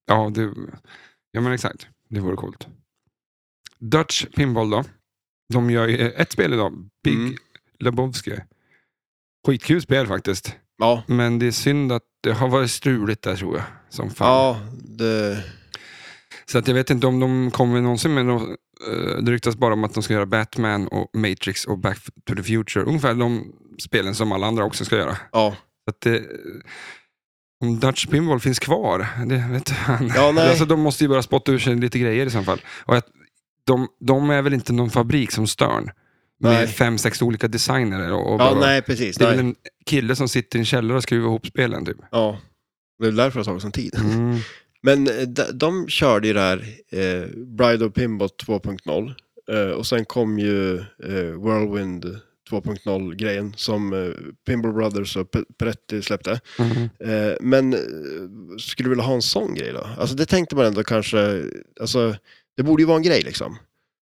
[SPEAKER 1] Ja, det, ja, men exakt. Det vore coolt. Dutch Pinball då. De gör ju eh, ett spel idag, Big
[SPEAKER 2] Mm.
[SPEAKER 1] Lebowski. Skitkul spel faktiskt.
[SPEAKER 2] Ja.
[SPEAKER 1] Men det är synd att det har varit struligt där tror jag. Som fan.
[SPEAKER 2] Ja, det...
[SPEAKER 1] Så att jag vet inte om de kommer någonsin med något. eh, Det ryktas bara om att de ska göra Batman och Matrix och Back to the Future. Ungefär de spelen som alla andra också ska göra.
[SPEAKER 2] Ja.
[SPEAKER 1] Så att det, om Dutch Pinball finns kvar, det vet han.
[SPEAKER 2] Ja,
[SPEAKER 1] [laughs]
[SPEAKER 2] nej.
[SPEAKER 1] Alltså, de måste ju bara spotta ur sig lite grejer i så fall. Och att de, de är väl inte någon fabrik som Stern?
[SPEAKER 2] Nej.
[SPEAKER 1] Med fem, sex olika designer och, och
[SPEAKER 2] Ja,
[SPEAKER 1] bara-
[SPEAKER 2] nej, precis.
[SPEAKER 1] Det är väl
[SPEAKER 2] Nej.
[SPEAKER 1] en kille som sitter i en källare och skruvar ihop spelen
[SPEAKER 2] [laughs]
[SPEAKER 1] typ.
[SPEAKER 2] Ja. Det är därför det har tagit sån tid.
[SPEAKER 1] Mm.
[SPEAKER 2] Men eh, de, de körde ju det här eh, Bride of Pinbot 2.0 eh, och sen kom ju eh, Whirlwind 2.0-grejen som eh, Pinball Brothers och P- Peretti släppte.
[SPEAKER 1] Mhm.
[SPEAKER 2] Eh, Men eh, skulle du vilja ha en sån grej då? Alltså det tänkte man ändå kanske, alltså det borde ju vara en grej liksom.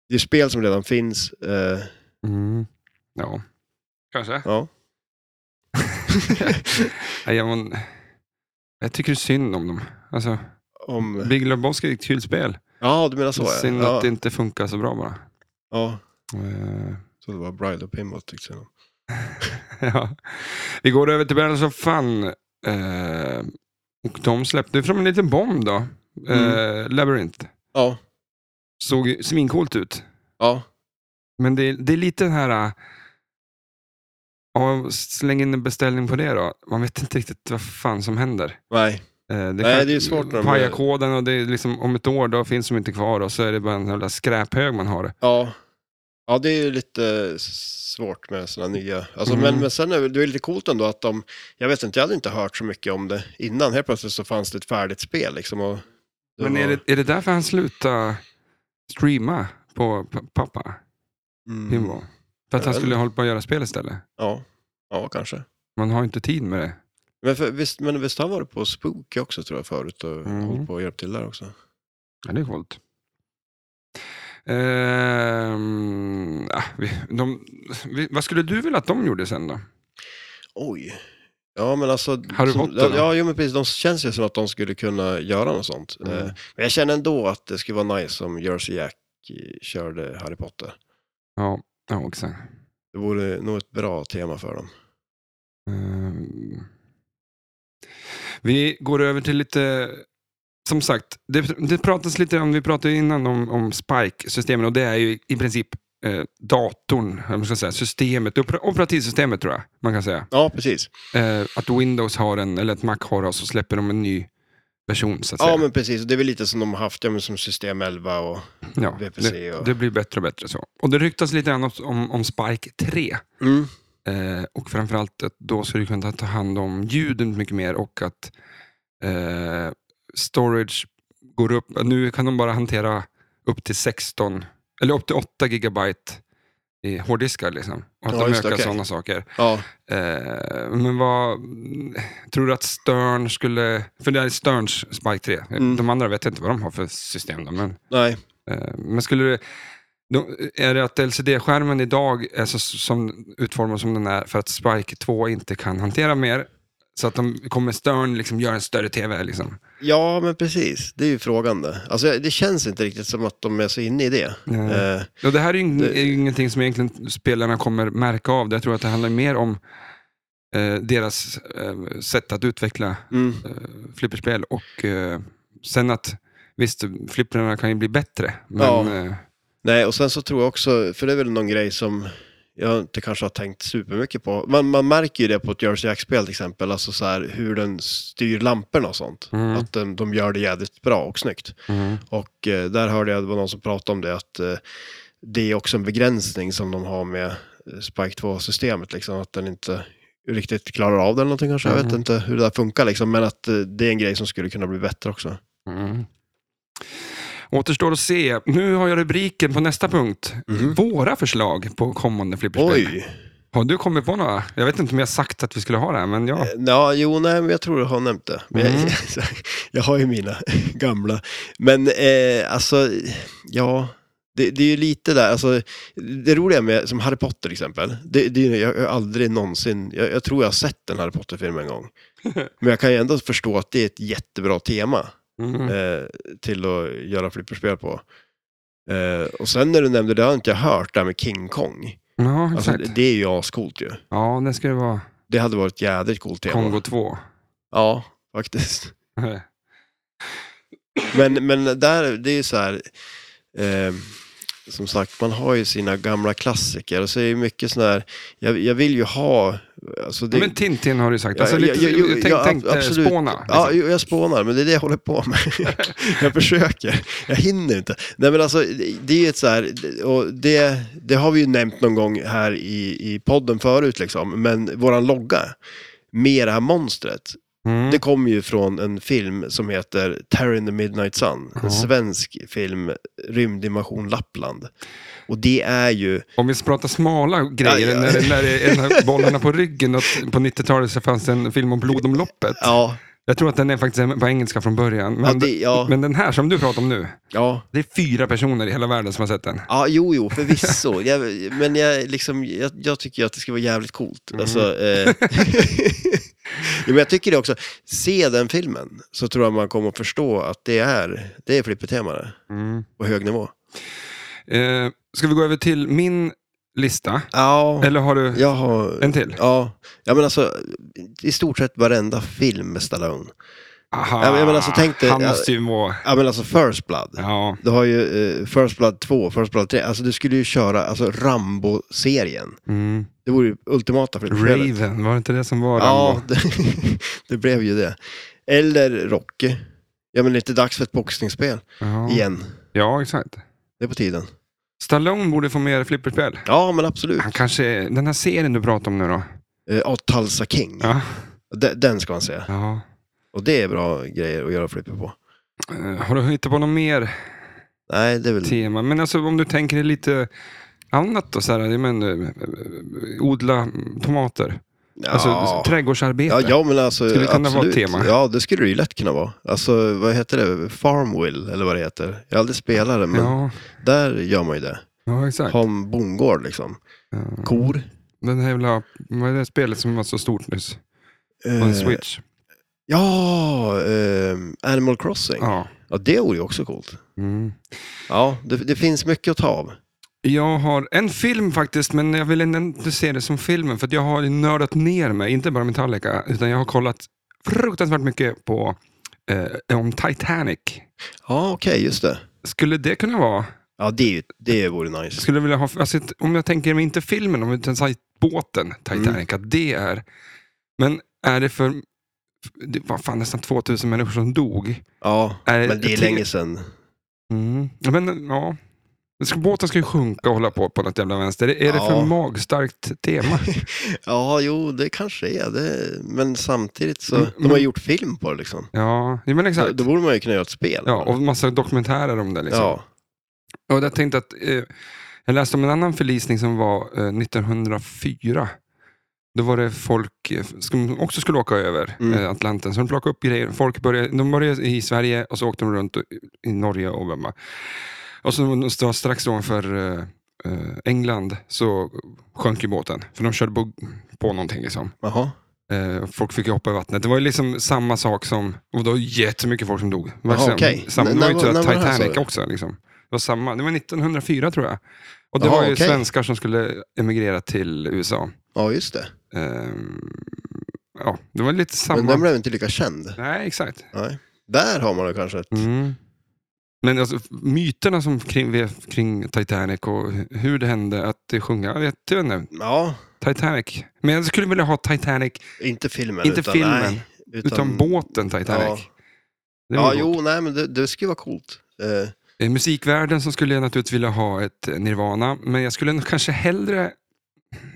[SPEAKER 2] Det är spel som redan finns. eh,
[SPEAKER 1] Mm. Ja, kanske. [laughs]
[SPEAKER 2] Ja. [laughs]
[SPEAKER 1] Nej, jag, men, jag tycker synd om dem. Alltså,
[SPEAKER 2] Om...
[SPEAKER 1] Big Lebowski är ett kul spel.
[SPEAKER 2] Ja, du menar så ja.
[SPEAKER 1] synd
[SPEAKER 2] ja.
[SPEAKER 1] att det inte funkar så bra bara.
[SPEAKER 2] ja.
[SPEAKER 1] Eh,
[SPEAKER 2] Så det var Bride och Pinball tyckte jag.
[SPEAKER 1] [laughs] ja. Vi går över till Battles of Fun. Eh, och de släppte fram en liten bomb då. Eh,
[SPEAKER 2] Mm.
[SPEAKER 1] Labyrinth.
[SPEAKER 2] Ja,
[SPEAKER 1] Såg ju svincoolt ut.
[SPEAKER 2] ja.
[SPEAKER 1] Men det, det är lite den här... eh, Ja, släng in en beställning på det då. Man vet inte riktigt vad fan som händer.
[SPEAKER 2] Nej,
[SPEAKER 1] Eh, Det
[SPEAKER 2] Nej, det är svårt när de-
[SPEAKER 1] Paja koden och det är liksom, om ett år då finns de inte kvar och så är det bara en jävla skräphög man har.
[SPEAKER 2] ja. Ja, det är ju lite svårt med sådana nya. Alltså,
[SPEAKER 1] Mm.
[SPEAKER 2] men, men sen är det, det är lite coolt ändå att de, jag vet inte, jag hade inte hört så mycket om det innan. Helt plötsligt så fanns det ett färdigt spel liksom. Och det
[SPEAKER 1] Men är
[SPEAKER 2] var-
[SPEAKER 1] det, är det därför han slutar streama på p- pappa?
[SPEAKER 2] Mm.
[SPEAKER 1] Pinball? För att
[SPEAKER 2] Jag
[SPEAKER 1] han
[SPEAKER 2] vet
[SPEAKER 1] skulle
[SPEAKER 2] inte.
[SPEAKER 1] hålla på att göra spel istället?
[SPEAKER 2] Ja, ja kanske.
[SPEAKER 1] Man har ju inte tid med det.
[SPEAKER 2] Men, för, visst, men visst har han varit på Spooky också tror jag förut och
[SPEAKER 1] Mm.
[SPEAKER 2] hållit på och hjälpt till där också.
[SPEAKER 1] Ja, det är coolt. Ehm, ah, vi, de, vi, vad skulle du vilja att de gjorde sen då?
[SPEAKER 2] Oj. Ja, men alltså...
[SPEAKER 1] Harry
[SPEAKER 2] som,
[SPEAKER 1] Potter då?
[SPEAKER 2] Ja, jo, men precis. De känns ju som att de skulle kunna göra något sånt.
[SPEAKER 1] Mm.
[SPEAKER 2] Eh, Men jag känner ändå att det skulle vara nice om Jersey Jack eh, körde Harry Potter.
[SPEAKER 1] Ja, ja också.
[SPEAKER 2] Det vore nog ett bra tema för dem.
[SPEAKER 1] Ehm. Vi går över till lite, som sagt, det, det pratas lite om, vi pratade innan om, om Spike-systemen och det är ju i princip eh, datorn, eller vad man ska säga, systemet, oper, operativsystemet tror jag man kan säga.
[SPEAKER 2] Ja, precis.
[SPEAKER 1] Eh, att Windows har en, eller att Mac har och så släpper de en ny version så att
[SPEAKER 2] Ja,
[SPEAKER 1] säga.
[SPEAKER 2] men precis. Det är väl lite som de har haft, ja, men som System 11 och...
[SPEAKER 1] Ja,
[SPEAKER 2] VPC
[SPEAKER 1] det,
[SPEAKER 2] och-
[SPEAKER 1] det blir bättre och bättre så. Och det ryktas lite grann om, om Spike 3.
[SPEAKER 2] Mm.
[SPEAKER 1] Eh, och framförallt att då skulle du kunna ta hand om ljuden mycket mer och att eh, storage går upp. Nu kan de bara hantera upp till 16, eller upp till 8 gigabyte i hårddiskar. Liksom. Och att
[SPEAKER 2] Ja,
[SPEAKER 1] de
[SPEAKER 2] just det,
[SPEAKER 1] ökar
[SPEAKER 2] okej.
[SPEAKER 1] sådana saker.
[SPEAKER 2] Ja,
[SPEAKER 1] Eh, men vad, mm, tror du att Stern skulle, för det här är Sterns Spike 3.
[SPEAKER 2] Mm.
[SPEAKER 1] De andra vet jag inte vad de har för system. Då, men
[SPEAKER 2] nej.
[SPEAKER 1] Eh, Men skulle du, då- är det att LCD-skärmen idag är så, som utformad som den är för att Spike 2 inte kan hantera mer? Så att de kommer Stern liksom göra en större TV? Liksom.
[SPEAKER 2] Ja, men precis. Det är ju frågan det. Alltså, det känns inte riktigt som att de är så inne i det.
[SPEAKER 1] Eh,
[SPEAKER 2] Eh,
[SPEAKER 1] och det här är ju ing-
[SPEAKER 2] det-
[SPEAKER 1] är ju ingenting som egentligen spelarna kommer märka av. Jag tror att det handlar mer om eh, deras eh, sätt att utveckla
[SPEAKER 2] mm.
[SPEAKER 1] eh, flipperspel. Och eh, sen att, visst, flipprarna kan ju bli bättre. Men,
[SPEAKER 2] Ja.
[SPEAKER 1] eh,
[SPEAKER 2] Nej, och sen så tror jag också, för det är väl någon grej som jag inte kanske har tänkt supermycket på. Man, man märker ju det på ett Jersey Jack-spel till exempel, alltså så här hur den styr lamporna och sånt.
[SPEAKER 1] Mm.
[SPEAKER 2] Att den, de gör det jädrigt bra och snyggt.
[SPEAKER 1] mm,
[SPEAKER 2] Och eh, där hörde jag, det var någon som pratade om det, att eh, det är också en begränsning som de har med eh, Spike 2-systemet, liksom, att den inte riktigt klarar av det eller någonting kanske. Jag vet
[SPEAKER 1] Mhm.
[SPEAKER 2] inte hur det där funkar, liksom, men att eh, det är en grej som skulle kunna bli bättre också.
[SPEAKER 1] Mm. Återstår att se. Nu har jag rubriken på nästa punkt.
[SPEAKER 2] Mhm.
[SPEAKER 1] Våra förslag på kommande flipperspel.
[SPEAKER 2] Oj!
[SPEAKER 1] Har du kommit på några? Jag vet inte om jag sagt att vi skulle ha det här, men
[SPEAKER 2] Eh,
[SPEAKER 1] ja.
[SPEAKER 2] Ja, jo, nej, men jag tror du har nämnt det. Men
[SPEAKER 1] Mm.
[SPEAKER 2] jag, [laughs] jag har ju mina [laughs] gamla. Men eh, alltså, ja, det, det är ju lite där, alltså, det roliga med, som Harry Potter till exempel, det, det är ju, jag har aldrig någonsin, jag, jag tror jag har sett en Harry Potter-film
[SPEAKER 1] [laughs]
[SPEAKER 2] en gång. Men jag kan ju ändå förstå att det är ett jättebra tema
[SPEAKER 1] Mm.
[SPEAKER 2] eh, till att göra flipperspel på. Eh, och sen när du nämnde det, har jag inte hört, det här med King Kong.
[SPEAKER 1] Ja,
[SPEAKER 2] Alltså,
[SPEAKER 1] exakt.
[SPEAKER 2] det, det är ju ascoolt ju.
[SPEAKER 1] Ja, det ska ju vara
[SPEAKER 2] Det hade varit ett jädrigt coolt tema.
[SPEAKER 1] Kongo Eh, 2.
[SPEAKER 2] Ja, faktiskt. Men, men där, det är ju så här, eh, som sagt, man har ju sina gamla klassiker och så är det ju mycket sån här, jag, jag vill ju ha, alltså det,
[SPEAKER 1] Men Tintin har du sagt.
[SPEAKER 2] Ja,
[SPEAKER 1] Alltså,
[SPEAKER 2] ja,
[SPEAKER 1] lite,
[SPEAKER 2] ja, jo,
[SPEAKER 1] tänk,
[SPEAKER 2] ja,
[SPEAKER 1] tänk eh,
[SPEAKER 2] absolut.
[SPEAKER 1] spåna.
[SPEAKER 2] Ja,
[SPEAKER 1] Liksom.
[SPEAKER 2] jo, jag spånar, men det är det jag håller på
[SPEAKER 1] [laughs]
[SPEAKER 2] med. jag försöker, jag hinner inte. Nej, men alltså, det- det är ju ett så här, och det, det har vi ju nämnt någon gång här i, i podden förut, liksom, men våran logga med det här monstret,
[SPEAKER 1] Mm.
[SPEAKER 2] Det kommer ju från en film som heter Terror in the Midnight Sun.
[SPEAKER 1] Ja.
[SPEAKER 2] En svensk film, Rymdinvasion Lappland. Och det är ju...
[SPEAKER 1] Om vi pratar smala grejer,
[SPEAKER 2] Ja, ja.
[SPEAKER 1] när, det- när det är den
[SPEAKER 2] [laughs]
[SPEAKER 1] här bollarna på ryggen, och på 90-talet så fanns det en film om blodomloppet.
[SPEAKER 2] Ja,
[SPEAKER 1] Jag tror att den är faktiskt på engelska från början. Men,
[SPEAKER 2] ja, det, ja,
[SPEAKER 1] men den här som du pratar om nu,
[SPEAKER 2] ja.
[SPEAKER 1] det är fyra personer i hela världen som har sett den.
[SPEAKER 2] Ja, jo, jo, förvisso. [laughs] Jag, men jag, liksom, jag, jag tycker ju att det ska vara jävligt coolt.
[SPEAKER 1] Mm.
[SPEAKER 2] Alltså,
[SPEAKER 1] [laughs]
[SPEAKER 2] eh, jo, men jag tycker det också. Se den filmen så tror jag man kommer att förstå att det är, det är flippertema det,
[SPEAKER 1] Mm.
[SPEAKER 2] på hög nivå.
[SPEAKER 1] Eh, ska vi gå över till min lista?
[SPEAKER 2] Ja,
[SPEAKER 1] Eller har du
[SPEAKER 2] jag har...
[SPEAKER 1] en till?
[SPEAKER 2] Ja, ja, men alltså i stort sett varenda film med Stallone.
[SPEAKER 1] Aha,
[SPEAKER 2] Ja, men- men alltså, tänk dig-
[SPEAKER 1] han måste ju må...
[SPEAKER 2] Ja, men alltså First Blood.
[SPEAKER 1] Ja,
[SPEAKER 2] Du har ju eh, First Blood 2, First Blood 3. Alltså du skulle ju köra alltså, Rambo-serien.
[SPEAKER 1] mm.
[SPEAKER 2] Det vore ju ultimata flipperspelet.
[SPEAKER 1] Raven, var det inte det som var
[SPEAKER 2] Ja,
[SPEAKER 1] Rambo?
[SPEAKER 2] det, [laughs] det blev ju det. Eller Rocky. Ja, men lite dags för ett boxningsspel
[SPEAKER 1] Ja.
[SPEAKER 2] igen.
[SPEAKER 1] ja, exakt.
[SPEAKER 2] Det är på tiden.
[SPEAKER 1] Stallone borde få mer flipperspel.
[SPEAKER 2] Ja, men absolut.
[SPEAKER 1] Han kanske, den här serien du pratar om nu då?
[SPEAKER 2] Eh, Ja, Tulsa King.
[SPEAKER 1] Ja.
[SPEAKER 2] De, den ska man se.
[SPEAKER 1] ja.
[SPEAKER 2] Och det är bra grejer att göra flipper på.
[SPEAKER 1] Eh, Har du hittat på något mer
[SPEAKER 2] Nej, det är väl...
[SPEAKER 1] tema? Men alltså om du tänker dig lite annat då, så här, jag menar, eh, eh, odla tomater.
[SPEAKER 2] Ja,
[SPEAKER 1] Alltså trädgårdsarbete.
[SPEAKER 2] ja, ja men alltså
[SPEAKER 1] Skulle det kunna vara
[SPEAKER 2] absolut.
[SPEAKER 1] ett tema?
[SPEAKER 2] Ja, det skulle det ju lätt kunna vara. Alltså, vad heter det? Farmville, eller vad det heter. Jag har aldrig spelat det, men
[SPEAKER 1] ja,
[SPEAKER 2] där gör man ju det.
[SPEAKER 1] ja, exakt.
[SPEAKER 2] Ha en bondgård liksom.
[SPEAKER 1] Ja.
[SPEAKER 2] Kor.
[SPEAKER 1] Den här jävla, vad är det spelet som var så stort nyss? På en
[SPEAKER 2] Eh,
[SPEAKER 1] switch.
[SPEAKER 2] Ja, ehm, Animal Crossing.
[SPEAKER 1] Ja.
[SPEAKER 2] Ja, det vore ju också coolt.
[SPEAKER 1] Mm.
[SPEAKER 2] Ja, det, det finns mycket att ta av.
[SPEAKER 1] Jag har en film faktiskt, men jag vill inte se det som filmen. För att jag har nördat ner mig, inte bara Metallica, utan jag har kollat fruktansvärt mycket på eh, om Titanic.
[SPEAKER 2] Ja, okej, just det.
[SPEAKER 1] Skulle det kunna vara...
[SPEAKER 2] Ja, det, är ju- det vore nice.
[SPEAKER 1] Skulle vilja ha, alltså, ett- om jag tänker mig inte filmen, om utan saj- båten Titanic, att det är... Men är det för... Det var fan nästan 2000 människor som dog.
[SPEAKER 2] Ja,
[SPEAKER 1] Är-
[SPEAKER 2] men det är
[SPEAKER 1] till-
[SPEAKER 2] länge sedan.
[SPEAKER 1] Mm. Men ja... Det ska- Båten ska ju sjunka och hålla på på något jävla vänster. Är det för
[SPEAKER 2] Ja.
[SPEAKER 1] magstarkt tema?
[SPEAKER 2] Ja, jo, det kanske är det. Men samtidigt så,
[SPEAKER 1] Mm,
[SPEAKER 2] de har
[SPEAKER 1] mm.
[SPEAKER 2] gjort film på det liksom.
[SPEAKER 1] Ja, ja, men
[SPEAKER 2] Då,
[SPEAKER 1] exakt.
[SPEAKER 2] då borde man ju kunna göra ett spel.
[SPEAKER 1] Ja, och massa dokumentärer om det. Liksom.
[SPEAKER 2] ja.
[SPEAKER 1] Och jag tänkte att, eh, jag läste om en annan förlisning som var eh, 1904. Då var det folk eh, som också skulle åka över
[SPEAKER 2] Mm.
[SPEAKER 1] eh, Atlanten. Så de plockade upp grejer. Folk började, de började i Sverige och så åkte de runt och- i Norge och Obama. Och så stod strax ovanför eh, eh, England så sjönk ju båten. För de körde på, på någonting. Liksom.
[SPEAKER 2] Jaha.
[SPEAKER 1] Eh, folk fick ju hoppa i vattnet. Det var ju liksom samma sak som, och det var jättemycket folk som dog. Verkligen.
[SPEAKER 2] okej.
[SPEAKER 1] samma, det
[SPEAKER 2] N-
[SPEAKER 1] var ju
[SPEAKER 2] när-
[SPEAKER 1] inte
[SPEAKER 2] när var det här,
[SPEAKER 1] Titanic
[SPEAKER 2] sa du?
[SPEAKER 1] också. Liksom. Det var samma, det var 1904 tror jag. Och det
[SPEAKER 2] Jaha,
[SPEAKER 1] var ju
[SPEAKER 2] okej.
[SPEAKER 1] svenskar som skulle emigrera till USA.
[SPEAKER 2] Ja, just det.
[SPEAKER 1] Ehm, ja, det var lite
[SPEAKER 2] Men
[SPEAKER 1] samma.
[SPEAKER 2] den blev inte lika känd.
[SPEAKER 1] Nej, exakt.
[SPEAKER 2] Nej. Där har man då kanske ett...
[SPEAKER 1] Mm. Men alltså, myterna som kring, kring Titanic och hur det hände att det sjunga. Jag vet inte,
[SPEAKER 2] Ja,
[SPEAKER 1] Titanic. Men jag skulle vilja ha Titanic,
[SPEAKER 2] inte filmen.
[SPEAKER 1] Inte
[SPEAKER 2] utan,
[SPEAKER 1] filmen,
[SPEAKER 2] Nej, utan,
[SPEAKER 1] utan, båten Titanic.
[SPEAKER 2] Ja.
[SPEAKER 1] Det var
[SPEAKER 2] Ja,
[SPEAKER 1] gott.
[SPEAKER 2] jo, nej, men det, det skulle vara coolt. Eh,
[SPEAKER 1] Eh, musikvärlden så skulle jag naturligtvis vilja ha ett eh, Nirvana, men jag skulle nog kanske hellre...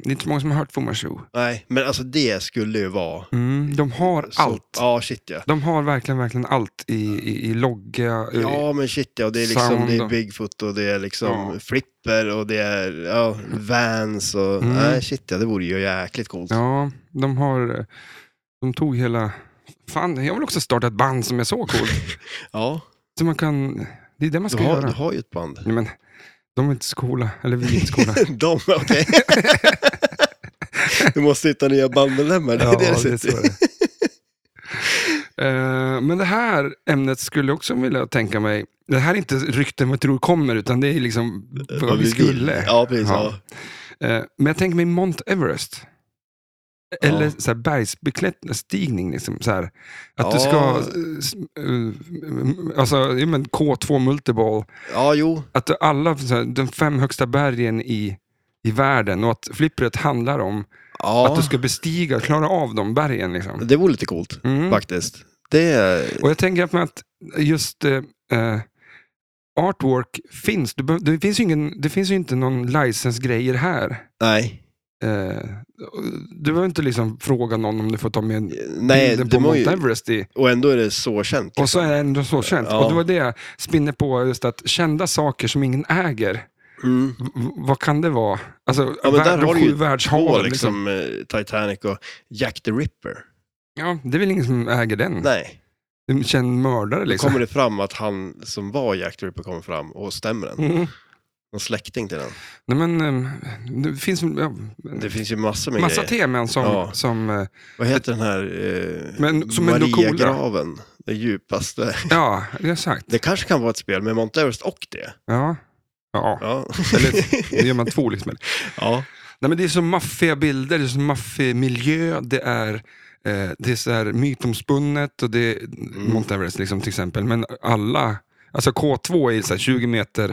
[SPEAKER 1] Det är inte så många som har hört Fu Manchu.
[SPEAKER 2] nej, men alltså det skulle ju vara...
[SPEAKER 1] Mm, de har
[SPEAKER 2] så-
[SPEAKER 1] allt.
[SPEAKER 2] Ja, shit ja.
[SPEAKER 1] De har verkligen, verkligen allt i, i, i logga. i-
[SPEAKER 2] Ja, men shit ja. Det är liksom
[SPEAKER 1] Sound
[SPEAKER 2] det är
[SPEAKER 1] och-
[SPEAKER 2] Bigfoot och det är liksom
[SPEAKER 1] Ja.
[SPEAKER 2] Flipper och det är ja, Vans och...
[SPEAKER 1] Mm.
[SPEAKER 2] Nej, shit ja. Det vore ju jäkligt coolt.
[SPEAKER 1] ja, de har... eh, De tog hela... Fan, jag vill också starta ett band som är så coolt.
[SPEAKER 2] Ja,
[SPEAKER 1] så man kan... Det är det man
[SPEAKER 2] du
[SPEAKER 1] ska
[SPEAKER 2] har, du
[SPEAKER 1] göra.
[SPEAKER 2] har ju ett band. [laughs]
[SPEAKER 1] Nej, men, de är inte så coola. Eller vi är inte så coola.
[SPEAKER 2] De, okej. [laughs] du måste hitta nya bandmedlemmar. [laughs] Det är det det
[SPEAKER 1] är
[SPEAKER 2] sitter
[SPEAKER 1] så
[SPEAKER 2] i.
[SPEAKER 1] det är. Eh, Men det här ämnet skulle jag också vilja tänka mig, det här är inte rykten man tror kommer, utan det är liksom vad vi
[SPEAKER 2] vill.
[SPEAKER 1] skulle.
[SPEAKER 2] Ja, precis.
[SPEAKER 1] Ja.
[SPEAKER 2] Ja.
[SPEAKER 1] Eh, Men jag tänker mig Mount Everest.
[SPEAKER 2] Ja.
[SPEAKER 1] Eller så här bergsbeklättringsstigning. Liksom, så här. Att du
[SPEAKER 2] Ja.
[SPEAKER 1] ska, eh, s- eh, alltså ja, men K2 multiball,
[SPEAKER 2] ja, jo.
[SPEAKER 1] att du alla så här, de fem högsta bergen i, i världen och att flippret handlar om
[SPEAKER 2] Ja,
[SPEAKER 1] att du ska bestiga, klara av de bergen. Liksom.
[SPEAKER 2] det vore lite coolt
[SPEAKER 1] Mm.
[SPEAKER 2] faktiskt. Det
[SPEAKER 1] Och jag tänker på att just eh, eh, artwork finns. Du, behöv- det, finns ju ingen, det finns ju inte någon licensgrejer här.
[SPEAKER 2] Nej.
[SPEAKER 1] Eh, du behöver inte liksom fråga någon om du får ta med en
[SPEAKER 2] Nej,
[SPEAKER 1] bilden på
[SPEAKER 2] det må
[SPEAKER 1] Mount
[SPEAKER 2] ju,
[SPEAKER 1] Everest i.
[SPEAKER 2] och ändå är det så känt.
[SPEAKER 1] Och så är det ändå så känt.
[SPEAKER 2] Ja.
[SPEAKER 1] Och det var det jag spinner på, just att kända saker som ingen äger,
[SPEAKER 2] Mm.
[SPEAKER 1] v- v- vad kan det vara? Alltså,
[SPEAKER 2] Ja, men där
[SPEAKER 1] värld,
[SPEAKER 2] har
[SPEAKER 1] de
[SPEAKER 2] du
[SPEAKER 1] sju
[SPEAKER 2] ju två,
[SPEAKER 1] världshav. Liksom.
[SPEAKER 2] liksom, eh, Titanic och Jack the Ripper.
[SPEAKER 1] Ja, det är väl ingen som äger den.
[SPEAKER 2] Nej,
[SPEAKER 1] En känd mördare
[SPEAKER 2] då
[SPEAKER 1] liksom.
[SPEAKER 2] kommer det fram att han som var Jack the Ripper kommer fram och stämmer den.
[SPEAKER 1] Mm.
[SPEAKER 2] Någon släkting till den.
[SPEAKER 1] Nej, men, eh, det finns ja,
[SPEAKER 2] Det finns ju massor med
[SPEAKER 1] Mm. massa
[SPEAKER 2] grejer.
[SPEAKER 1] teman som,
[SPEAKER 2] Ja.
[SPEAKER 1] som eh,
[SPEAKER 2] Vad heter den här eh,
[SPEAKER 1] Men som ändå coola.
[SPEAKER 2] Mariagraven? Den djupaste.
[SPEAKER 1] ja, exakt.
[SPEAKER 2] Det kanske kan vara ett spel med Mount Everest och det.
[SPEAKER 1] Ja. Ja,
[SPEAKER 2] Ja. [laughs]
[SPEAKER 1] eller då gör man två liksom.
[SPEAKER 2] ja.
[SPEAKER 1] Nej, men det är så maffiga bilder, det är så maffig miljö, det är, eh, det är så här mytomspunnet och det är
[SPEAKER 2] Mm.
[SPEAKER 1] Mount Everest liksom, till exempel. Men alla, alltså K2 är så här 20 meter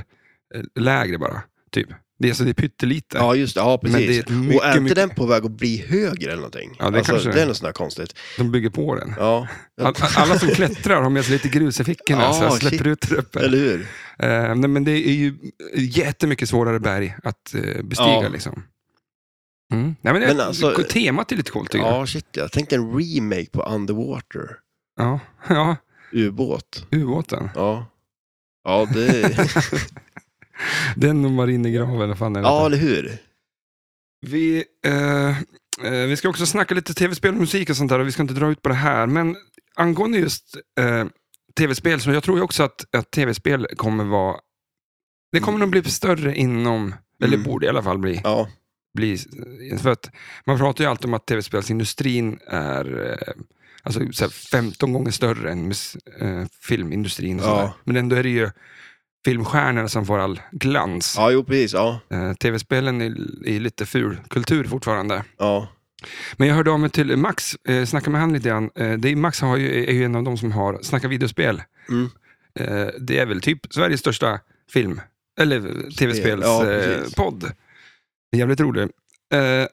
[SPEAKER 1] eh, lägre bara, typ. Det är, så det är pyttelite.
[SPEAKER 2] ja, just det. Ja,
[SPEAKER 1] Men det är
[SPEAKER 2] precis.
[SPEAKER 1] ett mycket,
[SPEAKER 2] och är inte
[SPEAKER 1] mycket-
[SPEAKER 2] den på väg att bli högre eller någonting? Alltså,
[SPEAKER 1] Ja, det kanske
[SPEAKER 2] det
[SPEAKER 1] det
[SPEAKER 2] är
[SPEAKER 1] är.
[SPEAKER 2] något sånt där konstigt.
[SPEAKER 1] De bygger på den.
[SPEAKER 2] Ja.
[SPEAKER 1] All, alla
[SPEAKER 2] [laughs]
[SPEAKER 1] som klättrar har med sig lite grus i fickorna,
[SPEAKER 2] Ja,
[SPEAKER 1] så jag släpper
[SPEAKER 2] shit.
[SPEAKER 1] ut där uppe.
[SPEAKER 2] Eller hur?
[SPEAKER 1] Eh, nej, men det är ju jättemycket svårare berg att eh, bestiga.
[SPEAKER 2] Ja.
[SPEAKER 1] Liksom. Mm. Nej, men
[SPEAKER 2] Men
[SPEAKER 1] det,
[SPEAKER 2] alltså-
[SPEAKER 1] temat är lite coolt tycker jag.
[SPEAKER 2] Ja, shit ja. Tänk en remake på Underwater.
[SPEAKER 1] Ja, ja [laughs]
[SPEAKER 2] Ubåt.
[SPEAKER 1] ubåten.
[SPEAKER 2] Ja. Ja, det...
[SPEAKER 1] [laughs] Den och marinegraven. eller fan är det?
[SPEAKER 2] ja, eller hur?
[SPEAKER 1] Vi, eh, eh, vi ska också snacka lite tv-spel och musik och sånt där och vi ska inte dra ut på det här. Men angående just eh, tv-spel så jag tror ju också att, att tv-spel kommer vara... Det kommer nog bli större inom, eller
[SPEAKER 2] Mm.
[SPEAKER 1] borde i alla fall bli,
[SPEAKER 2] Ja.
[SPEAKER 1] bli. eh, För att man pratar ju alltid om att tv-spelsindustrin är eh, alltså, så här 15 gånger större än mus- eh, filmindustrin. Och
[SPEAKER 2] Ja.
[SPEAKER 1] ja. Men ändå är det ju filmstjärnorna som får all glans.
[SPEAKER 2] ja, jo precis. Ja.
[SPEAKER 1] Eh, Tv-spelen är, är lite ful kultur fortfarande.
[SPEAKER 2] ja.
[SPEAKER 1] Men jag hörde av mig till Max, eh, snackade med han lite grann. Eh, det är, Max har ju, är ju en av de som har Snacka videospel.
[SPEAKER 2] Mm.
[SPEAKER 1] Eh, det är väl typ Sveriges största film, eller
[SPEAKER 2] Ja,
[SPEAKER 1] tv-spelspodd. eh,
[SPEAKER 2] precis.
[SPEAKER 1] podd. Det är jävligt rolig. Eh,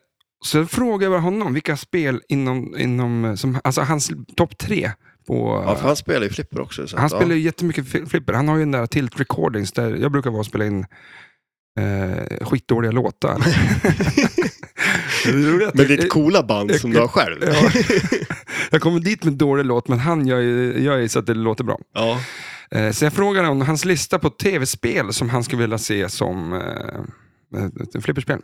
[SPEAKER 1] så jag frågade jag honom vilka spel inom, inom eh, som, alltså hans topp tre. På,
[SPEAKER 2] Ja, för han spelar ju flipper också. Så
[SPEAKER 1] han
[SPEAKER 2] att,
[SPEAKER 1] spelar
[SPEAKER 2] ja.
[SPEAKER 1] ju jättemycket fi- flipper. Han har ju den där Tilt Recordings där jag brukar vara och spela in eh, skitdåliga låtar.
[SPEAKER 2] [laughs]
[SPEAKER 1] [laughs]
[SPEAKER 2] Med ditt coola band som du har själv.
[SPEAKER 1] Ja. Jag kommer dit med dålig låt, men han gör ju, gör ju så att det låter bra.
[SPEAKER 2] Ja.
[SPEAKER 1] Eh, så jag frågade om hans lista på tv-spel som han skulle vilja se som eh, ett- ett flipperspel.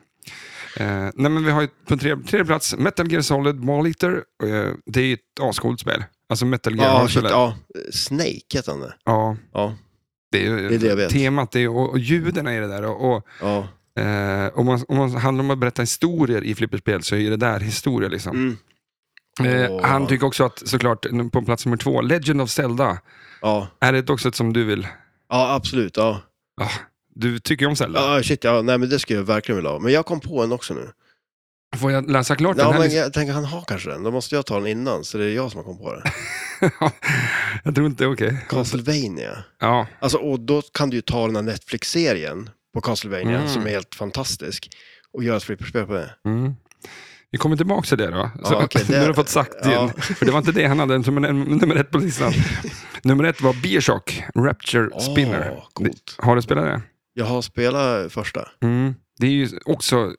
[SPEAKER 1] Eh, nej, men vi har ju på tre, tredje plats Metal Gear Solid Ball Eater. Eh, det är ju ett ascoolt spel. Alltså Metal Gear. har
[SPEAKER 2] Ja,
[SPEAKER 1] du
[SPEAKER 2] shit,
[SPEAKER 1] spelat?
[SPEAKER 2] ja. Snake heter han det.
[SPEAKER 1] ja.
[SPEAKER 2] Ja.
[SPEAKER 1] Det är, ju-
[SPEAKER 2] Det är det jag vet.
[SPEAKER 1] Temat är, ju- och, och ljuden är det där. Och, och,
[SPEAKER 2] ja.
[SPEAKER 1] eh, om, man, om man handlar om att berätta historier i flipperspel så är det där historia. Liksom.
[SPEAKER 2] Mm.
[SPEAKER 1] Eh,
[SPEAKER 2] Åh.
[SPEAKER 1] han tycker också att, såklart, på plats nummer två, Legend of Zelda.
[SPEAKER 2] Ja.
[SPEAKER 1] Är det också ett som du vill?
[SPEAKER 2] ja, absolut. Ja.
[SPEAKER 1] Ah, du tycker ju om Zelda.
[SPEAKER 2] ja, shit ja. Nej, men det skulle jag verkligen vilja ha. Men jag kom på en också nu.
[SPEAKER 1] Får jag läsa klart den
[SPEAKER 2] Ja,
[SPEAKER 1] här
[SPEAKER 2] men
[SPEAKER 1] listan?
[SPEAKER 2] jag tänker han har kanske den. Då måste jag ta den innan, så det är jag som har kommit på det.
[SPEAKER 1] [laughs] jag tror inte, okej.
[SPEAKER 2] Castlevania.
[SPEAKER 1] Ja,
[SPEAKER 2] Alltså, och då kan du ju ta den här Netflix-serien på Castlevania,
[SPEAKER 1] Mm.
[SPEAKER 2] som är helt fantastisk, och göra ett flipperspel på det.
[SPEAKER 1] mm. Vi kommer tillbaka till det då. Så,
[SPEAKER 2] Ja, okej,
[SPEAKER 1] [laughs]
[SPEAKER 2] det-
[SPEAKER 1] nu har du fått sagt det.
[SPEAKER 2] ja.
[SPEAKER 1] För det var inte det han hade som en- nummer ett på
[SPEAKER 2] [laughs]
[SPEAKER 1] listan. nummer ett var Bioshock, Rapture
[SPEAKER 2] Åh,
[SPEAKER 1] Spinner.
[SPEAKER 2] Ah, coolt.
[SPEAKER 1] Har du spelat det?
[SPEAKER 2] Jag har spelat första.
[SPEAKER 1] Mm. Det är ju också,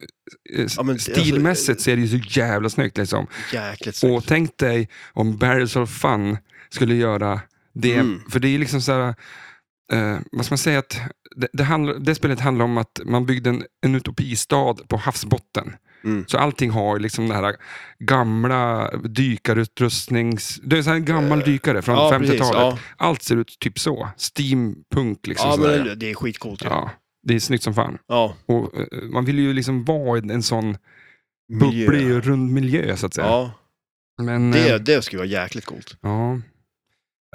[SPEAKER 1] eh,
[SPEAKER 2] Ja, men det- alltså,
[SPEAKER 1] stilmässigt så är det ju så jävla snyggt. Liksom.
[SPEAKER 2] Jäkligt snyggt.
[SPEAKER 1] Och tänk dig om Barrels of Fun skulle göra det.
[SPEAKER 2] Mm.
[SPEAKER 1] För det är liksom så här, eh, vad ska man säga, att det, det, handlar, det spelet handlar om att man byggde en, en utopistad på havsbotten.
[SPEAKER 2] Mm.
[SPEAKER 1] Så allting har ju liksom den här gamla dykarutrustnings... Det är så här en gammal dykare från
[SPEAKER 2] Eh, ja, precis,
[SPEAKER 1] 50-talet.
[SPEAKER 2] ja.
[SPEAKER 1] Allt ser ut typ så. Steampunk liksom.
[SPEAKER 2] Ja,
[SPEAKER 1] sådär.
[SPEAKER 2] men det är skitcoolt. Ja.
[SPEAKER 1] ja, det är snyggt som fan.
[SPEAKER 2] ja.
[SPEAKER 1] Och, eh, man vill ju liksom vara i en sån
[SPEAKER 2] Miljö.
[SPEAKER 1] bubblig och rund miljö så att säga.
[SPEAKER 2] Ja,
[SPEAKER 1] Men, eh,
[SPEAKER 2] det, det skulle vara jäkligt coolt.
[SPEAKER 1] Ja.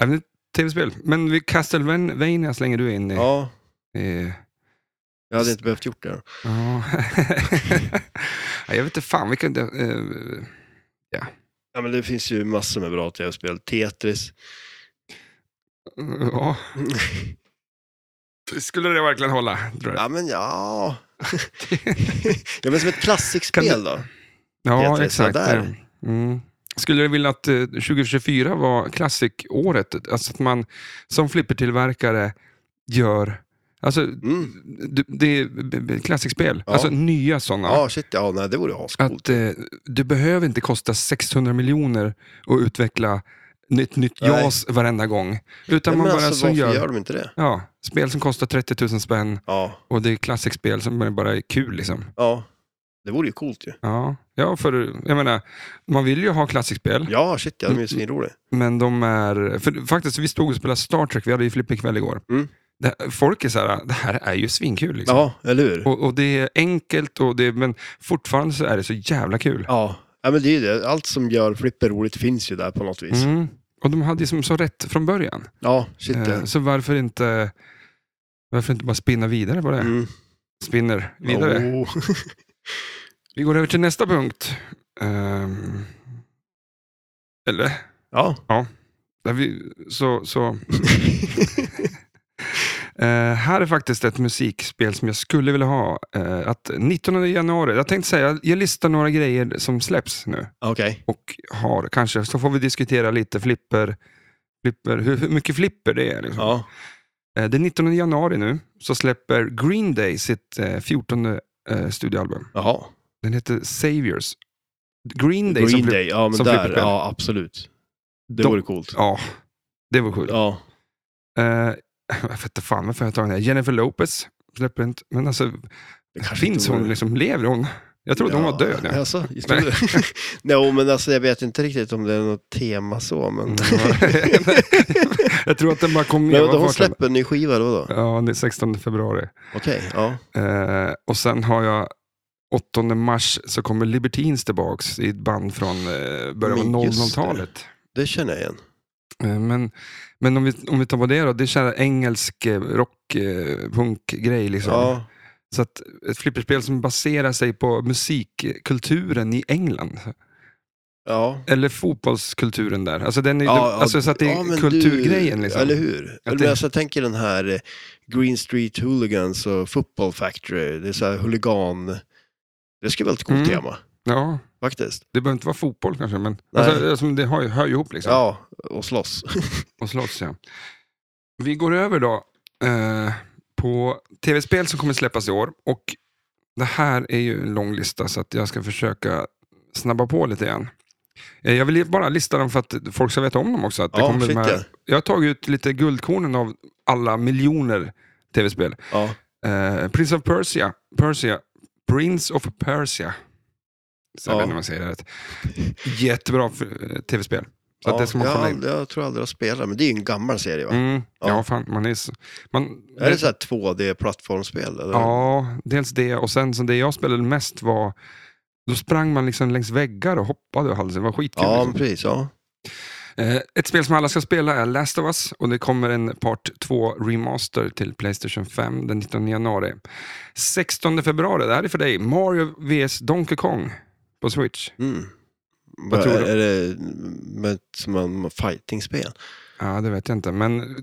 [SPEAKER 1] Även ett tv-spel. Men vi- Castlevania slänger du in i.
[SPEAKER 2] Ja,
[SPEAKER 1] i
[SPEAKER 2] jag hade inte behövt gjort det.
[SPEAKER 1] ja. [laughs] Nej, jag vet inte fan vilka... eh,
[SPEAKER 2] Ja, men det finns ju massor med bra tv-spel. Tetris.
[SPEAKER 1] [laughs] ja. Skulle det verkligen hålla? Tror jag.
[SPEAKER 2] Ja,
[SPEAKER 1] [laughs]
[SPEAKER 2] men ja. ja, men som ett klassikspel då.
[SPEAKER 1] Ja,
[SPEAKER 2] Tetris,
[SPEAKER 1] exakt.
[SPEAKER 2] sådär.
[SPEAKER 1] Mm. Skulle du vilja att eh, 2024 var klassikåret? Alltså att man som flippertillverkare gör Alltså,
[SPEAKER 2] Mm.
[SPEAKER 1] du, det är b- b- klassikspel.
[SPEAKER 2] Ja.
[SPEAKER 1] Alltså nya sådana.
[SPEAKER 2] Ja, shit, ja, nej, det vore ascoolt.
[SPEAKER 1] Att eh, du behöver inte kosta 600 miljoner och utveckla ett nytt
[SPEAKER 2] Nej.
[SPEAKER 1] JAS varenda gång. Utan
[SPEAKER 2] Nej,
[SPEAKER 1] man
[SPEAKER 2] men
[SPEAKER 1] bara
[SPEAKER 2] alltså,
[SPEAKER 1] så
[SPEAKER 2] varför
[SPEAKER 1] gör...
[SPEAKER 2] gör de inte det?
[SPEAKER 1] Ja, spel som kostar 30 000 spänn
[SPEAKER 2] Ja,
[SPEAKER 1] och det är klassikspel som bara är kul liksom.
[SPEAKER 2] ja. Det vore ju coolt ju.
[SPEAKER 1] Ja, ja för jag menar, man vill ju ha klassikspel,
[SPEAKER 2] Ja, shit, ja, de är
[SPEAKER 1] Mm.
[SPEAKER 2] ju svinroliga.
[SPEAKER 1] men de är... För faktiskt, vi stod och spelade Star Trek, vi hade ju flipperkväll igår.
[SPEAKER 2] Mm.
[SPEAKER 1] Det, folk är så här, det här är ju svinkul liksom.
[SPEAKER 2] Ja, eller hur?
[SPEAKER 1] Och, och det är enkelt, och det, men fortfarande så är det så jävla kul.
[SPEAKER 2] Ja. ja, men det är ju det. Allt som gör flipper roligt finns ju där på något vis.
[SPEAKER 1] Mm. Och de hade ju som så rätt från början.
[SPEAKER 2] Ja, shit.
[SPEAKER 1] Eh,
[SPEAKER 2] ja.
[SPEAKER 1] Så varför inte, varför inte bara spinna vidare på det?
[SPEAKER 2] Mm.
[SPEAKER 1] Spinner vidare.
[SPEAKER 2] Oh.
[SPEAKER 1] Vi går över till nästa punkt. Ehm, eller?
[SPEAKER 2] Ja.
[SPEAKER 1] Där vi, så, så. Eh, här är faktiskt ett musikspel som jag skulle vilja ha. Eh, att 19 januari, jag tänkte säga, jag listar några grejer som släpps nu.
[SPEAKER 2] Okej.
[SPEAKER 1] Och har kanske, så får vi diskutera lite flipper, flipper hur, hur mycket flipper det är. Liksom.
[SPEAKER 2] Ja.
[SPEAKER 1] Eh, Den 19 januari nu så släpper Green Day sitt eh, 14 eh, studioalbum.
[SPEAKER 2] Jaha.
[SPEAKER 1] Den heter Saviors. Green Day som
[SPEAKER 2] Green
[SPEAKER 1] blev-
[SPEAKER 2] Day, ja men
[SPEAKER 1] som
[SPEAKER 2] där.
[SPEAKER 1] flipperspel.
[SPEAKER 2] Ja, absolut. Det
[SPEAKER 1] De-
[SPEAKER 2] vore coolt.
[SPEAKER 1] Ja, det var sjukt.
[SPEAKER 2] Ja.
[SPEAKER 1] Eh, jag vet inte fan varför jag tar den här. Jennifer Lopez släpper inte. Men alltså,
[SPEAKER 2] Det kanske
[SPEAKER 1] finns
[SPEAKER 2] inte vore-
[SPEAKER 1] hon? Liksom, lever hon? Jag trodde hon var död.
[SPEAKER 2] Ja.
[SPEAKER 1] Ja.
[SPEAKER 2] Alltså, just
[SPEAKER 1] Nej.
[SPEAKER 2] det. [laughs] Nej, men alltså jag vet inte riktigt om det är något tema så, men...
[SPEAKER 1] Mm, [laughs] jag tror att den bara kom med.
[SPEAKER 2] [laughs] men
[SPEAKER 1] av
[SPEAKER 2] vadå, hon
[SPEAKER 1] farten.
[SPEAKER 2] släpper en ny skiva då? då?
[SPEAKER 1] Ja, det är 16 februari.
[SPEAKER 2] Okej, ja.
[SPEAKER 1] Eh, och sen har jag 8 mars så kommer Libertines tillbaks i ett band från eh, början av
[SPEAKER 2] Men just det.
[SPEAKER 1] 00-talet.
[SPEAKER 2] Det känner jag igen.
[SPEAKER 1] Eh, Men, men om, vi, om vi tar på det då, det är så här engelsk eh, rock, eh, punkgrej. Liksom.
[SPEAKER 2] Ja,
[SPEAKER 1] Så att ett flipperspel som baserar sig på musikkulturen i England.
[SPEAKER 2] ja.
[SPEAKER 1] Eller fotbollskulturen där. Alltså, den är,
[SPEAKER 2] Ja,
[SPEAKER 1] den, alltså så att det är
[SPEAKER 2] ja, men
[SPEAKER 1] kulturgrejen.
[SPEAKER 2] du-
[SPEAKER 1] liksom.
[SPEAKER 2] Eller hur? Eller,
[SPEAKER 1] det-
[SPEAKER 2] men alltså, jag tänker den här eh, Green Street Hooligans och Football Factory. Det är så här huligan... Det skulle vara ett coolt
[SPEAKER 1] Mm.
[SPEAKER 2] tema,
[SPEAKER 1] Ja,
[SPEAKER 2] faktiskt.
[SPEAKER 1] det behöver inte vara fotboll kanske, men
[SPEAKER 2] Nej.
[SPEAKER 1] alltså, alltså, det hör, ju- hör ju ihop. Liksom.
[SPEAKER 2] Ja,
[SPEAKER 1] [laughs]
[SPEAKER 2] och slåss.
[SPEAKER 1] Och slåss, ja. Vi går över då eh, på tv-spel som kommer släppas i år. Och det här är ju en lång lista så att jag ska försöka snabba på lite igen. Eh, jag vill bara lista dem för att folk ska veta om dem också. Att det
[SPEAKER 2] Ja,
[SPEAKER 1] kommer
[SPEAKER 2] shit,
[SPEAKER 1] de
[SPEAKER 2] ja.
[SPEAKER 1] här... Jag har tagit ut lite guldkornen av alla miljoner tv-spel.
[SPEAKER 2] Ja.
[SPEAKER 1] Eh, Prince of Persia, Persia, Prince of Persia. Så jag
[SPEAKER 2] Ja.
[SPEAKER 1] vet inte om jag säger det rätt. Jättebra för- eh, tv-spel. Så att
[SPEAKER 2] Ja,
[SPEAKER 1] det ska man
[SPEAKER 2] jag, har
[SPEAKER 1] kolla in.
[SPEAKER 2] aldrig, jag tror aldrig jag spelar, men det är ju en gammal serie va?
[SPEAKER 1] Mm, ja.
[SPEAKER 2] Ja.
[SPEAKER 1] fan. Man är, s- man,
[SPEAKER 2] Är det så här 2D-plattformsspel? eller?
[SPEAKER 1] Ja, dels det. Och sen så det jag spelade mest var, då sprang man liksom längs väggar och hoppade och hade sig. Det var skitkul.
[SPEAKER 2] ja men
[SPEAKER 1] liksom.
[SPEAKER 2] precis. Ja.
[SPEAKER 1] eh, ett spel som alla ska spela är Last of Us och det kommer en Part 2 Remaster till Playstation 5 den 19 januari. 16 februari, det här är för dig, Mario vs Donkey Kong på Switch.
[SPEAKER 2] Mm.
[SPEAKER 1] Vad tror du?
[SPEAKER 2] Är det med, som en fighting-spel?
[SPEAKER 1] Ja, det vet jag inte, men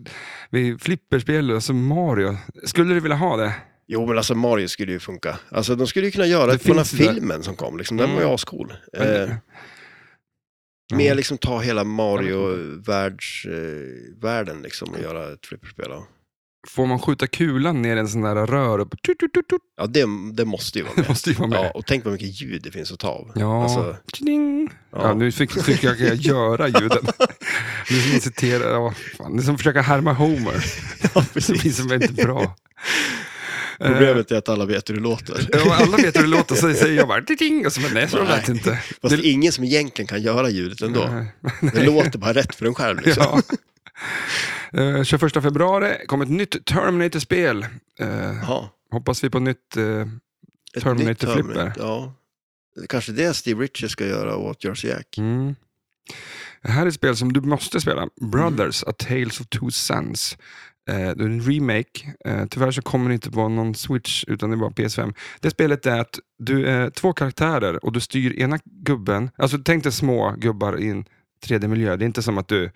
[SPEAKER 1] vi flipperspel, alltså Mario. Skulle du vilja ha det?
[SPEAKER 2] Jo, men alltså Mario skulle ju funka. Alltså de skulle ju kunna göra
[SPEAKER 1] Det
[SPEAKER 2] det på den här
[SPEAKER 1] finns det där.
[SPEAKER 2] filmen som kom, liksom. den
[SPEAKER 1] Mm.
[SPEAKER 2] var ju ascool.
[SPEAKER 1] Men- Mm.
[SPEAKER 2] Eh,
[SPEAKER 1] Ja.
[SPEAKER 2] Mer liksom ta hela Mario-världen liksom och göra ett flipperspel av.
[SPEAKER 1] Får man skjuta kulan ner i en sån där rör och tut, tut, tut, tut,
[SPEAKER 2] Ja, det, det måste ju vara
[SPEAKER 1] det
[SPEAKER 2] med.
[SPEAKER 1] måste ju vara med.
[SPEAKER 2] Ja, och tänk vad mycket ljud det finns att ta av.
[SPEAKER 1] Ja, [laughs]
[SPEAKER 2] Alltså,
[SPEAKER 1] Tjing.
[SPEAKER 2] ja.
[SPEAKER 1] ja. nu fick, fick jag jag göra ljuden. Det är som att citera, ja, fan, det är som att försöka härma Homer.
[SPEAKER 2] Ja,
[SPEAKER 1] Det blir
[SPEAKER 2] [laughs] precis.
[SPEAKER 1] som inte bra. Eh,
[SPEAKER 2] Problemet är att alla vet hur det låter.
[SPEAKER 1] ja, alla vet hur det låter, så säger jag bara ting och så men nej, så lät det inte.
[SPEAKER 2] Fast det är ingen som egentligen kan göra ljudet ändå. Det låter bara rätt för en själv. Liksom.
[SPEAKER 1] [laughs] Ja. Eh, 21 februari kommer ett nytt Terminator-spel. Eh,
[SPEAKER 2] Jaha,
[SPEAKER 1] hoppas vi på nytt. eh,
[SPEAKER 2] ett
[SPEAKER 1] Terminator
[SPEAKER 2] nytt
[SPEAKER 1] flipper.
[SPEAKER 2] Ja. Kanske det Steve Richards ska göra åt Jersey Jack.
[SPEAKER 1] mm. Det här är ett spel som du måste spela. Brothers, A Tales of Two Sons. Eh, det är en remake. Eh, tyvärr så kommer det inte vara någon Switch, utan det är bara PS5. Det spelet är att du är två karaktärer och du styr ena gubben. Alltså tänk dig små gubbar i en 3D-miljö. Det är inte som att du är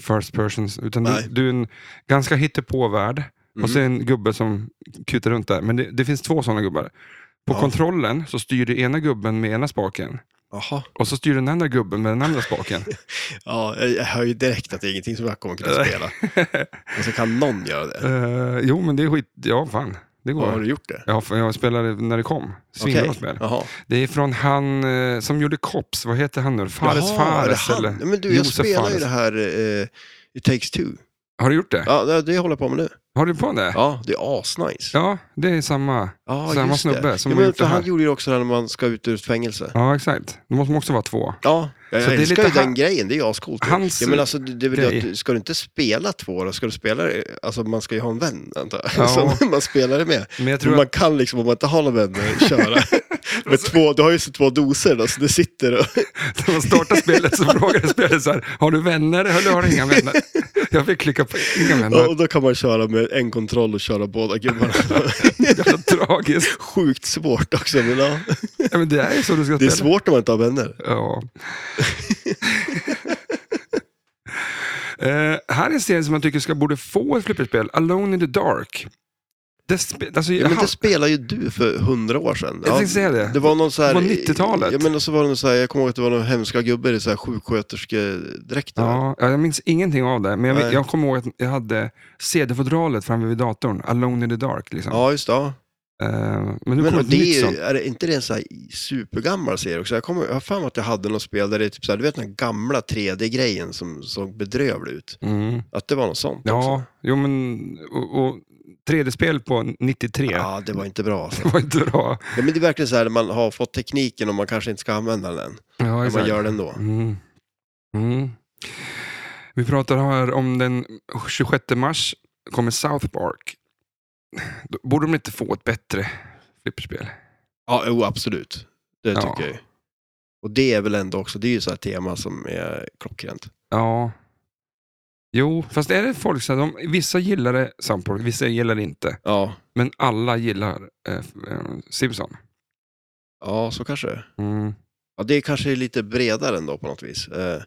[SPEAKER 1] first person, utan du,
[SPEAKER 2] Nej. Mm.
[SPEAKER 1] du är en ganska hittepåvärld. Och så är det en gubbe som kutar runt där. Men det, det finns två sådana gubbar. På
[SPEAKER 2] Ja.
[SPEAKER 1] kontrollen så styr du ena gubben med ena spaken.
[SPEAKER 2] Jaha.
[SPEAKER 1] Och så styr den andra gubben med den andra
[SPEAKER 2] [laughs]
[SPEAKER 1] spaken.
[SPEAKER 2] Ja, jag- jag hör ju direkt att det är ingenting som jag kommer kunna spela. Men så kan någon göra det.
[SPEAKER 1] Eh, jo, men det är skit... Ja, fan. Det
[SPEAKER 2] Ja, har
[SPEAKER 1] går.
[SPEAKER 2] du gjort det?
[SPEAKER 1] Ja, för jag spelade när det kom. Svinbra
[SPEAKER 2] Okej.
[SPEAKER 1] spel.
[SPEAKER 2] Jaha.
[SPEAKER 1] Det är från han eh, som gjorde Cops. Vad heter han nu? Fares
[SPEAKER 2] Jaha, är det
[SPEAKER 1] Fares?
[SPEAKER 2] han?
[SPEAKER 1] Eller?
[SPEAKER 2] Ja, men du, jag
[SPEAKER 1] Josef
[SPEAKER 2] spelar ju
[SPEAKER 1] Fares.
[SPEAKER 2] det här eh, It takes two.
[SPEAKER 1] Har du gjort det?
[SPEAKER 2] Ja, det, det håller jag på med nu.
[SPEAKER 1] Har du på det?
[SPEAKER 2] Ja, det är asnice.
[SPEAKER 1] Ja, det är samma.
[SPEAKER 2] Ja,
[SPEAKER 1] samma
[SPEAKER 2] just det.
[SPEAKER 1] snubbe som
[SPEAKER 2] ja,
[SPEAKER 1] har
[SPEAKER 2] men,
[SPEAKER 1] gjort
[SPEAKER 2] för
[SPEAKER 1] det här.
[SPEAKER 2] Han gjorde ju också det när man ska ut ur ett fängelse.
[SPEAKER 1] Ja, exakt. Då måste man också vara två.
[SPEAKER 2] Ja, jag
[SPEAKER 1] Så det är
[SPEAKER 2] älskar
[SPEAKER 1] lite
[SPEAKER 2] ju den
[SPEAKER 1] han-
[SPEAKER 2] grejen. Det är ju ascoolt.
[SPEAKER 1] Hans-
[SPEAKER 2] Ja, men alltså, det, det är väl det
[SPEAKER 1] grej.
[SPEAKER 2] att, du- ska du inte spela två då? Ska du spela det? Alltså man ska ju ha en vän antar jag.
[SPEAKER 1] Ja.
[SPEAKER 2] [laughs] Som man spelar det med.
[SPEAKER 1] Men jag tror
[SPEAKER 2] man
[SPEAKER 1] att...
[SPEAKER 2] kan liksom om man inte har någon vän
[SPEAKER 1] [laughs]
[SPEAKER 2] eh, köra. med två, du har ju så två doser då, så du sitter och...
[SPEAKER 1] När man startar spelet
[SPEAKER 2] [laughs]
[SPEAKER 1] så frågade spelet så här, har du vänner eller har du inga vänner? Jag fick klicka på inga
[SPEAKER 2] Ja,
[SPEAKER 1] vänner.
[SPEAKER 2] och då kan man köra med en kontroll och köra båda gubbarna. [laughs]
[SPEAKER 1] Jävla tragiskt.
[SPEAKER 2] Sjukt svårt också. Men ja.
[SPEAKER 1] Ja, men det är ju så du ska
[SPEAKER 2] Det är
[SPEAKER 1] spela.
[SPEAKER 2] svårt när man inte har vänner.
[SPEAKER 1] Ja. Eh, här är en serie som man tycker ska borde få ett flipperspel, Alone in the Dark. Det, spe, alltså,
[SPEAKER 2] Ja, men
[SPEAKER 1] han-
[SPEAKER 2] det spelade ju du för hundra år sedan.
[SPEAKER 1] Jag tänkte säga det.
[SPEAKER 2] Det var någon så här...
[SPEAKER 1] Det var 90-talet.
[SPEAKER 2] Ja, men och så var det någon så här, jag kommer ihåg att det var någon hemska gubbe i så här sjuksköterskedräkt.
[SPEAKER 1] ja, jag minns ingenting av det, men jag,
[SPEAKER 2] Nej.
[SPEAKER 1] jag kommer ihåg att jag hade CD-fodralet framme vid datorn, Alone in the Dark. Liksom.
[SPEAKER 2] ja, just det. Ja.
[SPEAKER 1] Eh, men nu
[SPEAKER 2] Men
[SPEAKER 1] kommer
[SPEAKER 2] och
[SPEAKER 1] ett nytt
[SPEAKER 2] det är,
[SPEAKER 1] sånt.
[SPEAKER 2] ju- är det inte det en så här supergammal serie också? Jag kommer jag har för mig att jag hade något spel där det är typ så här, du vet den här gamla 3D-grejen som såg bedrövlig ut.
[SPEAKER 1] Mm.
[SPEAKER 2] Att det var något sånt
[SPEAKER 1] Ja,
[SPEAKER 2] också.
[SPEAKER 1] jo men och, och 3D-spel på 93
[SPEAKER 2] Ja, det var inte bra.
[SPEAKER 1] [laughs]
[SPEAKER 2] Alltså.
[SPEAKER 1] det var inte bra.
[SPEAKER 2] Ja, men det är verkligen så här, man har fått tekniken och man kanske inte ska använda den än.
[SPEAKER 1] Ja,
[SPEAKER 2] Men man
[SPEAKER 1] exakt.
[SPEAKER 2] gör den då.
[SPEAKER 1] Mm. Mm. Vi pratar här om den 26 mars kommer South Park. Då Borde de inte få ett bättre flipperspel?
[SPEAKER 2] Ja, jo, absolut. Det
[SPEAKER 1] Ja.
[SPEAKER 2] tycker jag ju. Och det är väl ändå också, det är ju så här tema som är klockrent.
[SPEAKER 1] Ja. Jo, fast är det folk som, de, vissa gillar det, South Park, vissa gillar det inte.
[SPEAKER 2] Ja,
[SPEAKER 1] Men alla gillar eh, f- eh, Simpson.
[SPEAKER 2] ja så kanske det är.
[SPEAKER 1] Mm.
[SPEAKER 2] Ja, det kanske är lite bredare ändå på något vis. Eh,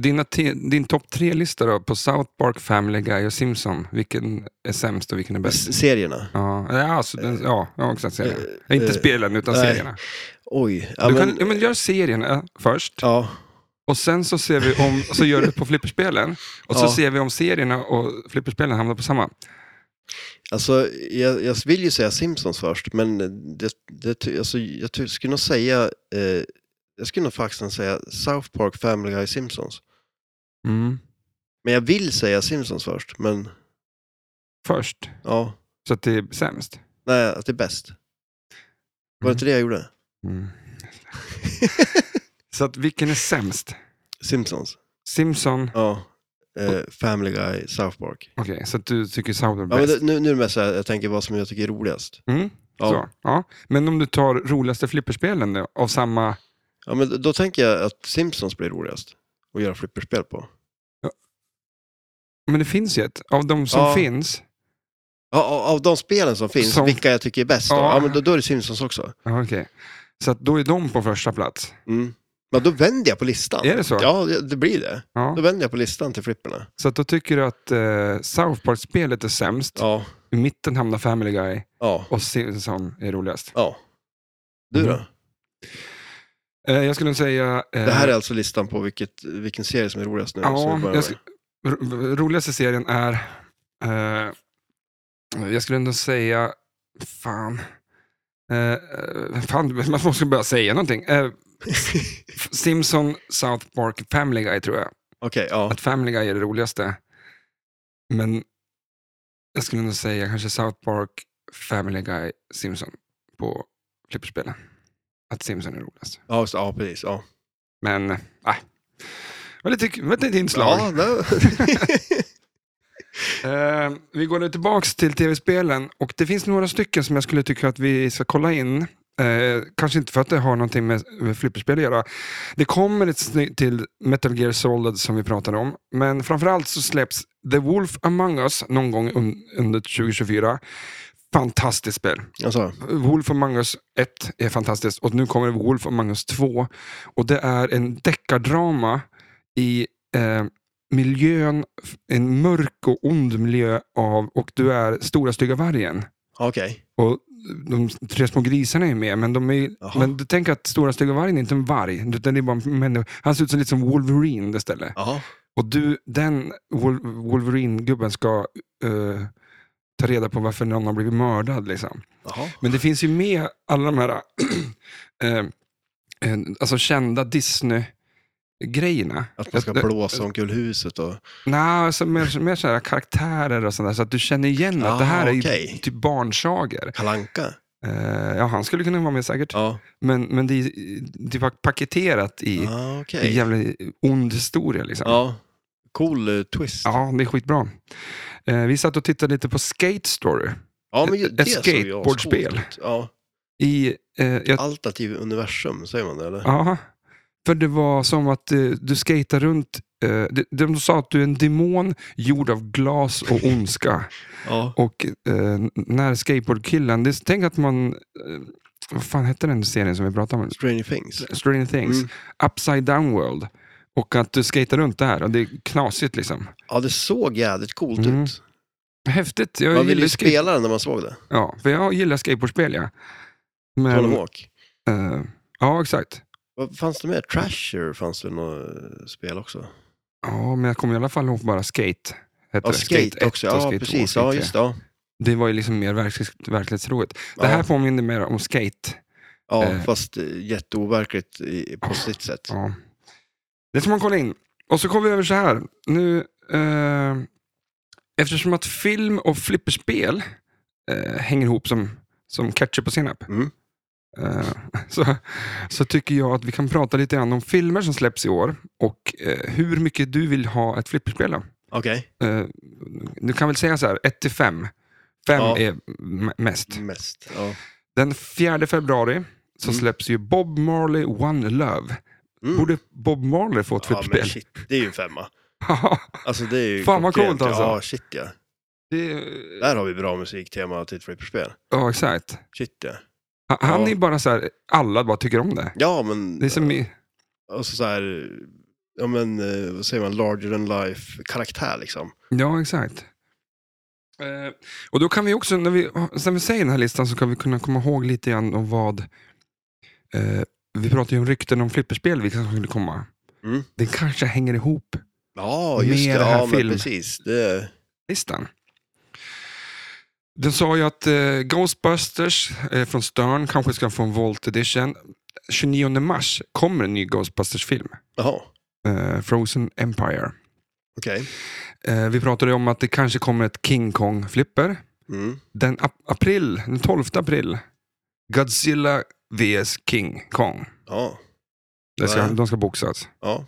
[SPEAKER 1] Dina te, din topp tre-lista då, på South Park, Family Guy och Simpson. Vilken är sämst och vilken är bäst?
[SPEAKER 2] s- serierna.
[SPEAKER 1] Ja, ja, alltså, den, ja, ja exakt. Serien.
[SPEAKER 2] Eh,
[SPEAKER 1] Inte
[SPEAKER 2] eh,
[SPEAKER 1] spelen, utan
[SPEAKER 2] nej.
[SPEAKER 1] serierna.
[SPEAKER 2] Oj. Ja,
[SPEAKER 1] du
[SPEAKER 2] men,
[SPEAKER 1] kan, ja, men gör serien eh, först
[SPEAKER 2] ja,
[SPEAKER 1] och sen så ser vi om, så gör du på flipperspelen och så
[SPEAKER 2] Ja.
[SPEAKER 1] ser vi om serierna och flipperspelen hamnar på samma.
[SPEAKER 2] Alltså, jag, jag vill ju säga Simpsons först, men det, det, ty- alltså, jag ty- skulle nog säga, eh, jag skulle nog faktiskt säga South Park, Family Guy, Simpsons. Mm. Men jag vill säga Simpsons först, men
[SPEAKER 1] Först,
[SPEAKER 2] ja,
[SPEAKER 1] så att det är sämst.
[SPEAKER 2] nej, att det är bäst. Var det inte
[SPEAKER 1] Mm.
[SPEAKER 2] det jag gjorde? Mm.
[SPEAKER 1] [laughs] så att vilken är sämst?
[SPEAKER 2] Simpsons,
[SPEAKER 1] Simpson,
[SPEAKER 2] ja. Eh, Family Guy, South Park.
[SPEAKER 1] okej, så att du tycker South är
[SPEAKER 2] Ja, men
[SPEAKER 1] bäst.
[SPEAKER 2] det, nu, nu är det mest så här, jag tänker vad som jag tycker är roligast.
[SPEAKER 1] Mm,
[SPEAKER 2] Ja.
[SPEAKER 1] Så, ja. Men om du tar roligaste flipperspelen då, av samma...
[SPEAKER 2] Ja, men då tänker jag att Simpsons blir roligast att göra flipperspel på.
[SPEAKER 1] Men det finns ju ett, av de som
[SPEAKER 2] Ja.
[SPEAKER 1] finns.
[SPEAKER 2] Ja, av- av de spelen som finns,
[SPEAKER 1] Som-
[SPEAKER 2] vilka jag tycker är bäst, då,
[SPEAKER 1] Ja.
[SPEAKER 2] ja. men då, då är det Simpsons också.
[SPEAKER 1] Ja, okej. Så att då är de på första plats.
[SPEAKER 2] Mm. Men då vänder jag på listan.
[SPEAKER 1] Är det så?
[SPEAKER 2] Ja, det det blir det.
[SPEAKER 1] Ja.
[SPEAKER 2] Då vänder jag på listan till flipperna.
[SPEAKER 1] Så att då tycker du att eh, South Park-spelet är sämst,
[SPEAKER 2] Ja,
[SPEAKER 1] i mitten hamnar Family Guy
[SPEAKER 2] ja,
[SPEAKER 1] och Simpson är roligast.
[SPEAKER 2] ja. Du då?
[SPEAKER 1] Mm. Eh, jag skulle säga... eh,
[SPEAKER 2] Det här är alltså listan på vilket, vilken serie som är roligast nu. så vi
[SPEAKER 1] Ja,
[SPEAKER 2] börjar
[SPEAKER 1] jag
[SPEAKER 2] med.
[SPEAKER 1] sk- ro- roligaste serien är... Eh, jag skulle ändå säga... Fan. Eh, eh, fan, [laughs] man måste börja säga någonting. Eh, Simpson, South Park, Family Guy tror jag.
[SPEAKER 2] [laughs] Okej, ja.
[SPEAKER 1] Att Family Guy är det roligaste. Men jag skulle nog säga kanske South Park, Family Guy, Simpson på flipperspelen. Att Simpson är roligast.
[SPEAKER 2] Ja, just, ja, precis. Ja.
[SPEAKER 1] Men, äh. Var lite, var lite inslag.
[SPEAKER 2] Ja, nej. [laughs]
[SPEAKER 1] Eh, vi går nu tillbaka till tv-spelen och det finns några stycken som jag skulle tycka att vi ska kolla in. Eh, kanske inte för att det har någonting med, med flipperspel att göra. Det kommer ett sny- till Metal Gear Solid som vi pratade om, men framförallt så släpps The Wolf Among Us någon gång un, under 2024. Fantastiskt spel.
[SPEAKER 2] alltså,
[SPEAKER 1] Wolf Among Us 1 är fantastiskt och nu kommer Wolf Among Us 2. Och det är en deckardrama i eh, miljön, en mörk och ond miljö av, och du är stora stygga vargen.
[SPEAKER 2] Okej.
[SPEAKER 1] Och de tre små grisarna är med, men, de är,
[SPEAKER 2] Jaha.
[SPEAKER 1] men du tänker att stora stygga vargen är inte en varg. Utan det är bara en människa. Han ser ut som lite som Wolverine istället.
[SPEAKER 2] Jaha.
[SPEAKER 1] Och du, den Wol- Wolverine-gubben ska eh, ta reda på varför någon har blivit mördad. Liksom.
[SPEAKER 2] Jaha.
[SPEAKER 1] Men det finns ju med alla de här [clears throat] eh, eh, alltså kända Disney-grejerna.
[SPEAKER 2] Att man ska
[SPEAKER 1] Jag-
[SPEAKER 2] blåsa omkull huset och...
[SPEAKER 1] Nej, alltså mer, mer så här karaktärer och sånt där, så att du känner igen att
[SPEAKER 2] Ah,
[SPEAKER 1] det här är
[SPEAKER 2] okej.
[SPEAKER 1] typ barnsager.
[SPEAKER 2] Kalanka?
[SPEAKER 1] Eh, ja, han skulle kunna vara med säkert.
[SPEAKER 2] Ja.
[SPEAKER 1] Men, men det är typ paketerat i
[SPEAKER 2] Ah, Okej.
[SPEAKER 1] i en jävla ond historia. Liksom. Ja.
[SPEAKER 2] Ja. Cool eh, twist. Ja,
[SPEAKER 1] det är skitbra. Eh, vi satt och tittade lite på Skate Story.
[SPEAKER 2] men ju
[SPEAKER 1] ett-
[SPEAKER 2] det
[SPEAKER 1] ett
[SPEAKER 2] såg ju
[SPEAKER 1] skateboardspel.
[SPEAKER 2] ascoolt ut. Ja.
[SPEAKER 1] I, eh, jag,
[SPEAKER 2] Alternativ universum, säger man det eller?
[SPEAKER 1] ja, för det var som att eh, du skatar runt. Eh, de, de sa att du är en demon gjord av glas
[SPEAKER 2] [laughs]
[SPEAKER 1] och ondska.
[SPEAKER 2] Ja.
[SPEAKER 1] Och eh, när skateboardkillen, det, tänk att man, eh, vad fan hette den serien som vi pratade om?
[SPEAKER 2] Stranger Things.
[SPEAKER 1] Stranger Things,
[SPEAKER 2] Mm.
[SPEAKER 1] Upside Down World. Och att du skater runt där och det är knasigt liksom.
[SPEAKER 2] Ja, det såg jädrigt coolt
[SPEAKER 1] Mm.
[SPEAKER 2] ut.
[SPEAKER 1] Häftigt, jag
[SPEAKER 2] Man ville
[SPEAKER 1] gillar
[SPEAKER 2] ju
[SPEAKER 1] skate.
[SPEAKER 2] spela den när man såg det.
[SPEAKER 1] Ja, för jag gillar skateboardspel ja.
[SPEAKER 2] Tony
[SPEAKER 1] Men,
[SPEAKER 2] Hawk.
[SPEAKER 1] eh, ja, exakt.
[SPEAKER 2] Vad fanns det mer? Trasher fanns det något eh, spel också?
[SPEAKER 1] Ja, men jag kommer i alla fall ihåg bara Skate. Heter
[SPEAKER 2] Ja,
[SPEAKER 1] det.
[SPEAKER 2] skate,
[SPEAKER 1] ett
[SPEAKER 2] också.
[SPEAKER 1] och
[SPEAKER 2] Ja,
[SPEAKER 1] skate två,
[SPEAKER 2] precis.
[SPEAKER 1] skate
[SPEAKER 2] Ja,
[SPEAKER 1] tre.
[SPEAKER 2] just det. Ja.
[SPEAKER 1] Det var ju liksom mer verklighets- verklighetstroget.
[SPEAKER 2] Ja.
[SPEAKER 1] Det här påminner mer om Skate.
[SPEAKER 2] Ja,
[SPEAKER 1] Eh.
[SPEAKER 2] fast eh, jätteoverkligt i- på sitt sätt.
[SPEAKER 1] Ja. Det får man kolla in. Och så kommer vi över så här. Nu, eh, eftersom att film och flipperspel eh, hänger ihop som, som ketchup och senap.
[SPEAKER 2] Mm.
[SPEAKER 1] Eh, [laughs] så, så tycker jag att vi kan prata lite grann om filmer som släpps i år och eh, hur mycket du vill ha ett flipperspel av.
[SPEAKER 2] Okej,
[SPEAKER 1] Eh, du kan väl säga så här, 1 till 5. 5
[SPEAKER 2] Ja.
[SPEAKER 1] är m- mest.
[SPEAKER 2] mest. Ja.
[SPEAKER 1] Den 4 februari så
[SPEAKER 2] Mm.
[SPEAKER 1] släpps ju Bob Marley One Love.
[SPEAKER 2] Mm.
[SPEAKER 1] Borde Bob Marley få ett
[SPEAKER 2] ja, men
[SPEAKER 1] [laughs] flipperspel?
[SPEAKER 2] shit, det är ju en femma. Alltså det är ju
[SPEAKER 1] Fan, vad
[SPEAKER 2] klockrent.
[SPEAKER 1] coolt, alltså.
[SPEAKER 2] Ja, shit ja.
[SPEAKER 1] det,
[SPEAKER 2] Där har vi bra musiktema till ett flipperspel.
[SPEAKER 1] ja, exakt.
[SPEAKER 2] Shit ja.
[SPEAKER 1] Ha- Han
[SPEAKER 2] Ja.
[SPEAKER 1] är ju bara så här, alla bara tycker om det.
[SPEAKER 2] Ja, men...
[SPEAKER 1] Det är som i,
[SPEAKER 2] Och Alltså så så här, ja men eh, vad säger man, larger than life karaktär liksom.
[SPEAKER 1] ja, exakt. Eh, och då kan vi också, när vi, sen vi säger den här listan så kan vi kunna komma ihåg lite grann om vad... Eh, vi pratade ju om rykten om flipperspel, vilka som skulle komma.
[SPEAKER 2] Mm.
[SPEAKER 1] Det kanske hänger ihop
[SPEAKER 2] Ja, just
[SPEAKER 1] Mer
[SPEAKER 2] det.
[SPEAKER 1] det här
[SPEAKER 2] Ja, men
[SPEAKER 1] film.
[SPEAKER 2] precis. Det,
[SPEAKER 1] listan. Den sa ju att eh, Ghostbusters eh, från Stern kanske ska få en Volt Edition. 29 mars kommer en ny Ghostbusters-film.
[SPEAKER 2] jaha,
[SPEAKER 1] Eh, Frozen Empire.
[SPEAKER 2] okej.
[SPEAKER 1] Eh, vi pratade om att det kanske kommer ett King Kong-flipper.
[SPEAKER 2] Mm.
[SPEAKER 1] Den, ap- april, den 12 april, Godzilla vs King Kong.
[SPEAKER 2] Ja,
[SPEAKER 1] Det ska,
[SPEAKER 2] Ja.
[SPEAKER 1] De ska boxas.
[SPEAKER 2] ja.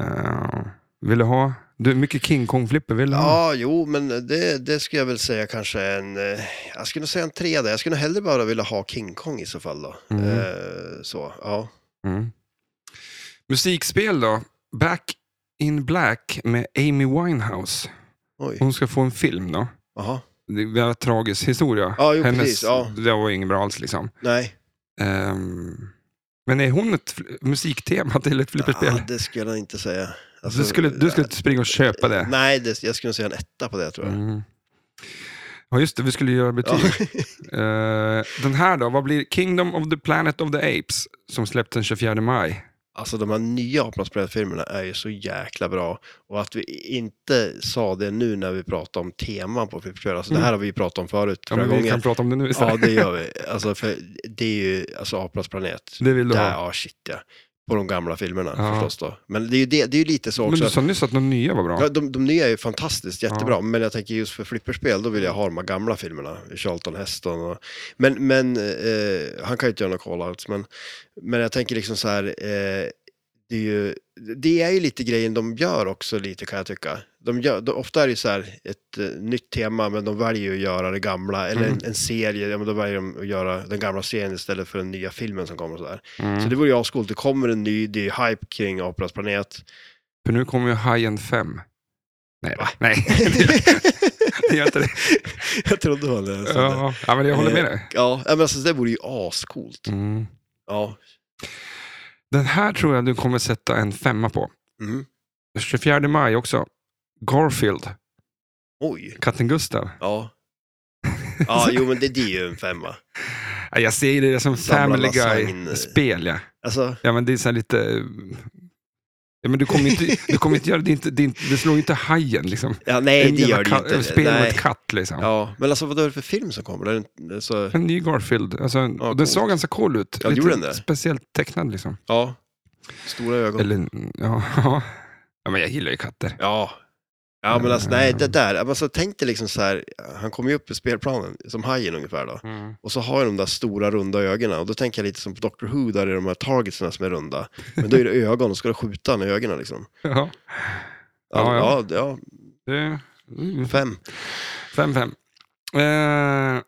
[SPEAKER 1] Eh, vill du ha? Du, mycket King Kong-flipper vill du ha?
[SPEAKER 2] Ja, jo, men det, det skulle jag väl säga kanske en... eh, Jag skulle nog säga en trea där. Jag skulle nog hellre bara vilja ha King Kong i så fall då.
[SPEAKER 1] Mm.
[SPEAKER 2] Eh, så, ja.
[SPEAKER 1] Mm. Musikspel då? Back in Black med Amy Winehouse.
[SPEAKER 2] Oj,
[SPEAKER 1] Hon ska få en film då.
[SPEAKER 2] jaha.
[SPEAKER 1] Det är en väldigt tragisk historia.
[SPEAKER 2] Ja, jo, precis, ja.
[SPEAKER 1] Det var ju inget bra alls liksom.
[SPEAKER 2] Nej.
[SPEAKER 1] Ehm, men är hon ett fl- musiktema [laughs] till ett flipperspel?
[SPEAKER 2] Ja, det skulle jag inte säga. Alltså,
[SPEAKER 1] du, skulle, du skulle springa och köpa det?
[SPEAKER 2] Nej, det, jag skulle nog säga en etta på det tror jag.
[SPEAKER 1] Mm. Ja, just det. Vi skulle göra betyg.
[SPEAKER 2] Ja.
[SPEAKER 1] [laughs] Eh, den här då? Vad blir Kingdom of the Planet of the Apes som släpptes den 24 maj?
[SPEAKER 2] Alltså de här nya Apornas bröd-filmerna är ju så jäkla bra. Och att vi inte sa det nu när vi pratade om teman på flipperspel. Alltså det här har vi ju pratat om förut
[SPEAKER 1] Mm. Ja,
[SPEAKER 2] flera
[SPEAKER 1] men vi kan
[SPEAKER 2] gånger.
[SPEAKER 1] prata om det nu istället.
[SPEAKER 2] Ja, det gör vi. Alltså för det är ju alltså Apornas planet.
[SPEAKER 1] Det vill du
[SPEAKER 2] Där,
[SPEAKER 1] ha.
[SPEAKER 2] ja, shit ja. På de gamla filmerna
[SPEAKER 1] Ja.
[SPEAKER 2] förstås då. Men det är ju, det, det är ju lite så
[SPEAKER 1] Men
[SPEAKER 2] också.
[SPEAKER 1] du sa nyss att de nya var bra.
[SPEAKER 2] Ja, de, de nya är ju fantastiskt, jättebra. Men jag tänker just för flipperspel, då vill jag ha de här gamla filmerna. Charlton Heston och... Men, men eh, han kan ju inte göra några call-outs. Men, men jag tänker liksom så här, eh, det, är ju, det är ju lite grejen de gör också lite kan jag tycka. De gör, de, ofta är det ju så här ett eh, nytt tema, men de väljer ju att göra det gamla. Eller en, en serie, ja, men då väljer de att göra den gamla serien istället för den nya filmen som kommer. Och så, där.
[SPEAKER 1] Mm.
[SPEAKER 2] så det vore ju ascoolt. Det kommer en ny, det är ju hype kring Apornas planet.
[SPEAKER 1] För nu kommer ju High-End 5. Nej,
[SPEAKER 2] Va? [laughs]
[SPEAKER 1] nej. det gör inte det.
[SPEAKER 2] jag trodde det var det. jag sa det.
[SPEAKER 1] Ja, ja, men jag håller med dig.
[SPEAKER 2] Ja, ja, men alltså det vore ju ascoolt.
[SPEAKER 1] Mm.
[SPEAKER 2] Ja.
[SPEAKER 1] Den här tror jag du kommer sätta en femma på.
[SPEAKER 2] Mm.
[SPEAKER 1] 24 maj också. Garfield,
[SPEAKER 2] Oj.
[SPEAKER 1] [laughs] katten Gustav.
[SPEAKER 2] Ja. Ja, jo men det, det är ju en femma.
[SPEAKER 1] Ja, Jag ser det som
[SPEAKER 2] Samla
[SPEAKER 1] Family
[SPEAKER 2] lasagne.
[SPEAKER 1] Guy-spel, ja.
[SPEAKER 2] Alltså,
[SPEAKER 1] ja men det är så här lite... eh, Ja, men du kommer ju inte, du kommer inte göra det, är inte, det, är inte, det slår ju inte hajen liksom.
[SPEAKER 2] ja, nej
[SPEAKER 1] En
[SPEAKER 2] det
[SPEAKER 1] jävla
[SPEAKER 2] gör det
[SPEAKER 1] katt-
[SPEAKER 2] ju inte.
[SPEAKER 1] Spel med
[SPEAKER 2] nej.
[SPEAKER 1] ett katt liksom.
[SPEAKER 2] Ja, men alltså vad är det för film som kommer? Är det inte- Så,
[SPEAKER 1] En ny Garfield. Alltså, och den
[SPEAKER 2] coolt.
[SPEAKER 1] såg ganska cool ut.
[SPEAKER 2] Ja, det gjorde den det.
[SPEAKER 1] speciellt tecknad liksom.
[SPEAKER 2] ja, stora ögon.
[SPEAKER 1] Eller, ja, ja. ja, men jag gillar ju katter.
[SPEAKER 2] Ja. Ja, men alltså
[SPEAKER 1] Mm.
[SPEAKER 2] nej, det där. Alltså, tänk dig liksom så här, han kommer ju upp i spelplanen, som hajen ungefär då. Och så har jag de där stora runda ögonen. Och då tänker jag lite som på Doctor Who, där det är de här targetsen som är runda. Men då är det ögon, och ska du skjuta han i ögonen liksom.
[SPEAKER 1] Ja,
[SPEAKER 2] Ja,
[SPEAKER 1] Ja,
[SPEAKER 2] ja. ja,
[SPEAKER 1] det, mm,
[SPEAKER 2] fem.
[SPEAKER 1] fem, fem. Eh,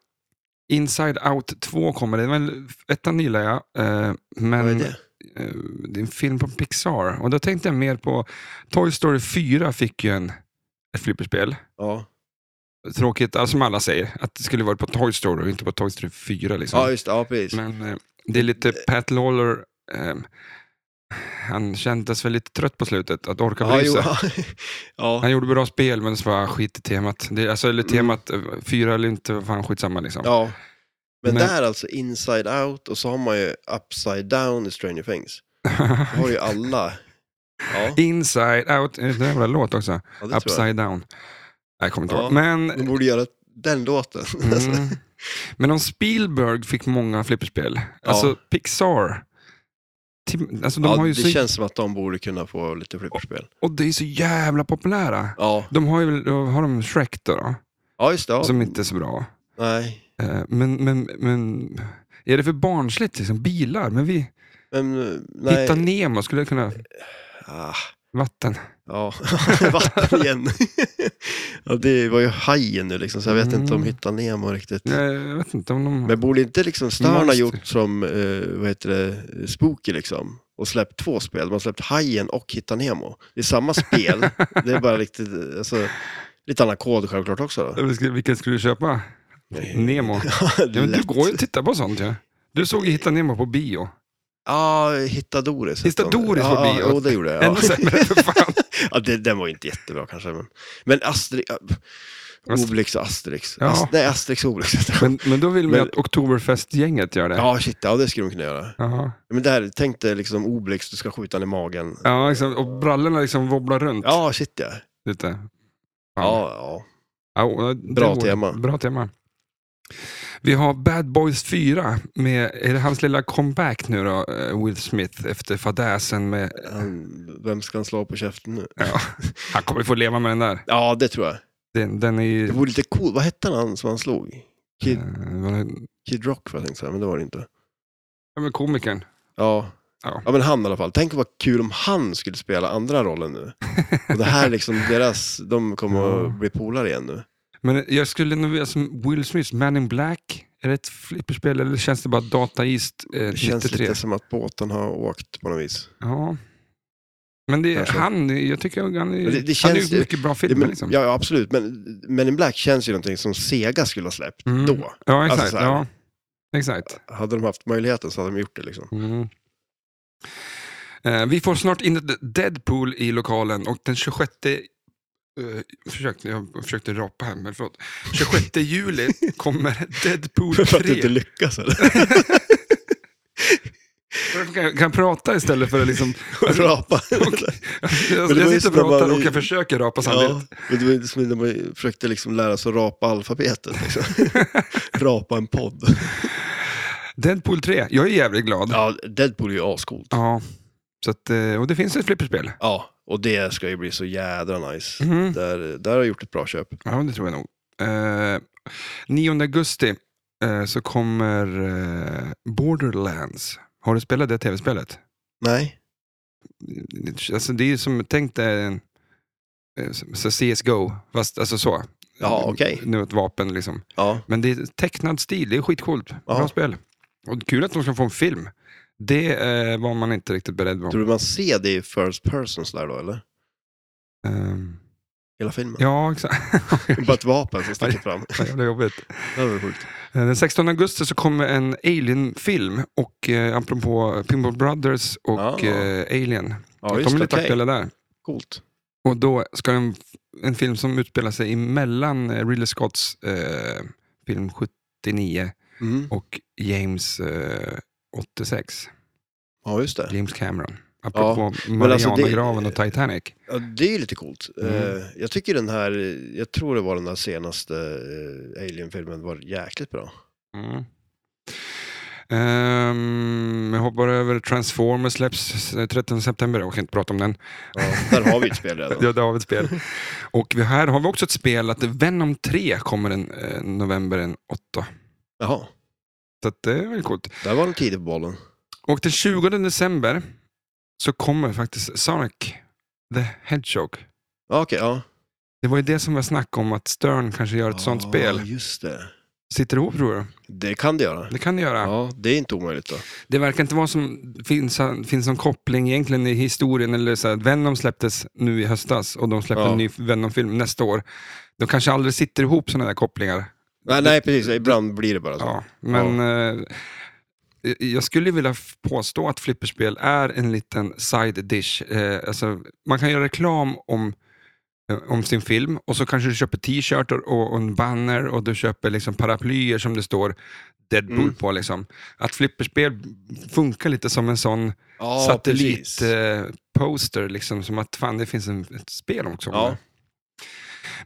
[SPEAKER 1] Inside Out 2 kommer det. Men ettan gillar jag. Eh, men
[SPEAKER 2] Vad är det?
[SPEAKER 1] eh, det är en film på Pixar. Och då tänkte jag mer på Toy Story 4 fick ju en, ett flipperspel.
[SPEAKER 2] Ja,
[SPEAKER 1] Tråkigt, alltså som alla säger, att det skulle varit på Toy Story och inte på Toy Story 4. Liksom.
[SPEAKER 2] ja just det. Ja, precis.
[SPEAKER 1] Men eh, det är lite Pat Lawler, ehm, han kändes väl lite trött på slutet, att orka
[SPEAKER 2] ja,
[SPEAKER 1] bry
[SPEAKER 2] jo,
[SPEAKER 1] sig.
[SPEAKER 2] ja. [laughs] ja,
[SPEAKER 1] Han gjorde bra spel, men så var skit i temat. Det, är- alltså, eller
[SPEAKER 2] Mm.
[SPEAKER 1] temat, eh, fyra eller inte, vad fan skitsamma liksom.
[SPEAKER 2] ja. Men,
[SPEAKER 1] Men-
[SPEAKER 2] där alltså, inside out och så har man ju upside down i Stranger Things. Då har ju alla. Ja,
[SPEAKER 1] Inside out, är det en jävla låt också?
[SPEAKER 2] ja det tror jag.
[SPEAKER 1] Upside down. Nej, Jag kommer inte
[SPEAKER 2] Ja.
[SPEAKER 1] ihåg.
[SPEAKER 2] [laughs]
[SPEAKER 1] Men,
[SPEAKER 2] De borde göra den låten.
[SPEAKER 1] mm, men om Spielberg fick många flipperspel, alltså Pixar, Tim- Alltså, de
[SPEAKER 2] [laughs] ja,
[SPEAKER 1] har ju
[SPEAKER 2] det
[SPEAKER 1] så,
[SPEAKER 2] känns som att de borde kunna få lite flipperspel.
[SPEAKER 1] Och det är så jävla populära.
[SPEAKER 2] Ja,
[SPEAKER 1] De har ju väl- har de Shrek då, då
[SPEAKER 2] ja just det. Ja.
[SPEAKER 1] som inte är så bra.
[SPEAKER 2] Nej,
[SPEAKER 1] Eh, Men, men, men är det för barnsligt? Liksom? Bilar? Men vi
[SPEAKER 2] men eh, nej.
[SPEAKER 1] hittar Nemo, skulle jag kunna...
[SPEAKER 2] Ah,
[SPEAKER 1] Vatten.
[SPEAKER 2] ja, [laughs] vatten igen. [laughs] ja, det var ju hajen nu liksom, så jag vet
[SPEAKER 1] Mm.
[SPEAKER 2] inte om Hitta Nemo riktigt.
[SPEAKER 1] Nej, Jag vet inte om de...
[SPEAKER 2] Men borde inte liksom Stern ha
[SPEAKER 1] Monster.
[SPEAKER 2] gjort som, eh, vad heter det, Spooky liksom? Och släppt två spel. De har släppt Hajen och Hitta Nemo. Det är
[SPEAKER 1] [laughs]
[SPEAKER 2] samma spel. det är bara riktigt, alltså, lite annan kod självklart också då.
[SPEAKER 1] Vilken- Eh, Vilken skulle du köpa?
[SPEAKER 2] [laughs]
[SPEAKER 1] Nemo. Ja, men du
[SPEAKER 2] Lätt.
[SPEAKER 1] går ju och tittar på sånt ju. Du såg ju Hitta Nemo på bio.
[SPEAKER 2] Ja, Hitta Doris.
[SPEAKER 1] Hitta
[SPEAKER 2] hette de.
[SPEAKER 1] Doris på
[SPEAKER 2] ja,
[SPEAKER 1] bio.
[SPEAKER 2] Ja, jo, det gjorde jag.
[SPEAKER 1] Ännu
[SPEAKER 2] Ja.
[SPEAKER 1] sämre för
[SPEAKER 2] [laughs]
[SPEAKER 1] fan.
[SPEAKER 2] Ja, det, den var ju inte jättebra kanske. Men, men Astrid, ja,
[SPEAKER 1] Ast-
[SPEAKER 2] Obelix och Asterix.
[SPEAKER 1] Ja.
[SPEAKER 2] Ast, nej, Asterix och Obelix.
[SPEAKER 1] Men, men då vill man ju
[SPEAKER 2] Men-
[SPEAKER 1] att Oktoberfest-gänget gör det.
[SPEAKER 2] Ja, shit, ja det skulle de kunna göra.
[SPEAKER 1] Jaha.
[SPEAKER 2] Men där, tänk dig liksom Obelix, du ska skjuta honom i magen.
[SPEAKER 1] Ja, liksom, och brallorna liksom wobblar runt
[SPEAKER 2] Ja, shit ja.
[SPEAKER 1] lite. Fan.
[SPEAKER 2] Ja, ja.
[SPEAKER 1] Ja, och eh, det
[SPEAKER 2] Bra
[SPEAKER 1] vore-
[SPEAKER 2] tema.
[SPEAKER 1] Bra tema. Vi har Bad Boys 4. Med, är det hans lilla comeback nu då, eh, Will Smith, efter fadäsen med...
[SPEAKER 2] Han, vem ska han slå på käften nu?
[SPEAKER 1] Ja, [laughs] han kommer få leva med den där.
[SPEAKER 2] Ja, det tror jag.
[SPEAKER 1] Den, den är ju...
[SPEAKER 2] Det vore lite coolt. Vad hette han som han slog?
[SPEAKER 1] eh,
[SPEAKER 2] Kid,
[SPEAKER 1] vad är-
[SPEAKER 2] Kid Rock var jag tänkte säga, men det var det inte.
[SPEAKER 1] Ja, men komikern.
[SPEAKER 2] Ja.
[SPEAKER 1] Ja.
[SPEAKER 2] Ja. men han i alla fall. Tänk vad kul om han skulle spela andra rollen nu. Och
[SPEAKER 1] [laughs]
[SPEAKER 2] det här liksom, deras, de kommer
[SPEAKER 1] Ja.
[SPEAKER 2] att bli polare igen nu.
[SPEAKER 1] Men jag skulle nog vilja som Will Smiths Man in Black. Är det ett flipperspel eller känns det bara Data East eh,
[SPEAKER 2] Det känns
[SPEAKER 1] 93?
[SPEAKER 2] lite som att båten har åkt på något vis.
[SPEAKER 1] Ja. Men det,
[SPEAKER 2] Kanske.
[SPEAKER 1] han, jag tycker han är,
[SPEAKER 2] Men det- det
[SPEAKER 1] han är
[SPEAKER 2] känns
[SPEAKER 1] ju
[SPEAKER 2] ju-
[SPEAKER 1] mycket bra
[SPEAKER 2] Ja,
[SPEAKER 1] filmer.
[SPEAKER 2] men,
[SPEAKER 1] liksom.
[SPEAKER 2] ja, ja, absolut. Men Men in Black känns ju någonting som Sega skulle ha släppt
[SPEAKER 1] Mm.
[SPEAKER 2] då.
[SPEAKER 1] ja, exakt.
[SPEAKER 2] Alltså, så här.
[SPEAKER 1] ja, exakt.
[SPEAKER 2] Hade de haft möjligheten så hade de gjort
[SPEAKER 1] [laughs]
[SPEAKER 2] det liksom.
[SPEAKER 1] Mm. Eh, vi får snart in Deadpool i lokalen och den 26... Uh, försökte, jag försökte rapa här, men förlåt. 26
[SPEAKER 2] [laughs]
[SPEAKER 1] juli kommer Deadpool
[SPEAKER 2] För att du inte
[SPEAKER 1] 3. [laughs]
[SPEAKER 2] lyckas eller?
[SPEAKER 1] Jag kan, kan prata istället för att
[SPEAKER 2] [laughs]
[SPEAKER 1] liksom... Alltså,
[SPEAKER 2] Rapa.
[SPEAKER 1] [laughs] Jag,
[SPEAKER 2] var ju
[SPEAKER 1] jag sitter och
[SPEAKER 2] snabba-
[SPEAKER 1] pratar och jag försöker rapa
[SPEAKER 2] Ja,
[SPEAKER 1] samtidigt.
[SPEAKER 2] men det var ju som när man försökte liksom lära sig att rapa alfabetet.
[SPEAKER 1] [laughs]
[SPEAKER 2] Liksom. rapa en podd.
[SPEAKER 1] Mm. Deadpool 3, jag är jävligt glad. Ja.
[SPEAKER 2] Ja, Deadpool är ju ascoolt.
[SPEAKER 1] Så att, eh, och det finns ett flipperspel.
[SPEAKER 2] Ja, och det ska ju bli så jädra nice.
[SPEAKER 1] Mm.
[SPEAKER 2] Där, där har jag gjort ett bra köp.
[SPEAKER 1] Ja, det tror jag nog. Eh, 9 augusti eh, så kommer eh, Borderlands. Har du spelat det tv-spelet?
[SPEAKER 2] Nej.
[SPEAKER 1] Alltså, det är ju som, tänk dig en eh, så CSGO, fast alltså så.
[SPEAKER 2] Ja, okej.
[SPEAKER 1] Nu ett vapen liksom.
[SPEAKER 2] Ja,
[SPEAKER 1] Men det är tecknad stil, det är skitcoolt. Bra
[SPEAKER 2] Ja.
[SPEAKER 1] spel. Och kul att de ska få en film. Det eh, var man inte riktigt beredd på.
[SPEAKER 2] tror du man ser det i first person sådär då eller?
[SPEAKER 1] Ehm,
[SPEAKER 2] Hela filmen?
[SPEAKER 1] ja, exakt. [laughs]
[SPEAKER 2] Bara ett vapen som sticker fram.
[SPEAKER 1] Vad Jävla jobbigt.
[SPEAKER 2] Det var sjukt.
[SPEAKER 1] Eh, Den 16 augusti så kommer en Alien-film, och eh, apropå Pinball Brothers och
[SPEAKER 2] Ja.
[SPEAKER 1] eh, Alien.
[SPEAKER 2] Ah. Ja,
[SPEAKER 1] de
[SPEAKER 2] just
[SPEAKER 1] är
[SPEAKER 2] det.
[SPEAKER 1] lite
[SPEAKER 2] Okej,
[SPEAKER 1] aktuella där.
[SPEAKER 2] coolt.
[SPEAKER 1] Och då ska en, en film som utspelar sig emellan eh, Ridley Scotts eh, film 79
[SPEAKER 2] Mm.
[SPEAKER 1] och James eh, 86.
[SPEAKER 2] Ja, just det.
[SPEAKER 1] James Cameron. Apropå
[SPEAKER 2] men alltså det-
[SPEAKER 1] Marianagraven och Titanic.
[SPEAKER 2] Ja, det är ju lite coolt.
[SPEAKER 1] Mm.
[SPEAKER 2] Eh, Jag tycker den här, jag tror det var den här senaste eh, Alien-filmen var jäkligt bra.
[SPEAKER 1] Mm. Ehm, jag hoppar över Transformers släpps eh, 13 september. Jag kan inte prata om den.
[SPEAKER 2] Ja, där har vi ett spel redan.
[SPEAKER 1] [laughs] Ja, det har vi ett spel. Och vi, här har vi också ett spel att Venom 3 kommer den eh, november den 8.
[SPEAKER 2] Jaha,
[SPEAKER 1] Så att det är väl coolt.
[SPEAKER 2] där var den tidig på bollen.
[SPEAKER 1] Och den 20 december så kommer faktiskt Sonic the Hedgehog.
[SPEAKER 2] Ja, okej, ja.
[SPEAKER 1] Det var ju det som var snack om att Stern kanske gör ett sånt
[SPEAKER 2] Ja,
[SPEAKER 1] spel.
[SPEAKER 2] just det.
[SPEAKER 1] Sitter ihop tror du?
[SPEAKER 2] Det kan det göra.
[SPEAKER 1] Det kan det göra.
[SPEAKER 2] Ja, det är inte omöjligt då.
[SPEAKER 1] Det verkar inte vara som, finns, finns någon koppling egentligen i historien. Eller så här, Venom släpptes nu i höstas och de släpper
[SPEAKER 2] Ja.
[SPEAKER 1] en ny Venom-film nästa år. De kanske aldrig sitter ihop sådana där kopplingar.
[SPEAKER 2] Nej, nej precis. Ibland blir det bara så.
[SPEAKER 1] Ja, men eh, jag skulle vilja f- påstå att flipperspel är en liten side dish. Eh, alltså, man kan göra reklam om, eh, om sin film och så kanske du köper t-shirts och, och en banner och du köper liksom paraplyer som det står Deadpool
[SPEAKER 2] Mm.
[SPEAKER 1] på. Liksom. Att flipperspel funkar lite som en sån
[SPEAKER 2] Ja, precis.
[SPEAKER 1] eh, satellitposter, liksom, som att fan, det finns en, ett spel också. om
[SPEAKER 2] Ja.
[SPEAKER 1] det.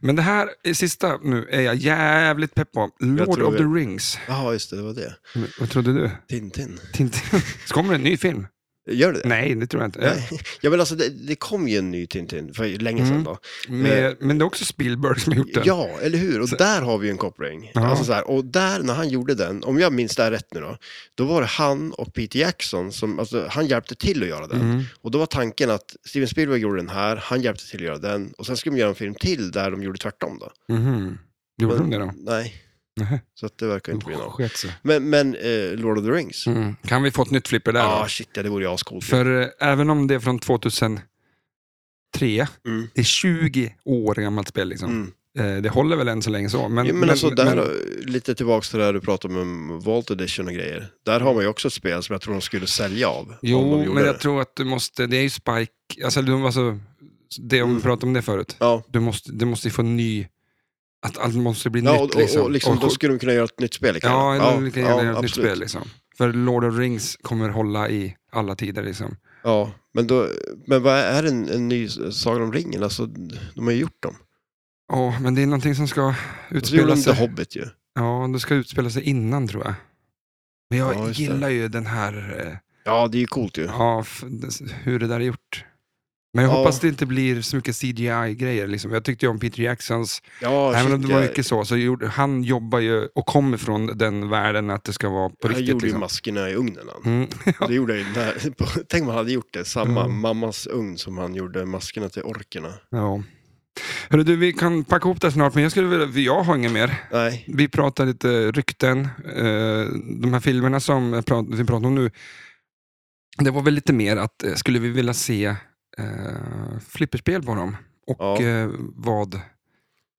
[SPEAKER 1] Men det här eh, sista nu är jag jävligt pepp på. Lord
[SPEAKER 2] tror
[SPEAKER 1] of the
[SPEAKER 2] jag-
[SPEAKER 1] Rings.
[SPEAKER 2] Jaha, just det. Det var det.
[SPEAKER 1] Men, vad trodde du?
[SPEAKER 2] Tintin.
[SPEAKER 1] Tintin. [laughs] Så kommer det en ny film?
[SPEAKER 2] Gör det det?
[SPEAKER 1] Nej, det tror jag inte.
[SPEAKER 2] Nej. Ja, men alltså det, det kom ju en ny Tintin för länge sedan
[SPEAKER 1] Mm.
[SPEAKER 2] då.
[SPEAKER 1] Men, men det är också Spielberg som har gjort den.
[SPEAKER 2] Ja, eller hur? Och
[SPEAKER 1] Så-
[SPEAKER 2] där har vi ju en koppling.
[SPEAKER 1] Ja.
[SPEAKER 2] Alltså så här, och där, när han gjorde den, om jag minns det här rätt nu då, då var det han och Peter Jackson som, alltså han hjälpte till att göra den.
[SPEAKER 1] Mm.
[SPEAKER 2] Och då var tanken att Steven Spielberg gjorde den här, han hjälpte till att göra den, och sen skulle de göra en film till där de gjorde tvärtom då.
[SPEAKER 1] Mhm. Gjorde de
[SPEAKER 2] Men-
[SPEAKER 1] det då?
[SPEAKER 2] Nej,
[SPEAKER 1] Nähä.
[SPEAKER 2] så att det verkar inte bli
[SPEAKER 1] Det
[SPEAKER 2] något.
[SPEAKER 1] sket sig.
[SPEAKER 2] Men, men eh, Lord of the Rings?
[SPEAKER 1] Mm. Kan vi få ett nytt flipper där
[SPEAKER 2] Ja,
[SPEAKER 1] då?
[SPEAKER 2] ah, shit ja, det vore ju ascoolt.
[SPEAKER 1] För eh, även om det är från 2003,
[SPEAKER 2] Mm.
[SPEAKER 1] det är 20 år gammalt spel. Liksom.
[SPEAKER 2] Mm.
[SPEAKER 1] Eh, det håller väl än så länge så. Men,
[SPEAKER 2] Men, ja, men alltså, där,
[SPEAKER 1] men-
[SPEAKER 2] har- lite tillbaks till det här du pratade om, om Vault Edition och grejer. Där har man ju också ett spel som jag tror de skulle sälja av. om de
[SPEAKER 1] Jo,
[SPEAKER 2] gjorde
[SPEAKER 1] men jag
[SPEAKER 2] det.
[SPEAKER 1] tror att du måste, det är ju Spike, alltså, du, alltså det, om vi
[SPEAKER 2] Mm.
[SPEAKER 1] pratade om det förut,
[SPEAKER 2] Ja.
[SPEAKER 1] du måste, du måste ju få ny, att allt måste bli
[SPEAKER 2] Ja,
[SPEAKER 1] nytt
[SPEAKER 2] och,
[SPEAKER 1] liksom.
[SPEAKER 2] och, och liksom, då skulle de kunna göra ett nytt spel. lika
[SPEAKER 1] Ja,
[SPEAKER 2] gärna.
[SPEAKER 1] eller vi kan
[SPEAKER 2] ja,
[SPEAKER 1] göra ett nytt
[SPEAKER 2] absolut.
[SPEAKER 1] spel. Liksom. För Lord of Rings kommer hålla i alla tider. Liksom.
[SPEAKER 2] Ja, men, då, men vad är en, en ny Sagan om ringen? Alltså, de har ju gjort dem.
[SPEAKER 1] Ja, men det är någonting som
[SPEAKER 2] Alltså,
[SPEAKER 1] ska
[SPEAKER 2] Och så gjorde
[SPEAKER 1] utspela
[SPEAKER 2] de The
[SPEAKER 1] sig,
[SPEAKER 2] Hobbit ju.
[SPEAKER 1] ja, det ska utspela sig innan, tror jag. Men jag
[SPEAKER 2] Ja, just det.
[SPEAKER 1] gillar ju den här, eh,
[SPEAKER 2] Ja, det är ju coolt ju.
[SPEAKER 1] ja, f- det- hur det där är gjort. Men jag
[SPEAKER 2] Ja.
[SPEAKER 1] hoppas det inte blir så mycket CGI-grejer. Liksom. Jag tyckte ju om Peter Jacksons,
[SPEAKER 2] Ja,
[SPEAKER 1] även
[SPEAKER 2] shit,
[SPEAKER 1] om det var
[SPEAKER 2] jag-
[SPEAKER 1] mycket så, så gjorde, han jobbar ju och kommer från den världen att det ska vara på
[SPEAKER 2] Han
[SPEAKER 1] riktigt.
[SPEAKER 2] gjorde ju
[SPEAKER 1] Liksom.
[SPEAKER 2] maskerna i ugnen.
[SPEAKER 1] [laughs]
[SPEAKER 2] Han.
[SPEAKER 1] Mm.
[SPEAKER 2] Det gjorde jag ju när, [laughs] tänk om han hade gjort det, samma
[SPEAKER 1] Mm.
[SPEAKER 2] mammas ugn som han gjorde maskerna till orkerna.
[SPEAKER 1] Ja. Hörru, du, vi kan packa ihop det här snart, men jag, skulle vilja, jag har inget mer.
[SPEAKER 2] Nej,
[SPEAKER 1] Vi pratar lite rykten. Eh, De här filmerna som jag prat- vi pratar om nu, det var väl lite mer att eh, skulle vi vilja se eh, flipperspel på dem? Och
[SPEAKER 2] Ja.
[SPEAKER 1] eh, vad,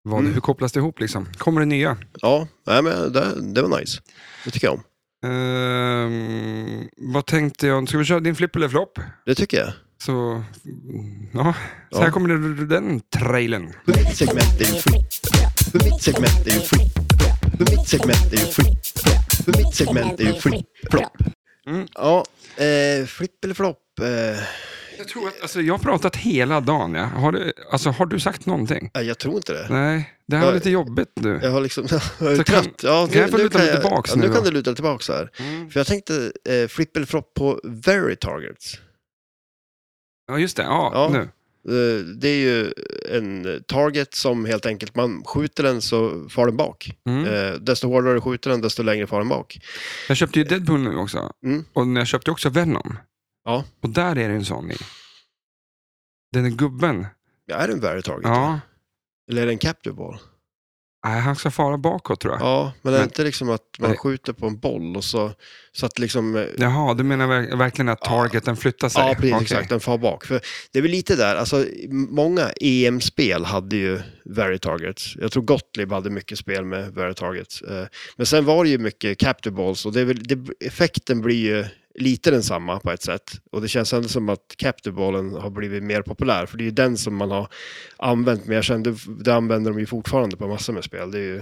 [SPEAKER 1] vad
[SPEAKER 2] Mm.
[SPEAKER 1] hur kopplas det ihop? liksom? Kommer det nya?
[SPEAKER 2] ja, nej, men det, det var nice. Det tycker jag om.
[SPEAKER 1] Ehm, vad tänkte jag? Ska vi köra din flipp eller flopp?
[SPEAKER 2] Det tycker jag.
[SPEAKER 1] Så, ja. Så
[SPEAKER 2] Ja.
[SPEAKER 1] här kommer det- den trailern.
[SPEAKER 2] För mitt segment är ju fritt. För mitt segment är ju fritt. För mitt segment är ju fritt. För mitt segment är ju fritt. Flopp.
[SPEAKER 1] Mm.
[SPEAKER 2] Ja, eh, flipp eller flopp. Eh,
[SPEAKER 1] Jag, tror att, alltså, jag har pratat hela dagen. Ja. Har, du, alltså, har du sagt någonting?
[SPEAKER 2] nej, jag tror inte det.
[SPEAKER 1] Nej, det här var
[SPEAKER 2] Nej.
[SPEAKER 1] lite jobbigt nu.
[SPEAKER 2] Jag har liksom... [laughs] Jag är
[SPEAKER 1] Så kan-
[SPEAKER 2] trött. Ja,
[SPEAKER 1] kan jag få luta mig tillbaks
[SPEAKER 2] ja, nu?
[SPEAKER 1] nu
[SPEAKER 2] kan
[SPEAKER 1] då?
[SPEAKER 2] du luta dig tillbaks här.
[SPEAKER 1] Mm.
[SPEAKER 2] För jag tänkte eh, flipp eller flopp på very targets.
[SPEAKER 1] Ja, just det. Ja,
[SPEAKER 2] Ja.
[SPEAKER 1] nu.
[SPEAKER 2] Eh, det är ju en target som helt enkelt, man skjuter den så far den bak.
[SPEAKER 1] Mm.
[SPEAKER 2] Eh, desto hårdare du skjuter den, desto längre far den bak.
[SPEAKER 1] Jag köpte ju Deadpool nu också.
[SPEAKER 2] Mm.
[SPEAKER 1] Och jag köpte också Venom.
[SPEAKER 2] Ja.
[SPEAKER 1] Och där är det en sån i. Den är gubben.
[SPEAKER 2] Ja, är det en very target?
[SPEAKER 1] Ja.
[SPEAKER 2] Eller är det en capture ball?
[SPEAKER 1] Nej, han ska fara bakåt tror jag.
[SPEAKER 2] Ja, men är det
[SPEAKER 1] Men-
[SPEAKER 2] inte liksom att man
[SPEAKER 1] Nej.
[SPEAKER 2] skjuter på en boll och så, så att liksom... eh,
[SPEAKER 1] Jaha, du menar ver- verkligen att
[SPEAKER 2] Ja.
[SPEAKER 1] targeten flyttar sig?
[SPEAKER 2] Ja, precis,
[SPEAKER 1] Okej.
[SPEAKER 2] exakt. Den far bak. För det är väl lite där, alltså många EM-spel hade ju very targets. Jag tror Gottlieb hade mycket spel med very targets. Eh, Men sen var det ju mycket capture balls och det är väl, det, effekten blir ju lite densamma på ett sätt. Och det känns ändå som att capture ballen har blivit mer populär, för det är ju den som man har använt. Men jag kände, det använder de ju fortfarande på massor med spel. Det är ju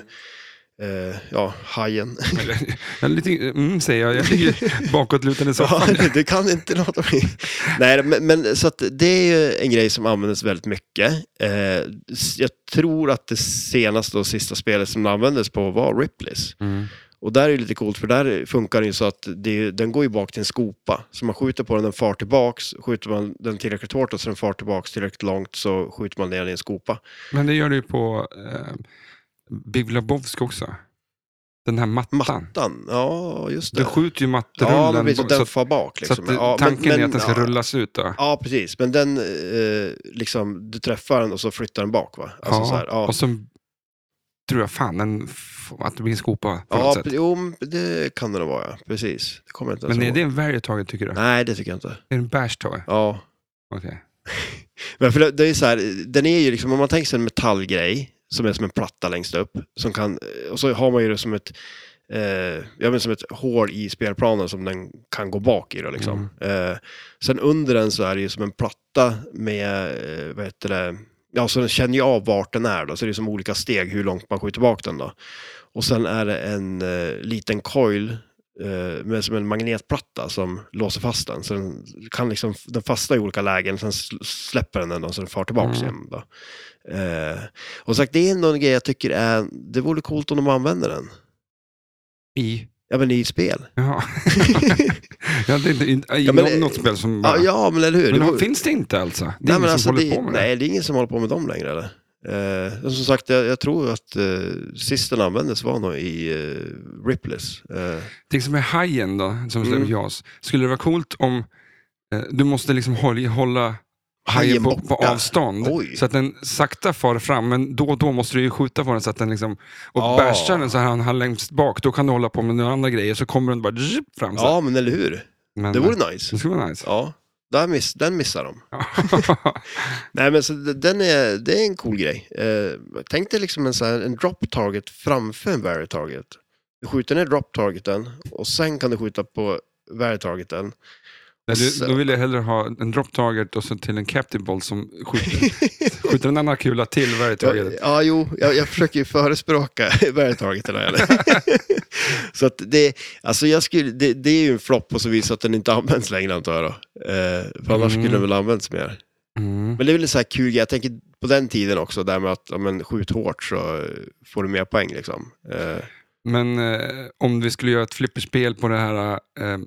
[SPEAKER 2] eh, ja, hajen.
[SPEAKER 1] Eller, [laughs] jag är lite, mm, säger jag. Jag
[SPEAKER 2] [laughs]
[SPEAKER 1] ligger bakåtlutad i
[SPEAKER 2] Ja,
[SPEAKER 1] soffan.
[SPEAKER 2] [laughs] du kan inte låta mig... Nej, men, men så att det är ju en grej som användes väldigt mycket. Eh, s- jag tror att det senaste och sista spelet som det användes på var Ripley's.
[SPEAKER 1] Mm.
[SPEAKER 2] Och där är det lite coolt, för där funkar det ju så att det, är- den går ju bak till en skopa. Så man skjuter på den, den far tillbaks. Skjuter man den tillräckligt hårt och så den far tillbaks tillräckligt långt så skjuter man ner den i en skopa.
[SPEAKER 1] Men det gör du ju på eh, Big Lebowski också. Den här mattan.
[SPEAKER 2] Mattan, ja just det.
[SPEAKER 1] Du skjuter ju mattrullen.
[SPEAKER 2] ja, men precis, och
[SPEAKER 1] så,
[SPEAKER 2] den
[SPEAKER 1] att-
[SPEAKER 2] far bak
[SPEAKER 1] så
[SPEAKER 2] liksom.
[SPEAKER 1] att,
[SPEAKER 2] ja, men-
[SPEAKER 1] tanken är
[SPEAKER 2] men,
[SPEAKER 1] att den ska
[SPEAKER 2] ja.
[SPEAKER 1] rullas ut. Då.
[SPEAKER 2] Ja, precis. Men den, eh, liksom, du träffar den och så flyttar den bak va? Alltså,
[SPEAKER 1] Ja,
[SPEAKER 2] så här, ja.
[SPEAKER 1] Och sen tror jag fan den, f- att det blir en skopa på något
[SPEAKER 2] Ja,
[SPEAKER 1] sätt.
[SPEAKER 2] pre- jo, men det kan det nog vara, ja. Precis. Det kommer jag inte ens
[SPEAKER 1] Men är
[SPEAKER 2] ihåg.
[SPEAKER 1] det en Varje taget tycker du? Är
[SPEAKER 2] alltså. Nej, det tycker jag inte.
[SPEAKER 1] det en Bash Tower?
[SPEAKER 2] Ja.
[SPEAKER 1] Okej.
[SPEAKER 2] Men för det, det är ju så här, den är ju liksom, om man tänker sig en metallgrej som är som en platta längst upp, som kan, och så har man ju det som ett, eh, jag menar som ett hål i spelplanen som den kan gå bak i då liksom.
[SPEAKER 1] Mm.
[SPEAKER 2] Eh, sen under den så är det ju som en platta med, eh, vad heter det, ja så den känner ju av vart den är då, så det är som olika steg hur långt man skjuter bak den då. Och sen är det en eh, liten coil eh, med som en magnetplatta som låser fast den. Så den kan liksom, den fastnar i olika lägen, sen sl- släpper den den då, så den far tillbaka
[SPEAKER 1] Mm.
[SPEAKER 2] igen. Då. Eh, och sagt, det är ändå en grej jag tycker är, det vore coolt om de använder den.
[SPEAKER 1] I?
[SPEAKER 2] Ja men
[SPEAKER 1] [laughs]
[SPEAKER 2] i spel.
[SPEAKER 1] Jaha. jag tänkte, in, i
[SPEAKER 2] Ja, men,
[SPEAKER 1] nå-
[SPEAKER 2] eh,
[SPEAKER 1] något spel som bara...
[SPEAKER 2] ja, ja men eller hur.
[SPEAKER 1] Men
[SPEAKER 2] Det
[SPEAKER 1] har,
[SPEAKER 2] vore-
[SPEAKER 1] finns det inte alltså? Det är
[SPEAKER 2] nej,
[SPEAKER 1] ingen
[SPEAKER 2] men
[SPEAKER 1] som
[SPEAKER 2] alltså,
[SPEAKER 1] håller
[SPEAKER 2] det,
[SPEAKER 1] på med det?
[SPEAKER 2] nej, det är ingen som håller på med dem längre eller? Eh, och som sagt, jag, jag tror att eh, sist den användes var nog i eh, Ripless. Eh,
[SPEAKER 1] Tänk som med hajen då, som släpper
[SPEAKER 2] Mm.
[SPEAKER 1] JAS. Skulle det vara coolt om eh, du måste liksom hålla, hålla hajen
[SPEAKER 2] Hajen
[SPEAKER 1] på, på
[SPEAKER 2] borta.
[SPEAKER 1] avstånd?
[SPEAKER 2] Oj.
[SPEAKER 1] Så att den sakta far fram, men då och då måste du ju skjuta på den så att den liksom... Och
[SPEAKER 2] Ah.
[SPEAKER 1] bashar den så här han har längst bak, då kan du hålla på med några andra grejer, så kommer den bara zzzp fram. Så. här.
[SPEAKER 2] ja men eller hur.
[SPEAKER 1] men,
[SPEAKER 2] Det
[SPEAKER 1] eh,
[SPEAKER 2] vore nice.
[SPEAKER 1] det skulle vara nice.
[SPEAKER 2] Ja, där miss, den missar de.
[SPEAKER 1] [laughs] Ja.
[SPEAKER 2] Nej, men så d- den är, det är en cool grej. Eh, tänk dig liksom en, så här, en drop target framför en vary target. Du skjuter ner drop targeten och sen kan du skjuta på vary targeten.
[SPEAKER 1] Nej, du,
[SPEAKER 2] Så-
[SPEAKER 1] då vill jag hellre ha en drop target och så till en captive ball som skjuter,
[SPEAKER 2] [laughs]
[SPEAKER 1] skjuter en annan kula till varje
[SPEAKER 2] Ja,
[SPEAKER 1] target.
[SPEAKER 2] ja, jo, jag, jag försöker ju förespråka [laughs] vary targeten. här, eller? [laughs] så att det, alltså jag skulle, det, det är ju en flopp på så vis att den inte används längre antar jag. Då. Eh, för annars
[SPEAKER 1] Mm.
[SPEAKER 2] skulle den väl ha använts mer.
[SPEAKER 1] Mm.
[SPEAKER 2] Men det är väl en sån här kul grej. Jag tänker på den tiden också, där med att ja, men, skjut hårt så eh, får du mer poäng. Liksom. Eh,
[SPEAKER 1] Men eh, om vi skulle göra ett flipperspel på det här eh,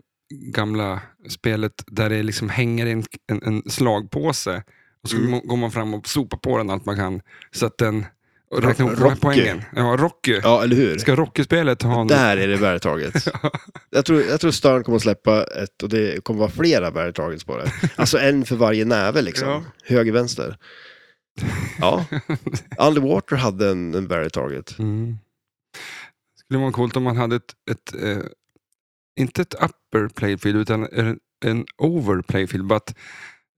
[SPEAKER 1] gamla spelet där det liksom hänger en, en, en slagpåse och så
[SPEAKER 2] Mm.
[SPEAKER 1] må- går man fram och sopar på den allt man kan så att den och räknar ihop de här
[SPEAKER 2] Rocky.
[SPEAKER 1] poängen. Ja, Rocky.
[SPEAKER 2] ja, eller hur?
[SPEAKER 1] Ska Rocky-spelet ha en...
[SPEAKER 2] Där är det
[SPEAKER 1] [laughs]
[SPEAKER 2] värdetarget. jag, tror, jag tror Stern kommer att släppa ett och det kommer vara flera värdetargets på det. Alltså en för varje näve liksom.
[SPEAKER 1] Ja.
[SPEAKER 2] Höger, vänster. Ja.
[SPEAKER 1] [laughs]
[SPEAKER 2] Underwater hade en, en värdetarget.
[SPEAKER 1] Mm. Skulle vara coolt om man hade ett, ett eh, inte ett upper playfield utan en, en over playfield. Bara att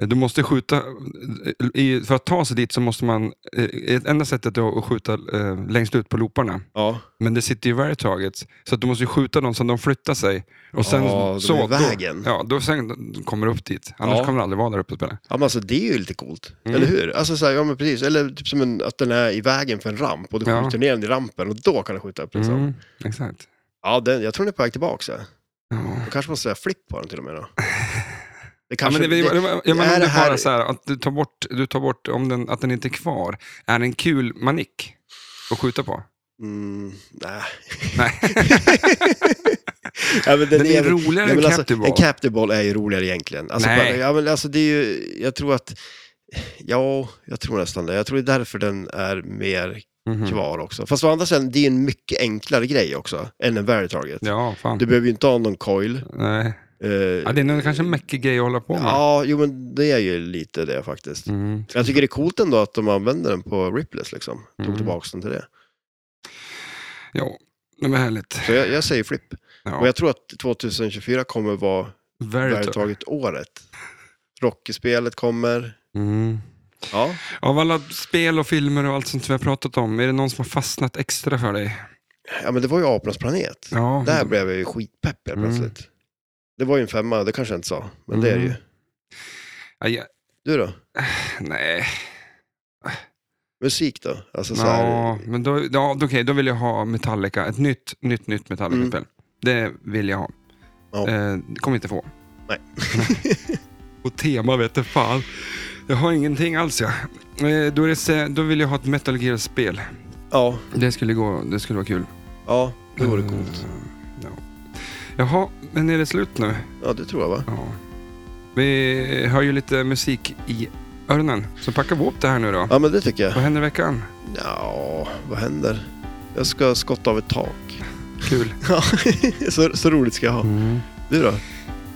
[SPEAKER 1] eh, du måste skjuta, eh, i, för att ta sig dit så måste man, eh, ett enda sättet är att skjuta eh, längst ut på looparna.
[SPEAKER 2] Ja.
[SPEAKER 1] Men det sitter ju varje target, så att du måste ju skjuta dem så att de flyttar sig. Och sen,
[SPEAKER 2] Ja, de är
[SPEAKER 1] så,
[SPEAKER 2] i
[SPEAKER 1] då-
[SPEAKER 2] vägen.
[SPEAKER 1] Ja, då sen kommer du upp dit. Annars
[SPEAKER 2] Ja.
[SPEAKER 1] kommer du aldrig vara där uppe och spela.
[SPEAKER 2] Ja, men alltså det är ju lite coolt,
[SPEAKER 1] Mm.
[SPEAKER 2] eller hur? Alltså så här, ja men precis, eller typ som en, att den är i vägen för en ramp och du
[SPEAKER 1] Ja.
[SPEAKER 2] skjuter ner den i rampen och då kan du skjuta upp liksom.
[SPEAKER 1] Mm, exakt.
[SPEAKER 2] Ja, den, jag tror den är på väg tillbaka. Så.
[SPEAKER 1] Ja.
[SPEAKER 2] Då kanske man säga flipp på den till och
[SPEAKER 1] [laughs]
[SPEAKER 2] med då. Det
[SPEAKER 1] Ja, men
[SPEAKER 2] kanske,
[SPEAKER 1] det, det,
[SPEAKER 2] det,
[SPEAKER 1] jag menar,
[SPEAKER 2] är
[SPEAKER 1] om det
[SPEAKER 2] det här-
[SPEAKER 1] bara så här, att du tar bort, du tar bort om den, att den inte är kvar. Är det en kul manick att skjuta på?
[SPEAKER 2] mm, nej. [laughs]
[SPEAKER 1] Nej.
[SPEAKER 2] ja, men
[SPEAKER 1] Den är roligare
[SPEAKER 2] nej,
[SPEAKER 1] än
[SPEAKER 2] men alltså,
[SPEAKER 1] captive
[SPEAKER 2] En
[SPEAKER 1] ball.
[SPEAKER 2] captive ball är ju roligare egentligen. Alltså,
[SPEAKER 1] Nej.
[SPEAKER 2] bara, ja, men alltså det är ju, jag tror att, ja, jag tror nästan det. Jag tror det är därför den är mer
[SPEAKER 1] Mhm.
[SPEAKER 2] kvar också. Fast å andra sidan, det är en mycket enklare grej också än en very target.
[SPEAKER 1] Ja, fan.
[SPEAKER 2] Du behöver ju inte ha någon coil.
[SPEAKER 1] Nej.
[SPEAKER 2] Eh,
[SPEAKER 1] Ja, det är nog kanske en mäckig grej att hålla på med.
[SPEAKER 2] ja, jo men det är ju lite det faktiskt.
[SPEAKER 1] Mm.
[SPEAKER 2] Jag tycker det är coolt ändå att de använder den på Ripless liksom. Tog
[SPEAKER 1] Mm.
[SPEAKER 2] tillbaka den till det.
[SPEAKER 1] Ja, det var härligt.
[SPEAKER 2] Så jag, jag säger flipp.
[SPEAKER 1] Ja.
[SPEAKER 2] Och jag tror att 2024 kommer vara
[SPEAKER 1] Veritor.
[SPEAKER 2] värdetarget året. Rocky-spelet kommer.
[SPEAKER 1] Mm.
[SPEAKER 2] Ja.
[SPEAKER 1] Av alla spel och filmer och allt sånt vi har pratat om, är det någon som har fastnat extra för dig?
[SPEAKER 2] ja, men det var ju Apornas planet.
[SPEAKER 1] Ja,
[SPEAKER 2] Där blev jag ju skitpepp helt
[SPEAKER 1] Mm.
[SPEAKER 2] plötsligt. Det var ju en femma, det kanske jag inte sa. Men det är det ju.
[SPEAKER 1] Ja, jag-
[SPEAKER 2] Du då?
[SPEAKER 1] nej.
[SPEAKER 2] musik då? Alltså så här,
[SPEAKER 1] Ja, men då, ja, okej, då vill jag ha Metallica. Ett nytt, nytt, nytt Metallica-spel. Det vill jag ha.
[SPEAKER 2] Mm. Ja.
[SPEAKER 1] Eh, det kommer jag inte få.
[SPEAKER 2] [laughs] Nej.
[SPEAKER 1] Och tema vet du fan. Jag har ingenting alls jag. Eh, då, är det, se- då vill jag ha ett Metal Gear-spel.
[SPEAKER 2] ja,
[SPEAKER 1] Det skulle, gå, det skulle vara kul. Eh,
[SPEAKER 2] ja, det vore coolt.
[SPEAKER 1] Jaha, men är det slut nu?
[SPEAKER 2] Ja, det tror jag va?
[SPEAKER 1] Ja. Vi hör ju lite musik i öronen. Så packar vi upp det här nu då.
[SPEAKER 2] Ja, men det tycker jag.
[SPEAKER 1] Vad händer i veckan?
[SPEAKER 2] Ja, vad händer? Jag ska skotta av ett tak. [laughs]
[SPEAKER 1] Kul.
[SPEAKER 2] Ja, så, så roligt ska jag ha. Du då?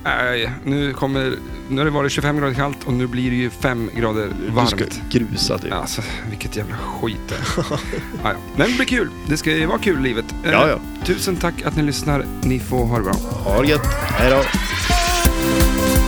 [SPEAKER 1] Nej, nu, kommer, nu har det varit 25 grader kallt och nu blir det ju 5 grader
[SPEAKER 2] Du
[SPEAKER 1] varmt.
[SPEAKER 2] ska grusa typ.
[SPEAKER 1] Alltså, vilket jävla skit
[SPEAKER 2] [laughs]
[SPEAKER 1] det är. ja, ja. Men det blir kul. Det ska ju vara kul livet. Eh,
[SPEAKER 2] Ja, ja.
[SPEAKER 1] Tusen tack att ni lyssnar. Ni får ha det bra.
[SPEAKER 2] Ha det gött. Hej då.
[SPEAKER 4] Thank you.